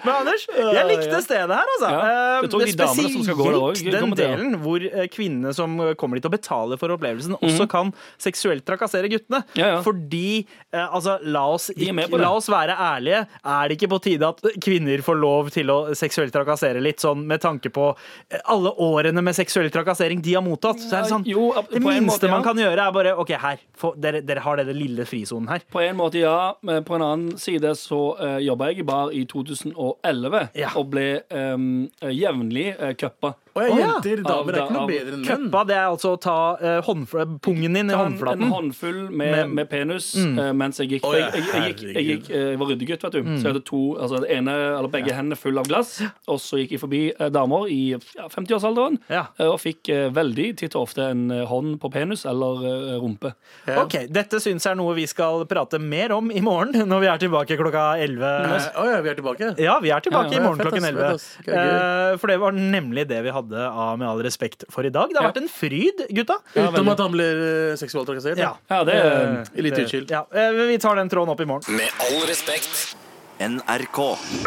Speaker 3: Men Anders, jeg likte stedet her, altså.
Speaker 5: Ja, jeg tror de
Speaker 3: Eh,
Speaker 5: damene som skal gå der også,
Speaker 3: spesielt den
Speaker 5: kommer til det.
Speaker 3: delen hvor eh, kvinnene som eh, kommer dit og betaler for opplevelsen, også kan seksuelt trakassere guttene.
Speaker 5: Mhm. Ja, ja.
Speaker 3: Fordi eh, Altså, la oss,
Speaker 5: er med
Speaker 3: ikke,
Speaker 5: på det.
Speaker 3: la oss være ærlige. Er det ikke på tide at kvinner får lov til å seksuelt trakassere litt, sånn med tanke på eh, alle årene med seksuell trakassering de har mottatt? Så er det sånn,
Speaker 5: Jo, ab-
Speaker 3: det
Speaker 5: på en
Speaker 3: minste
Speaker 5: måte, ja.
Speaker 3: man kan gjøre, er bare OK, her. Få- dere, dere har denne lille frisonen her.
Speaker 5: På en måte ja, men på en annen side så uh, jobba jeg i bar i 2011
Speaker 3: Ja.
Speaker 5: og ble um, jevnlig uh, cupa.
Speaker 6: Å ja,
Speaker 3: Å, ja.
Speaker 6: jenter, damer er ikke noe
Speaker 5: Av-
Speaker 6: bedre enn menn.
Speaker 3: Køppa, det er altså å ta eh, håndfl pungen din i
Speaker 5: En, en
Speaker 3: håndflaten.
Speaker 5: håndfull med,
Speaker 3: Men- Mm.
Speaker 5: med penus eh, mens jeg gikk.
Speaker 6: Å, ja,
Speaker 5: jeg, jeg, jeg, gikk, jeg, gikk eh, jeg var ryddegutt, vet du. Så jeg hadde to, altså det ene, eller begge hendene full av glass. Og så gikk jeg forbi eh, damer i ja, 50-årsalderen
Speaker 3: Ja.
Speaker 5: eh, og fikk eh, veldig titt og ofte en eh, hånd på penis eller eh, rumpe.
Speaker 3: Ok, Dette syns jeg er noe vi skal prate mer om i morgen, når vi er tilbake klokka 11.
Speaker 6: Å ja, vi er tilbake.
Speaker 3: Ja, vi er tilbake
Speaker 5: Ja, ja,
Speaker 3: i morgen
Speaker 6: fett,
Speaker 3: klokken
Speaker 6: ass,
Speaker 3: 11.
Speaker 6: fett, ass. Gøy, gøy.
Speaker 3: Eh, for det var nemlig det vi hadde av Med all respekt for i dag. Det har
Speaker 5: Ja.
Speaker 3: vært en fryd, gutta.
Speaker 6: Utenom at han blir eh, seksuelt trakassert.
Speaker 3: Ja.
Speaker 5: Ja, det
Speaker 3: Eh,
Speaker 5: er
Speaker 6: Litt utskilt.
Speaker 3: Ja, eh, vi tar den tråden opp i morgen.
Speaker 1: Med all respekt.
Speaker 13: NRK.